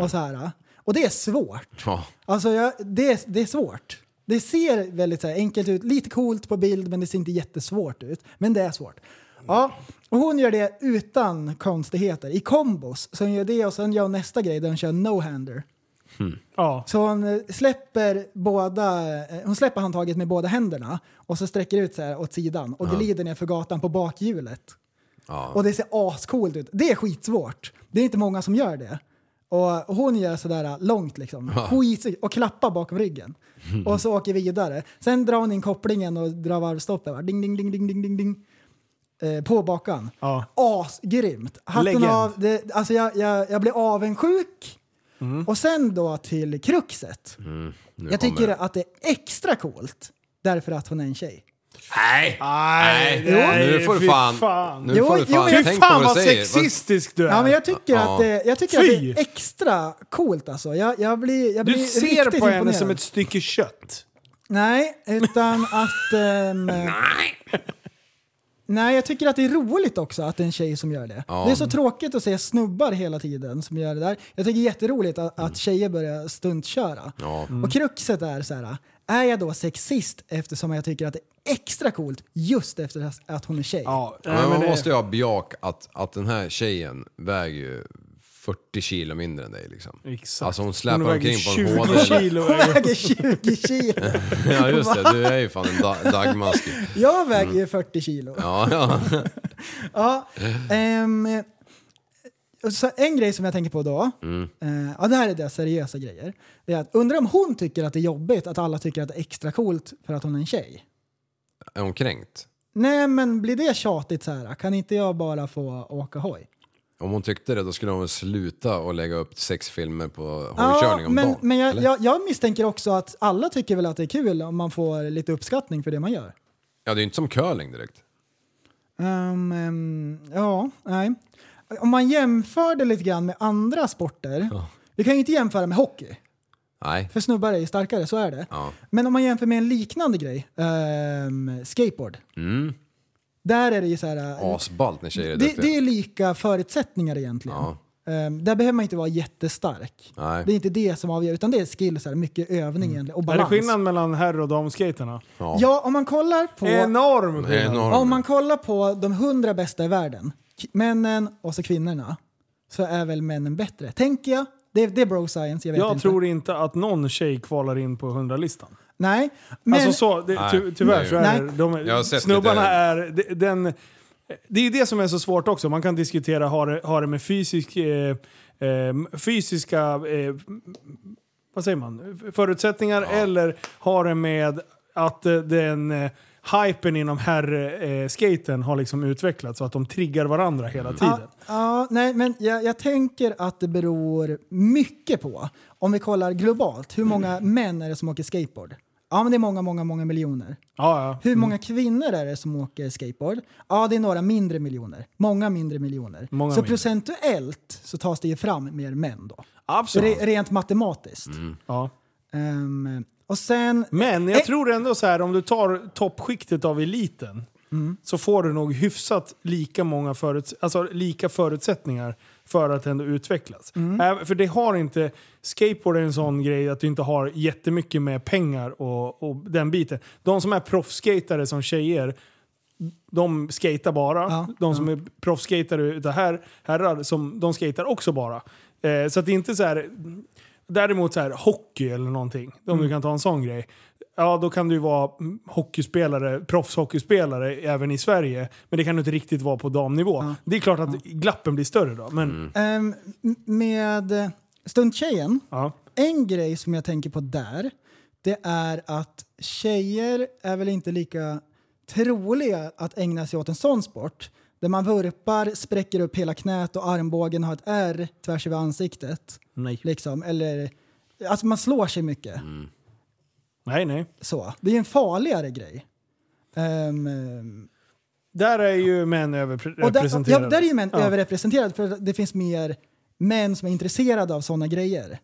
C: Och så här. Och det är svårt.
D: Ja.
C: Alltså jag, det, det är svårt. Det ser väldigt så här, enkelt ut, lite coolt på bild men det ser inte jättesvårt ut. Men det är svårt. Ja, och hon gör det utan konstigheter, i kombos. Så hon gör det och sen gör hon nästa grej där hon kör no-hander.
B: Ja.
C: Så hon eh, släpper, båda, eh, hon släpper handtaget med båda händerna och så sträcker ut så här åt sidan och glider ner för gatan på bakhjulet. Och det ser ascoolt ut. Det är skitsvårt. Det är inte många som gör det. Och och hon gör sådär långt liksom. Skitsnyggt. Och klappar bakom ryggen. Och så åker vi vidare. Sen drar hon in kopplingen och drar varvstoppet. va? Ding, ding, ding, ding, ding, ding, ding. Eh, på bakan.
B: Ja.
C: Asgrymt! Hatten
B: Legend.
C: av. Det, alltså jag, jag, jag blev avundsjuk.
B: Mm.
C: Och sen då till kruxet. jag tycker
D: det.
C: att det är extra coolt därför att hon är en tjej.
D: Nej!
B: Nej, nej,
D: nu får
B: fy
D: du fan...
B: fan.
D: Nu
C: Jo,
D: får du
C: jo,
D: fan...
C: men-
B: Fy
D: tänk på
B: fan
D: vad
B: vad
D: du säger.
B: sexistisk du är!
C: Ja, men jag tycker,
D: Ja.
C: att, det, jag tycker att det
B: Fy!
C: är extra coolt alltså. Jag, jag blir, jag blir
B: du ser
C: riktigt
B: på henne
C: imponerad.
B: som ett stycke kött.
D: *laughs*
C: Nej, utan att... ehm, Nej, jag tycker att det är roligt också att det är en tjej som gör det.
D: Ja.
C: Det är så tråkigt att se snubbar hela tiden som gör det där. Jag tycker det är jätteroligt att, att tjejer börjar stuntköra.
D: Mm. Ja.
C: Och kruxet är så här, är jag då sexist eftersom jag tycker att det är extra coolt just efter att hon är tjej?
B: Ja, nej,
D: Men
B: men
D: man
B: det-
D: måste ju ha bejak att, att den här tjejen väger ju 40 kilo mindre än dig liksom.
B: Exakt.
D: Alltså hon
B: Hon
D: släpar
B: väger
D: omkring på
B: 20
D: en HD.
C: *laughs*
B: kilo.
C: Hon väger 20 kilo.
D: *laughs* Ja just det, du är ju fan en
B: *laughs*
D: da- dagmask.
C: Jag väger ju 40 kilo.
D: Ja, ja.
C: Ja, ehm, så en grej som jag tänker på då, eh, ja, det här är deras seriösa grejer. Det är att, undrar om hon tycker att det är jobbigt att alla tycker att det är extra coolt för att hon är en tjej?
D: Är hon kränkt?
C: Nej men blir det tjatigt så här? kan inte jag bara få åka hoj?
D: Om hon tyckte det då skulle hon väl sluta och lägga upp sex filmer på hojkörning om
C: men,
D: dagen?
C: men jag,
D: eller?
C: jag, jag misstänker också att alla tycker väl att det är kul om man får lite uppskattning för det man gör.
D: Ja det är ju inte som curling direkt.
C: Ehm, ehm, ja, nej. Om man jämför det lite grann med andra sporter, vi kan ju inte jämföra med hockey.
D: Nej.
C: För snubbar är ju starkare, så är det.
D: Ja.
C: Men om man jämför med en liknande grej, ehm, skateboard.
B: Mm.
C: Där är det ju så här... eh,
D: Asballt när tjejer är
C: det,
D: duktiga.
C: det är lika förutsättningar egentligen.
D: Ja.
C: Ehm, där behöver man inte vara jättestark.
D: Nej.
C: Det är inte det som avgör, utan det är skill, så här, mycket övning egentligen, och
B: Mm. Är det
C: balans.
B: skillnad mellan herr och damskaterna?
C: Ja, om man kollar på...
B: Enorm
D: Det är
B: skillnad.
D: enormt.
C: Om man kollar på de hundra bästa i världen, k- männen och så kvinnorna, så är väl männen bättre, tänker jag. Det, det är bro science, jag vet
B: Jag
C: inte.
B: tror inte att någon tjej kvalar in på 100-listan.
C: Nej, men...
B: alltså så, det,
D: Nej.
B: ty, tyvärr så är
C: Nej.
B: det. De,
D: Jag har sett
B: snubbarna är...
D: lite-
B: de- Den, det är det som är så svårt också. Man kan diskutera, har det, har det med fysisk, eh, eh, fysiska... Eh, vad säger man? Förutsättningar eller har det med att eh, den... Eh, Hypen inom herrskaten har liksom utvecklats så att de triggar varandra hela
D: Mm.
B: tiden.
C: Ja, nej, men jag, jag tänker att det beror mycket på, om vi kollar globalt, hur många
B: Mm.
C: män är det som åker skateboard? Ja, men det är många, många, många miljoner.
B: Ja, ja.
C: Hur många kvinnor är det som åker skateboard? Ja, det är några mindre miljoner. Många mindre miljoner.
B: Många
C: så
B: mindre.
C: procentuellt så tas det ju fram mer män då.
B: Absolut.
C: Re, rent matematiskt.
B: Ja.
C: Ehm, och sen...
B: Mm. Men jag
C: Eh.
B: tror ändå så här, om du tar toppskiktet av eliten så får du nog hyfsat lika, många föruts- alltså, lika förutsättningar för att ändå utvecklas.
C: Mm.
B: Äh, för det har inte, skateboard är en sån grej att du inte har jättemycket med pengar och, och den biten. De som är proffsskatare som tjejer, de skater bara.
C: Ja.
B: De som är proffsskatare utav här, herrar, som, de skater också bara. Eh, så att det är inte så här... Däremot så här, hockey eller någonting, om
C: Mm.
B: du kan ta en sån grej. Ja, då kan du ju vara mm, hockeyspelare, proffshockeyspelare även i Sverige. Men det kan du inte riktigt vara på damnivå. Det är klart att glappen blir större då. Men,
C: ehm, m- med eh, stunttjejen,
B: ja.
C: En grej som jag tänker på där, det är att tjejer är väl inte lika troliga att ägna sig åt en sån sport. Där man vurpar, spräcker upp hela knät och armbågen har ett R tvärs över ansiktet.
B: Nej.
C: Liksom. Eller, alltså man slår sig mycket.
B: Nej, nej.
C: Så. Det är en farligare grej. Ehm, ehm,
B: Där är ju män
C: och där,
B: överrepresenterade.
C: ja, där är ju män
B: Ja.
C: överrepresenterade för det finns mer män som är intresserade av sådana grejer.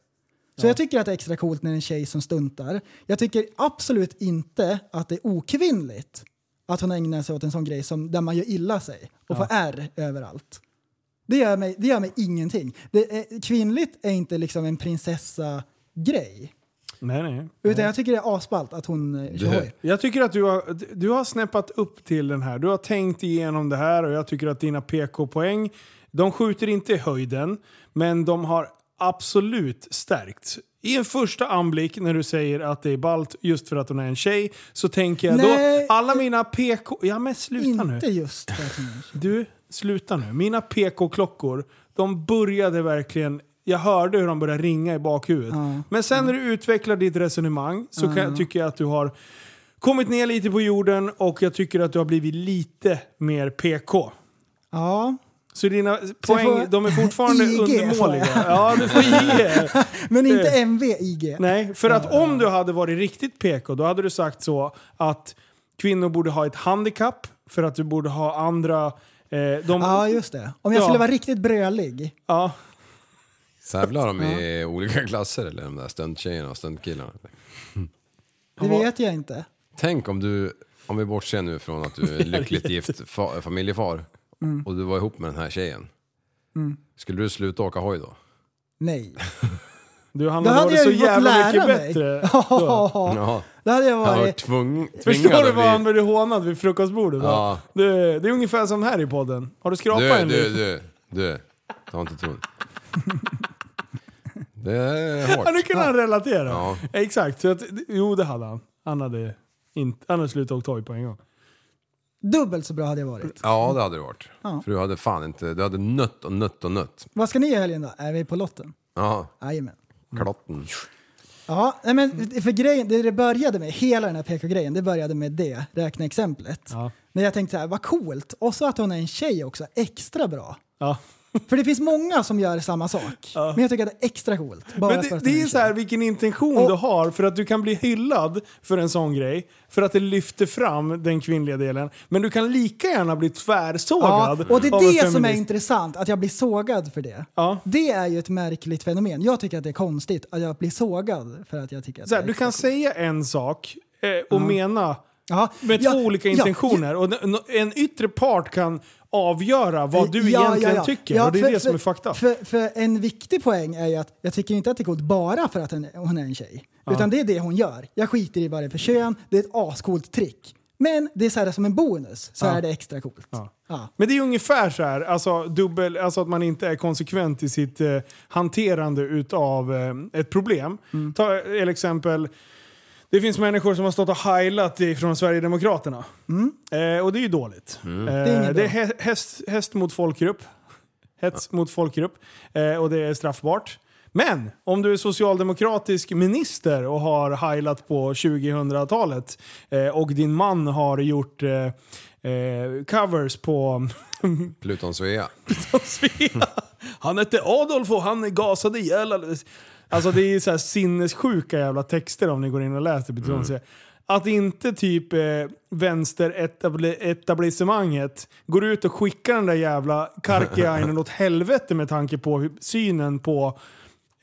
C: Så jag tycker att det är extra coolt när det är en tjej som stuntar. Jag tycker absolut inte att det är okvinnligt att hon ägnar sig åt en sån grej som, där man gör illa sig och får R överallt. Det gör mig, det gör mig ingenting. Det är, kvinnligt är inte liksom en prinsessa-grej.
B: Nej, nej.
C: Utan jag tycker det är asballt att hon eh, kör hoj.
B: Jag tycker att du har, du har snäppat upp till den här. Du har tänkt igenom det här och jag tycker att dina PK-poäng, de skjuter inte i höjden, men de har absolut stärkts. I en första anblick när du säger att det är balt just för att hon är en tjej, så tänker jag
C: Nej.
B: då, alla mina PK... Ja men sluta nu.
C: Inte just för att hon är
B: *laughs*
C: en tjej.
B: Du, sluta nu. Mina PK-klockor, de började verkligen... Jag hörde hur de började ringa i bakhuvudet. Men sen när du utvecklar ditt resonemang så kan, tycker jag att du har kommit ner lite på jorden och jag tycker att du har blivit lite mer PK.
C: Ja,
B: Så dina poäng,
C: får-
B: de är fortfarande
C: IG får jag.
B: undermåliga. Ja, du får IG.
C: men inte
B: Eh.
C: MVIG.
B: *laughs* Nej, för att om du hade varit riktigt PK, då hade du sagt så att kvinnor borde ha ett handikapp för att du borde ha andra... Eh, de,
C: Ah, Ja, just det. Om jag
B: Ja.
C: skulle vara riktigt brölig.
B: ja.
D: Tävlar de i olika *laughs* klasser eller de där stunttjejerna och stuntkillarna?
C: Det vet jag inte.
D: Tänk om du Om vi bortser nu från att
C: *laughs*
D: du är lyckligt gift fa- familjefar
C: Mm.
D: och du var ihop med den här tjejen. Skulle du sluta åka hoj då?
C: Nej.
B: Du han
C: Då
B: hade
C: hade
B: varit
C: jag
B: så
C: ju fått
B: jävla mycket
C: lära mig.
B: bättre. då.
C: Ja. *laughs* Då hade jag
D: Jag har
C: varit...
D: tvung,
B: Förstår
D: tvingad
B: du
D: att
B: vad han
D: bli...
B: blev hånad vid frukostbordet?
D: Ja.
B: Ja. Det, det är ungefär som här i podden. Har du skrapat
D: Du,
B: en
D: du,
B: du,
D: du, du. Ta inte ton. *laughs* Det är
B: Ja, nu
D: hårt.
B: kunde han relatera.
D: Ja.
B: Exakt. Så att, jo, det hade han. Han hade, inte, han hade slutat åka tåg på en gång.
C: Dubbelt så bra hade jag varit.
D: Ja, det hade det varit.
C: Ja.
D: För du hade fan inte... Du hade nött och nött och nött.
C: Vad ska ni göra i helgen då? Är vi på lotten?
D: Ja,
C: Jajamän.
B: Mm.
D: klotten.
C: Ja, nej men för grejen, det det började med, hela den här PK-grejen, det började med det räkneexemplet.
B: Ja.
C: Men jag tänkte så här, vad coolt! Och så att hon är en tjej också, extra bra.
B: Ja.
C: För det finns många som gör samma sak. Men jag tycker att det är extra coolt. Bara
B: Men
C: för
B: det,
C: att hon
B: det är
C: en
B: så
C: tjej.
B: här vilken intention
C: Och-
B: du har för att du kan bli hyllad för en sån grej. För att det lyfter fram den kvinnliga delen. Men du kan lika gärna bli tvärsågad
C: Ja, och det
B: av en
C: är det som är
B: feminist.
C: intressant, att jag blir sågad för det.
B: Ja.
C: Det är ju ett märkligt fenomen. Jag tycker att det är konstigt att jag blir sågad för att jag tycker att
B: Så här,
C: det är
B: du kan
C: extra coolt.
B: säga en sak eh, och mena
C: Ja,
B: med
C: ja,
B: två olika
C: ja,
B: intentioner. Och n- n- en yttre part kan avgöra vad du egentligen tycker. och det är
C: för-
B: det som
C: för-
B: är fakta.
C: För, för en viktig poäng är ju att jag tycker inte att det är coolt bara för att hon är- hon är en tjej. Utan det är det hon gör. Jag skiter i vad det är för kön, det är ett ascoolt trick. Men det är så här som en bonus, så är det extra coolt. Ja.
B: Men det är ungefär så här, alltså, dubbel, alltså att man inte är konsekvent i sitt eh, hanterande utav eh, ett problem.
C: Mm.
B: Ta eh, till exempel, det finns människor som har stått och heilat ifrån Sverigedemokraterna. Eh, och det är ju dåligt. Eh, det
C: Mm. är
B: är,
C: inget bra.
B: hä- häst, häst mot folkgrupp. Hets mot folkgrupp. Eh, och det är straffbart. Men om du är socialdemokratisk minister och har heilat på 2000-talet eh, och din man har gjort eh, eh, covers på
D: Pluton Svea.
B: Svea. Han hette Adolf och han gasade ihjäl alla- Alltså det är så här sinnessjuka jävla texter om ni går in och läser på mm. Att inte typ eh, vänsteretablissemanget går ut och skickar den där jävla Karkiainen åt helvete med tanke på hur, synen på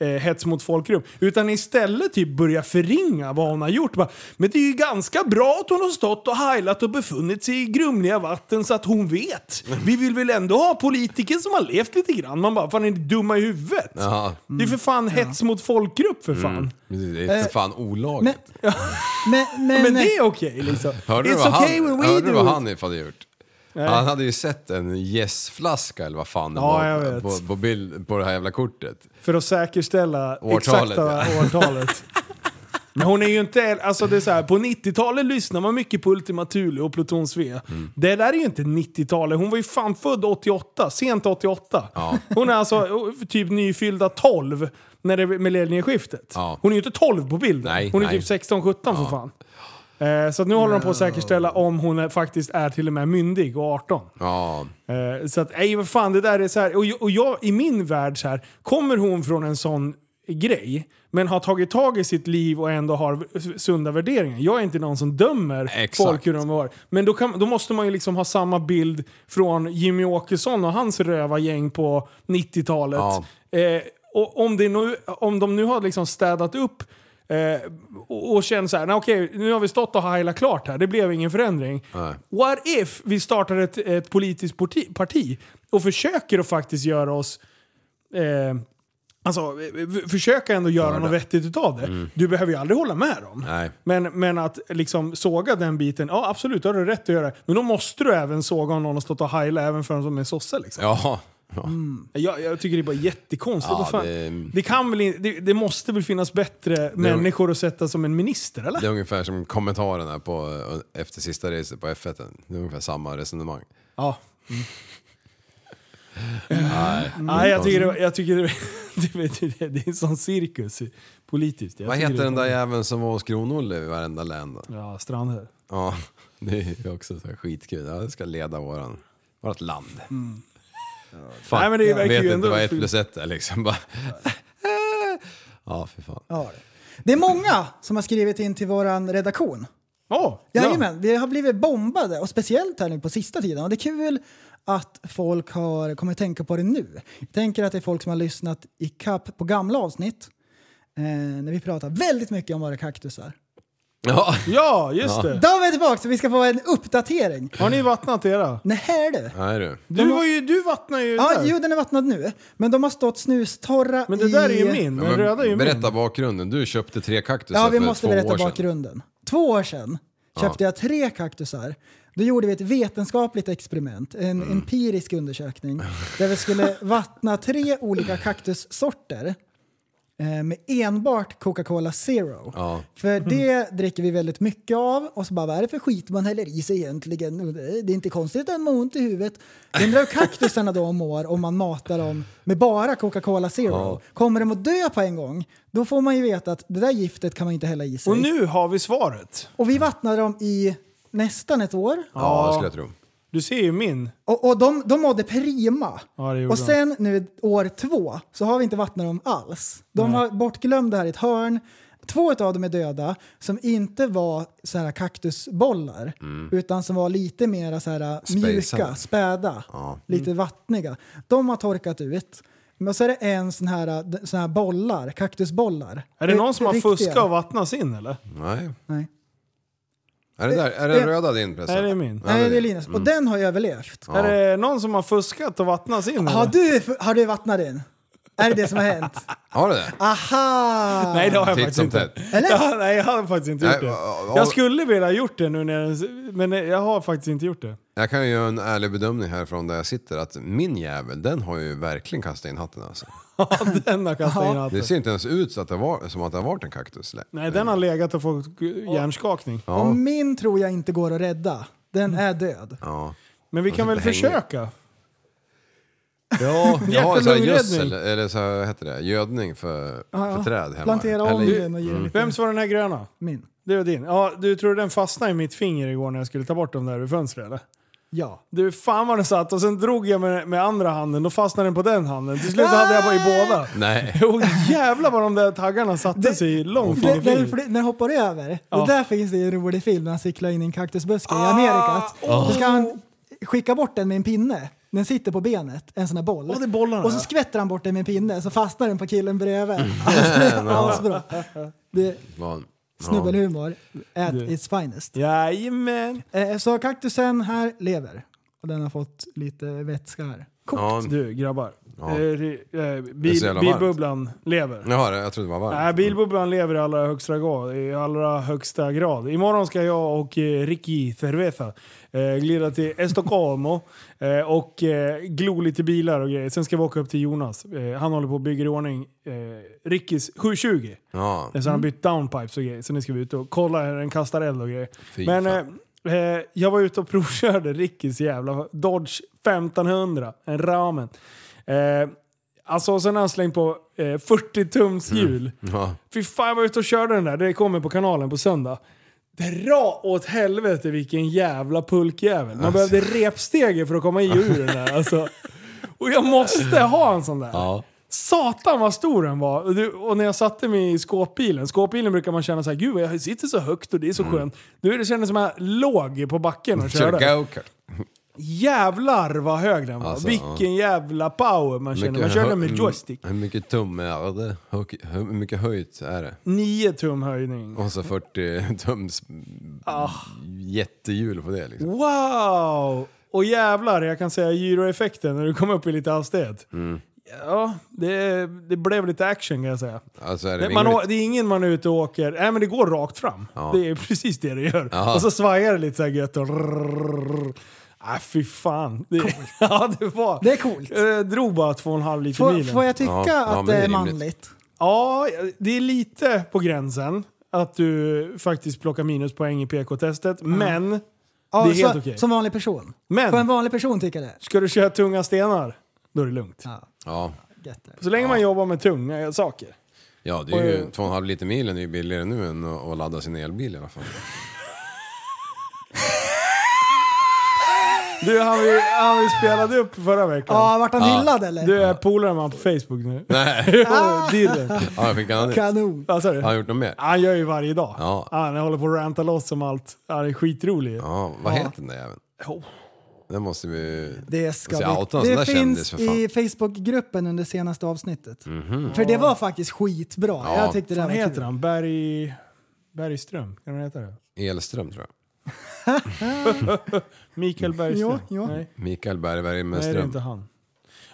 B: eh, hets mot folkgrupp. Utan istället typ börja förringa vad hon har gjort. Bara, men det är ju ganska bra att hon har stått och heilat och befunnit sig i grumliga vatten så att hon vet. Vi vill väl ändå ha politiker som har levt lite grann. Man bara, fan är ni dumma i huvudet?
D: Ja. Mm.
B: Det är för fan hets mot folkgrupp för fan.
D: Men Det
B: Eh,
D: är för fan
C: Men,
D: olagligt.
C: men, men,
B: Men det är okej liksom.
D: Hörde du
B: It's
D: vad han,
B: okay when we
D: hörde du vad
B: do
D: han hade gjort? Han hade ju sett en gässflaska eller vad fan det
B: Ja, jag
D: var
B: vet.
D: på, på, bild, på det här jävla kortet.
B: För att säkerställa
D: Årtalet,
B: exakta
D: *laughs*
B: årtalet. Men hon är ju inte, alltså det är så här, på 90-talet lyssnar man mycket på Ultima Thule och Pluton Svea.
D: Mm.
B: Det där är ju inte 90-talet, hon var ju fan född 88, sent 88. Hon är alltså eh, typ nyfyllda 12 när det är millennieskiftet.
D: Ja.
B: Hon är ju inte 12 på bilden,
D: Nej,
B: hon är
D: nej.
B: typ 16-17 för fan. Eh, så att nu håller de på att säkerställa om hon är, faktiskt är till och med myndig och 18.
D: Ja,
B: Eh, Så att, nej vad fan, det där är så här. Och jag, och jag i min värld så här, kommer hon från en sån grej, men har tagit tag i sitt liv och ändå har v- sunda värderingar. Jag är inte någon som dömer
D: Exakt.
B: folk hur de var. Men då, kan, då måste man ju liksom ha samma bild från Jimmy Åkesson och hans rövargäng på 90-talet.
D: Ja.
B: Eh, och om, det nu, om de nu har liksom städat upp eh, och, och känner så här, "Nej, okej, nu har vi stått och heilat klart här, det blev ingen förändring.
D: Nej.
B: What if vi startar ett, ett politiskt parti, parti och försöker att faktiskt göra oss eh, Alltså, eh, v- försöka ändå göra
D: Hörda.
B: något vettigt utav det. Du behöver ju aldrig hålla med dem.
D: Mm. nej.
B: Men, men att liksom såga den biten, ja absolut, då har du rätt att göra. Men då måste du även såga om någon har stått och heilat även för en som är sosse. Liksom.
D: Ja.
B: Jag, jag tycker det är bara jättekonstigt.
D: Ja,
B: Vad fan,
D: det-
B: det... kan väl in, det, det måste väl finnas bättre människor att sätta som en minister, eller?
D: Det är ungefär som kommentarerna på, eh, efter sista racet på F1. Det är ungefär samma resonemang.
B: Ja.
D: Nej.
B: Nej, jag tycker, det, var- jag tycker det, *laughs* det, det, det, det är en sån cirkus politiskt. Jag
D: Vad
B: tycker
D: heter
B: det-
D: den där jäveln som var hos Kron-Olle i varenda län då?
B: Ja, Strandhäll.
D: Ja, *laughs* det är ju också så här skitkul. Ja, det ska leda våran, vårt land. Fan,
B: Mm. Nej, men det
D: jag
B: verkar
D: vet
B: ju
D: inte
B: ändå
D: vad ett
B: fint.
D: plus ett är liksom. Bara. *laughs* ja, fy fan.
C: Ja. Det är många som har skrivit in till vår redaktion.
B: Oh,
C: Jajamän, vi har blivit bombade och speciellt här nu på sista tiden. Och det är kul att folk har kommit att tänka på det nu. Jag tänker att det är folk som har lyssnat i kapp på gamla avsnitt eh, när vi pratar väldigt mycket om våra kaktusar.
D: Ja.
B: Ja, just det.
C: Då är vi tillbaka så vi ska få en uppdatering.
B: Har ni vattnat era?
C: Nähä du.
D: Nej du.
B: Du, var ju, du vattnade ju
C: Ja,
B: där.
C: jo den är vattnad nu. Men de har stått snustorra
B: Men det där är ju
C: i-
B: min. Den
D: Men
B: röda är ju min.
D: berätta bakgrunden. Du köpte tre kaktusar
C: Ja, vi
D: för
C: måste
D: två
C: berätta
D: år sedan.
C: bakgrunden. Två år sedan köpte jag tre kaktusar. Då gjorde vi ett vetenskapligt experiment, en
D: Mm.
C: empirisk undersökning, där vi skulle vattna tre olika kaktussorter eh, med enbart Coca-Cola Zero.
D: Ja.
C: För det dricker vi väldigt mycket av och så bara vad är det för skit man häller i sig egentligen? Och Det det är inte konstigt att den mår ont i huvudet. Undrar hur kaktusarna då mår om man matar dem med bara Coca-Cola Zero. Kommer de att dö på en gång? Då får man ju veta att det där giftet kan man inte hälla i sig.
B: Och nu har vi svaret.
C: Och vi vattnade dem i nästan ett år.
D: Ja, det skulle jag tro.
B: Du ser ju min.
C: Och, och de, de mådde prima.
B: Ja, det gjorde
C: och sen nu år två så har vi inte vattnat dem alls. De var bortglömda här i ett hörn. Två av dem är döda som inte var så här kaktusbollar utan som var lite mer så här äh, mjuka,
D: Mm. Spacade. Mm.
C: späda, lite vattniga. De har torkat ut. Men så är det en sån här, äh, sån här bollar, kaktusbollar.
B: Är det någon som har
C: Riktiga.
B: fuskat och vattnat sin eller?
D: Nej.
C: Nej.
D: Är det där? Är den röda din present?
B: Nej, det är min.
D: Ja,
C: Nej,
D: det- Mm.
C: det är Linus. Och den har ju överlevt.
D: Ja.
B: Är det någon som har fuskat och vattnat sin
C: Har
B: eller?
C: du, har du vattnat din? Är det det som har hänt?
D: Har du det?
C: Aha!
B: Nej, det har jag
D: Titt
B: faktiskt
D: som
B: inte.
D: tätt.
C: Eller?
B: Ja, *laughs* nej, jag har faktiskt inte
D: Nej,
B: gjort det.
D: av-
B: Jag skulle vilja ha gjort det nu när jag, men jag har faktiskt inte
C: *laughs*
B: gjort det.
D: Jag kan ju göra en ärlig bedömning härifrån där jag sitter att min jävel, den har ju verkligen kastat in hatten alltså.
B: Ja, den har kastat in
D: Det
B: hatten.
D: ser inte ens ut så att det var, som att det har varit en kaktus. lä-
B: Nej, den har legat och fått hjärnskakning.
C: Och min tror jag inte går att rädda. Den
B: Mm.
C: är död.
D: Ja.
B: Men vi kan väl
D: hänger.
B: försöka?
D: Ja, jag har så här
B: lungräddning.
D: gödsel, eller så här heter det, gödning för, för träd hemma.
C: Plantera om
D: eller,
C: den och ge den lite
B: Vems var den här gröna?
C: min.
B: Det var din. Ja, du tror den fastnade i mitt finger igår när jag skulle ta bort dem där ur fönstret eller?
C: Ja.
B: Du, fan vad den satt. Och sen drog jag med, med andra handen, då fastnade den på den handen. Till slut hade jag bara i båda.
D: Nej.
B: Jo, jävlar vad de där taggarna satte
C: Ah! Det-
B: sig långt in
C: Det,
B: i
C: det,
B: fingret.
C: för det, när jag hoppar över,
B: Ja. Ah!
C: och där finns det ju en rolig film när han cyklar in i en kaktusbuske i Amerika.
B: åh.
C: Då ska han skicka bort den med en pinne. Den sitter på benet, en sån här boll.
B: Åh, det är bollarna.
C: och så skvätter han bort den med en pinne, så fastnar den på killen bredvid. Alltså, det är asbra. Det är
D: Van- Ja.
C: snubbelhumor at
B: Det-
C: its finest.
B: Jajamän.
C: Eh, Så kaktusen här lever. Och den har fått lite vätska här.
D: Ja.
B: Du grabbar.
D: Ja.
B: Eh, eh,
D: Det är
B: bil,
D: så jävla varmt.
B: bilbubblan lever.
D: Jaha, det- jag trodde det var varmt.
B: Nej, bilbubblan lever i allra högsta grad. I allra högsta grad. Imorgon ska jag och eh, Ricky Cerveza eh, glida till Estocolmo *laughs* eh, och eh, glo lite bilar och grejer. Sen ska vi åka upp till Jonas. Eh, han håller på och bygger i ordning eh, Rickys 720.
D: Ja.
B: Så han har bytt downpipes och grejer. Så nu ska vi ut och kolla hur den kastar eld och grejer.
D: Fy
B: Men
D: fan.
B: eh, eh, jag var ute och provkörde Rickys jävla Dodge 1500. En ramen. Eh, alltså sen har han slängt på eh, 40 tums hjul.
D: Ja.
B: Fy fan jag var ute och körde den där. Det kommer på kanalen på söndag. Dra åt helvete vilken jävla pulkjävel. Man
D: Alltså.
B: behövde repstege för att komma i och ur den där.
D: *laughs*
B: Alltså. Och jag måste ha en sån där.
D: Ja.
B: Satan vad stor den var! Och, du, och när jag satte mig i skåpbilen, skåpbilen brukar man känna så här, gud vad jag sitter så högt och det är så
D: Mm.
B: skönt. Du det kändes som att jag låg på backen och
D: Kör
B: körde.
D: go-kart.
B: Jävlar vad hög den var!
D: Alltså,
B: Vilken jävla power man känner. Man körde med
D: hö- mm.
B: joystick.
D: Hur mycket tum är det? Hur, hur mycket höjt är det?
B: 9 tum höjning. Ah,
D: Och så 40 *laughs* tums jättehjul på det liksom.
B: Wow! Och jävlar, jag kan säga gyroeffekten när du kom upp i lite hastighet.
D: Mm.
B: Ja, det, det blev lite action kan jag säga.
D: Alltså är det
B: Det, man, å-
D: rimligt?
B: det är ingen man är ute och åker, nej men det går rakt fram. Det är precis det det gör.
D: Ja.
B: Och så svajar det lite så här gött och... Nej fy fan. Det, ja, det, var,
C: Det är coolt.
B: Jag drog bara två och en halv liter
C: Får,
B: milen.
C: får jag tycka
D: Ja, ja, men
C: att
D: det är
C: det är
D: rimligt.
C: manligt?
B: Ja, det är lite på gränsen att du faktiskt plockar minuspoäng i PK-testet. Men,
C: Ja,
B: Det är helt
C: så,
B: okej.
C: Som vanlig person?
B: men
C: Får en vanlig person tycka det?
B: Ska du köra tunga stenar, då är det lugnt.
D: Ja.
C: Gött det.
B: Så länge man jobbar med tunga saker.
D: ja, det är ju två och en halv liter milen är ju billigare nu än att att ladda sin elbil i alla fall.
B: Du, han vi, han vi spelade upp förra veckan.
C: Ja, vart han hyllad eller?
B: Du är polare med han på Facebook nu.
D: Nej,
B: Dirren.
D: ja, jag fick en annan.
C: Kanon!
B: Vad sa du?
D: Har han gjort något mer?
B: Han gör ju varje dag.
D: Ja.
B: Han håller på att ranta loss om allt. Han är skitrolig ju.
D: Ja, vad heter den där jäveln?
B: Oh.
D: Den måste vi...
C: Det ska
D: Alltså,
C: vi.
D: outa en sån där
C: Det
D: kändis,
C: finns
D: för fan. Mhm.
C: i Facebookgruppen under senaste avsnittet. För det var faktiskt skitbra.
D: Ja.
C: Jag tyckte det
B: Vad
C: var
B: heter
C: kul.
B: han? Berg... Bergström, kan han heta det?
D: Elström tror jag.
B: Mikael
D: Mm.
B: Bergström?
C: Ja, ja.
B: Nej,
D: Mikael Bergberg
B: nej
D: med
B: det är
D: ström.
B: inte han.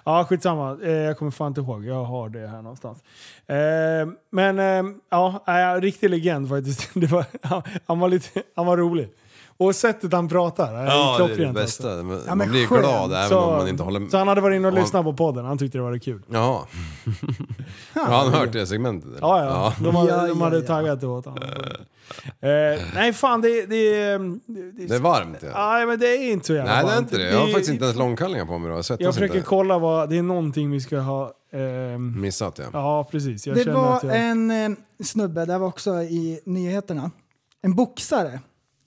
B: Ja, skitsamma. Eh, jag kommer fan inte ihåg. Jag har det här någonstans. Eh, men eh, ja, eh, riktig legend faktiskt. *laughs* Det var, han, han, var lite, han var rolig. Och sättet han pratar. eh,
D: Ja, det är det
B: klockrent
D: bästa.
B: alltså.
D: Man,
C: Ja, men
D: man blir ju
C: skönt.
D: glad även
B: Så-
D: om man inte håller med.
B: Så han hade varit inne och
D: Om-
B: lyssnat på podden. Han tyckte det var kul. *laughs*
D: Ja. ja, han har hört det segmentet? eller?
B: Ja, ja. De hade,
C: Ja,
B: de
C: ja,
B: hade
C: ja.
B: taggat det åt honom. Eh, nej, fan det, det, det,
D: Det är varmt. Ja.
B: Nej, men det är inte så jävla
D: Nej, det är
B: varmt.
D: inte det. Jag har faktiskt inte ens långkallingar på mig idag. Jag svettas
B: Jag försöker
D: inte.
B: kolla vad... Det är någonting vi ska ha... ehm,
D: Missat ja.
B: ja, precis. Jag
C: Det
B: känner att
C: var
B: jag...
C: en eh, snubbe, det var också i nyheterna, en boxare.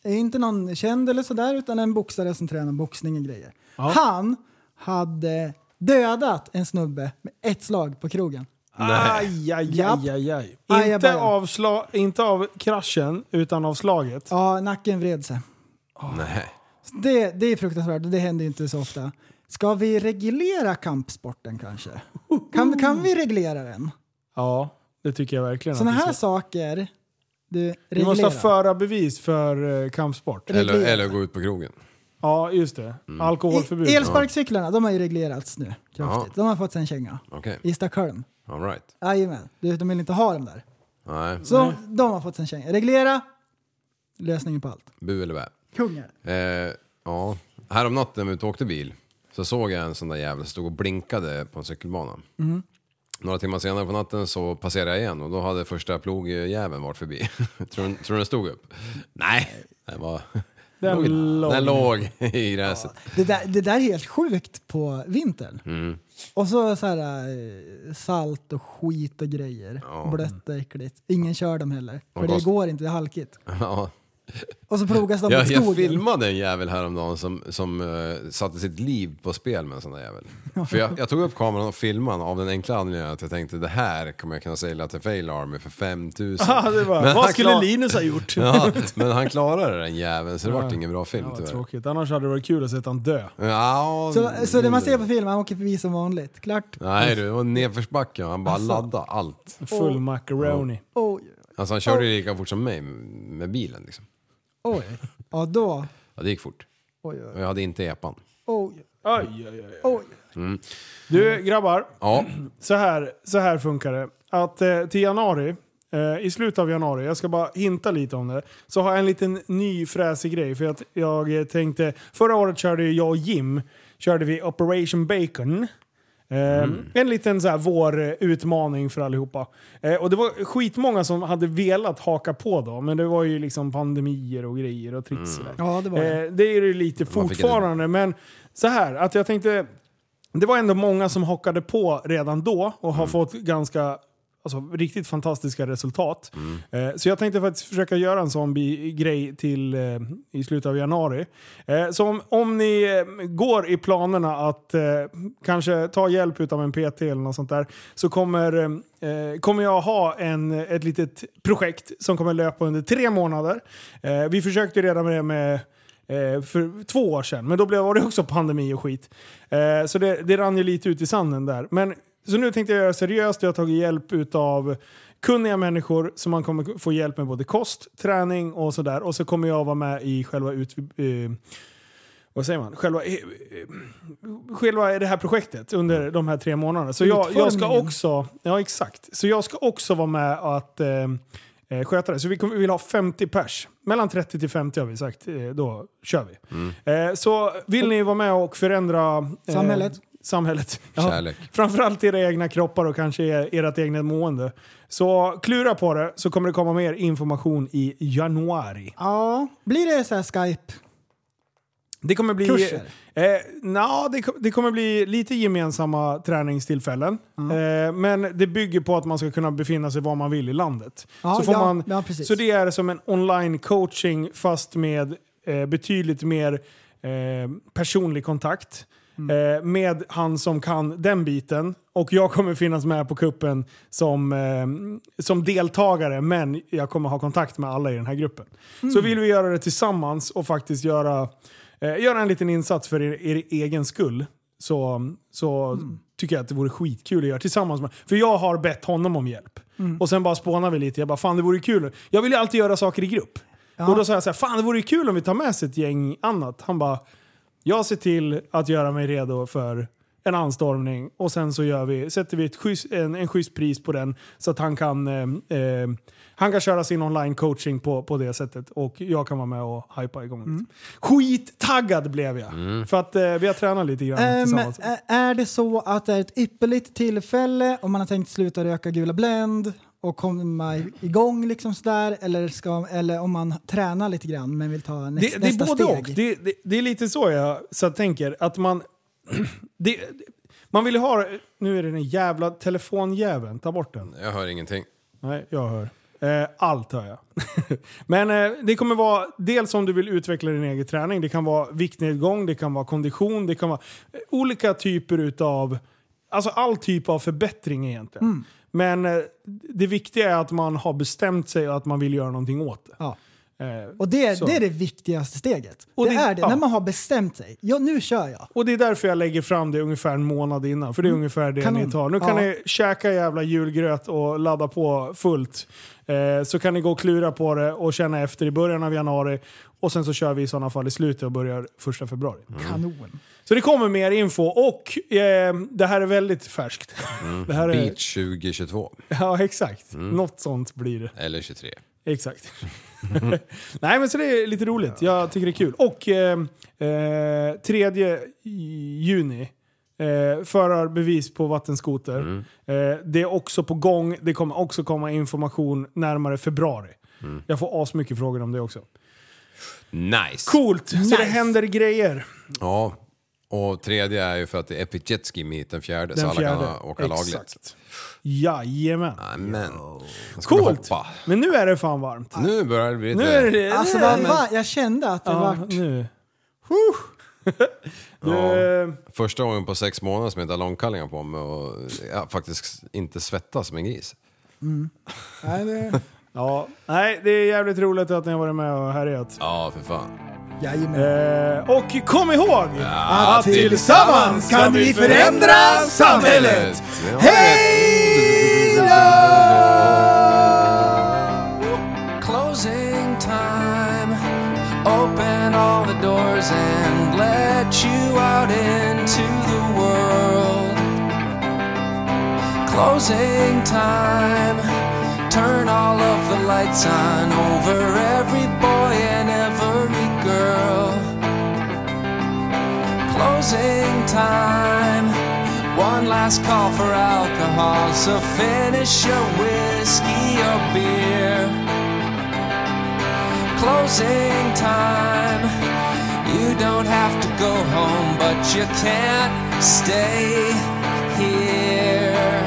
C: Det är inte någon känd eller sådär utan en boxare som tränar boxning och grejer. Han hade dödat en snubbe med ett slag på krogen.
B: Aj, aj,
C: Japp.
B: aj, aj, aj.
C: Aj, aj, aj.
B: Inte, av sla, inte av kraschen, utan av slaget.
C: Ja, nacken vred sig.
D: Nej.
C: Så Det, det är fruktansvärt och det händer ju inte så ofta. Ska vi reglera kampsporten kanske? Kan, kan vi reglera den?
B: Ja, det tycker jag verkligen.
C: Sådana
B: att vi
C: här
B: ska.
C: saker, du,
B: Vi måste ha
C: reglera.
B: föra bevis för eh, kampsport.
C: Reglera.
D: Eller, eller gå ut på krogen.
B: Ja, just det.
D: Mm.
B: Alkoholförbud.
C: E- Elsparkcyklarna, de har ju reglerats nu kraftigt.
D: Ja.
C: De har fått sig en känga.
D: Okej,
C: I Stockholm.
D: all right.
C: Jajamän. Du, De vill inte ha dem där.
D: Nej,
C: Så de, de har fått sig en känga. Reglera. Lösningen på allt.
D: bu eller bä.
C: Kungar.
D: Eh, ja, häromnatten när vi ute och åkte bil så såg jag en sån där jävel som stod och blinkade på en cykelbana.
B: Mm.
D: Några timmar senare på natten så passerade jag igen och då hade första plogjäveln varit förbi. *laughs* tror, du- tror du den stod upp? Nej, den var...
B: *laughs* Den
D: låg,
B: låg.
D: den låg i gräset.
C: Det där, det där är helt sjukt på vintern.
D: Mm.
C: Och så, så här, eh, salt och skit och grejer. Blött och äckligt. Ingen kör dem heller. För
D: Och
C: det
D: kost-
C: går inte, det är halkigt.
D: Ja.
C: Och så plogas de på
D: Jag, jag
C: skogen.
D: filmade en jävel häromdagen som, som eh, satte sitt liv på spel med en sån
B: *laughs*
D: där jävel. För jag, jag tog upp kameran och filmade av den enkla anledningen att jag tänkte det här kommer jag kunna sälja till Fail Army för 5000.
B: *laughs* Ja, det var,
D: Men
B: vad
D: han
B: skulle
D: klar-
B: Linus ha gjort? *laughs*
D: Ja, men han klarade den jäveln så det vart
B: Ja.
D: ingen bra film
B: Ja, vad
D: tyvärr.
B: tråkigt. Annars hade det varit kul att se han dö.
D: Ja,
C: Så, så det man ser på film, han åker förbi som vanligt. Klart.
D: Nej du, det var nedförsbacke och han bara laddade allt.
B: Full macaroni.
C: Oj,
D: Alltså han körde ju lika fort som mig med bilen liksom.
C: oj. Ja, då.
D: Ja, det gick fort.
C: Oj, oj,
D: Och jag hade inte epan.
C: oj.
B: Aj, aj, aj.
C: oj.
B: Du grabbar,
D: Ja,
B: så här, så här funkar det. Att eh, till januari, eh, i slutet av januari, jag ska bara hinta lite om det, så har jag en liten ny fräsig grej. För att jag eh, tänkte, förra året körde ju jag och Jim, körde vi Operation Bacon. Eh, En liten så här vårutmaning för allihopa. Eh, och det var skitmånga som hade velat haka på då, men det var ju liksom pandemier och grejer och tricks. och där.
C: Ja, det var det.
B: Eh, det är det ju lite
D: Man fick
B: fortfarande, men så här att jag tänkte... Det var ändå många som hockade på redan då och
D: Mm.
B: har fått ganska Alltså riktigt fantastiska resultat.
D: Mm.
B: Eh, så jag tänkte faktiskt försöka göra en sån bi- grej till eh, i slutet av januari. Eh, så om, om ni eh, går i planerna att eh, kanske ta hjälp av en PT eller något sånt där så kommer, eh, kommer jag ha en, ett litet projekt som kommer löpa under tre månader. Eh, vi försökte ju redan med det med Eh, för två år sedan. Men då blev var det också pandemi och skit. Eh, så det, det rann ju lite ut i sanden där. Men, så nu tänkte jag göra seriöst. Jag har tagit hjälp av kunniga människor som man kommer få hjälp med både kost, träning och sådär. Och så kommer jag vara med i själva ut... Eh, vad säger man? Själva, eh, eh, själva det här projektet under de här tre månaderna. Så jag, jag ska
C: Utformningen.
B: också... Ja, exakt. Så jag ska också vara med att... Eh, eh, sköta det. Så vi, kommer, vi vill ha 50 pers. Mellan 30 till 50 har vi sagt. Eh, då kör vi. Eh, så vill ni vara med och förändra eh,
C: Samhället.
B: samhället. *laughs*
D: Kärlek.
B: Framförallt era egna kroppar och kanske er- ert egna mående. Så klura på det så kommer det komma mer information i januari.
C: Ja, blir det så här Skype?
B: Det kommer bli...
C: Kurser?
B: Eh, nja, det, ko- det kommer bli lite gemensamma träningstillfällen. Eh, men det bygger på att man ska kunna befinna sig var man vill i landet.
C: Ja,
B: så, får
C: ja,
B: man,
C: ja, precis.
B: så det är som en online coaching fast med eh, betydligt mer eh, personlig kontakt.
C: Mm.
B: Eh, med han som kan den biten. Och jag kommer finnas med på kuppen som, eh, som deltagare men jag kommer ha kontakt med alla i den här gruppen.
C: Mm.
B: Så vill vi göra det tillsammans och faktiskt göra, eh, göra en liten insats för er, er egen skull så, så tycker jag att det vore skitkul att göra tillsammans med För jag har bett honom om hjälp. Och sen bara spånar vi lite. Jag bara, fan det vore kul. Jag vill ju alltid göra saker i grupp. Och då sa jag så här, fan det vore ju kul om vi tar med oss ett gäng annat. Han bara, jag ser till att göra mig redo för en anstormning och sen så gör vi, sätter vi ett schysst, en, en schysst pris på den så att han kan, eh, eh, han kan köra sin online coaching på, på det sättet och jag kan vara med och hypa igång lite.
C: Mm.
B: Skittaggad blev jag! För att eh, vi har tränat lite grann
C: Ehm,
B: tillsammans.
C: ä- är det så att det är ett ypperligt tillfälle om man har tänkt sluta röka gula Blend och komma i- igång liksom sådär eller, ska, eller om man tränar lite grann men vill ta näst,
B: det, det är
C: nästa
B: både
C: steg?
B: och. Det, det, det är lite så jag så jag tänker. Att man... *clears throat* Det, det- man vill ju ha... Nu är det den jävla telefonjäveln. Ta bort den.
D: Jag hör ingenting.
B: Nej, jag hör. Eh, allt hör jag. *laughs* Men eh, det kommer vara dels om du vill utveckla din egen träning. Det kan vara viktnedgång, det kan vara kondition, det kan vara eh, olika typer utav... Alltså all typ av förbättring egentligen. Men eh, det viktiga är att man har bestämt sig och att man vill göra någonting åt det.
C: Ja.
B: Eh,
C: Och det,
B: Så.
C: det är det viktigaste steget.
B: Och
C: det,
B: det-
C: är det,
B: ja.
C: när man har bestämt sig. Ja, nu kör jag.
B: Och det är därför jag lägger fram det ungefär en månad innan. För det är ungefär det
C: Mm. Kanon.
B: ni tar. Nu kan
C: Ja.
B: ni käka jävla julgröt och ladda på fullt. Eh, så kan ni gå och klura på det och känna efter i början av januari. Och sen så kör vi i sådana fall i slutet och börjar första februari.
C: Mm. Kanon.
B: Så det kommer mer info och eh, det här är väldigt färskt. Det här är,
D: Beach 2022.
B: ja exakt. Något sånt blir det.
D: Eller 23.
B: Exakt. *laughs* Nej men så det är lite roligt. Jag tycker det är kul. Och eh, eh, 3 juni. Eh, förarbevis på vattenskoter.
D: Mm.
B: Eh, det är också på gång. Det kommer också komma information närmare februari.
D: Mm.
B: Jag får asmycket frågor om det också.
D: Nice!
B: Coolt! Så det händer grejer.
D: Ja. Och tredje är ju för att det är Epic Jet Ski Meet den fjärde, så
B: Den
D: alla
B: fjärde.
D: kan åka lagligt.
B: Exakt. Jajamän.
D: Amen. Nu ska vi
B: Coolt!
D: hoppa.
B: Men nu är det fan varmt.
D: Nu börjar det bli
B: Nu är
D: lite...
B: det...
C: Alltså vad, vad, jag kände att det
B: ja,
C: vart...
B: nu.
D: Ja.
B: Eh,
D: Första gången på sex månader som jag inte har långkallingar på mig och ja, faktiskt inte svettas som en gris.
C: Nej, det-
B: Ja, nej, det är jävligt roligt att ni har varit med och härjat.
D: Ja, för fan.
C: Jajamän.
B: Eh, och kom ihåg!
D: Att
B: tillsammans kan vi förändra
D: samhället! Hej
F: closing time. Open all the doors and let you out into the world. Closing time. Turn all of the lights on over every boy and every girl. Closing time. One last call for alcohol, so finish your whiskey or beer closing time. You don't have to go home, but you can't stay here.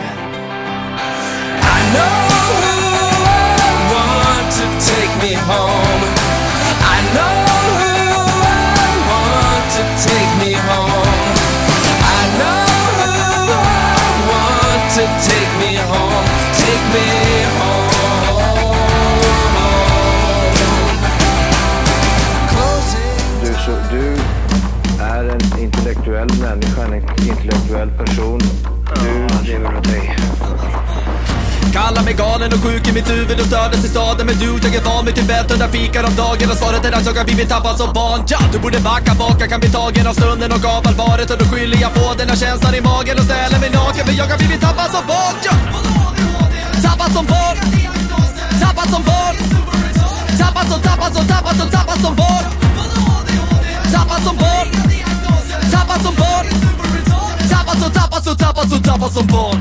F: I know who I want to take me home. I know who I want to take me home. I know who I want to take me home. Take me home. Closing.
G: Du, så, du är en intellektuell människa, en intellektuell person. Du lever av dig.
H: Kallar mig galen och sjuk i mitt huvud och stördes i staden Men du, jag är van vid Tibet och där fikar om dagen Och svaret är att jag har blivit tappad som barn ja, Du borde backa bak, jag kan bli tagen av stunden och av allvaret Och då skyller jag på den här känslan i magen och ställer mig naken För jag har blivit tappad som barn ja. Tappad som barn Tappad som barn Tappad som, tappad som, tappad som, tappad som barn Tappad som barn Tappad som barn Tappad som, tappad som, tappad som, tappad som barn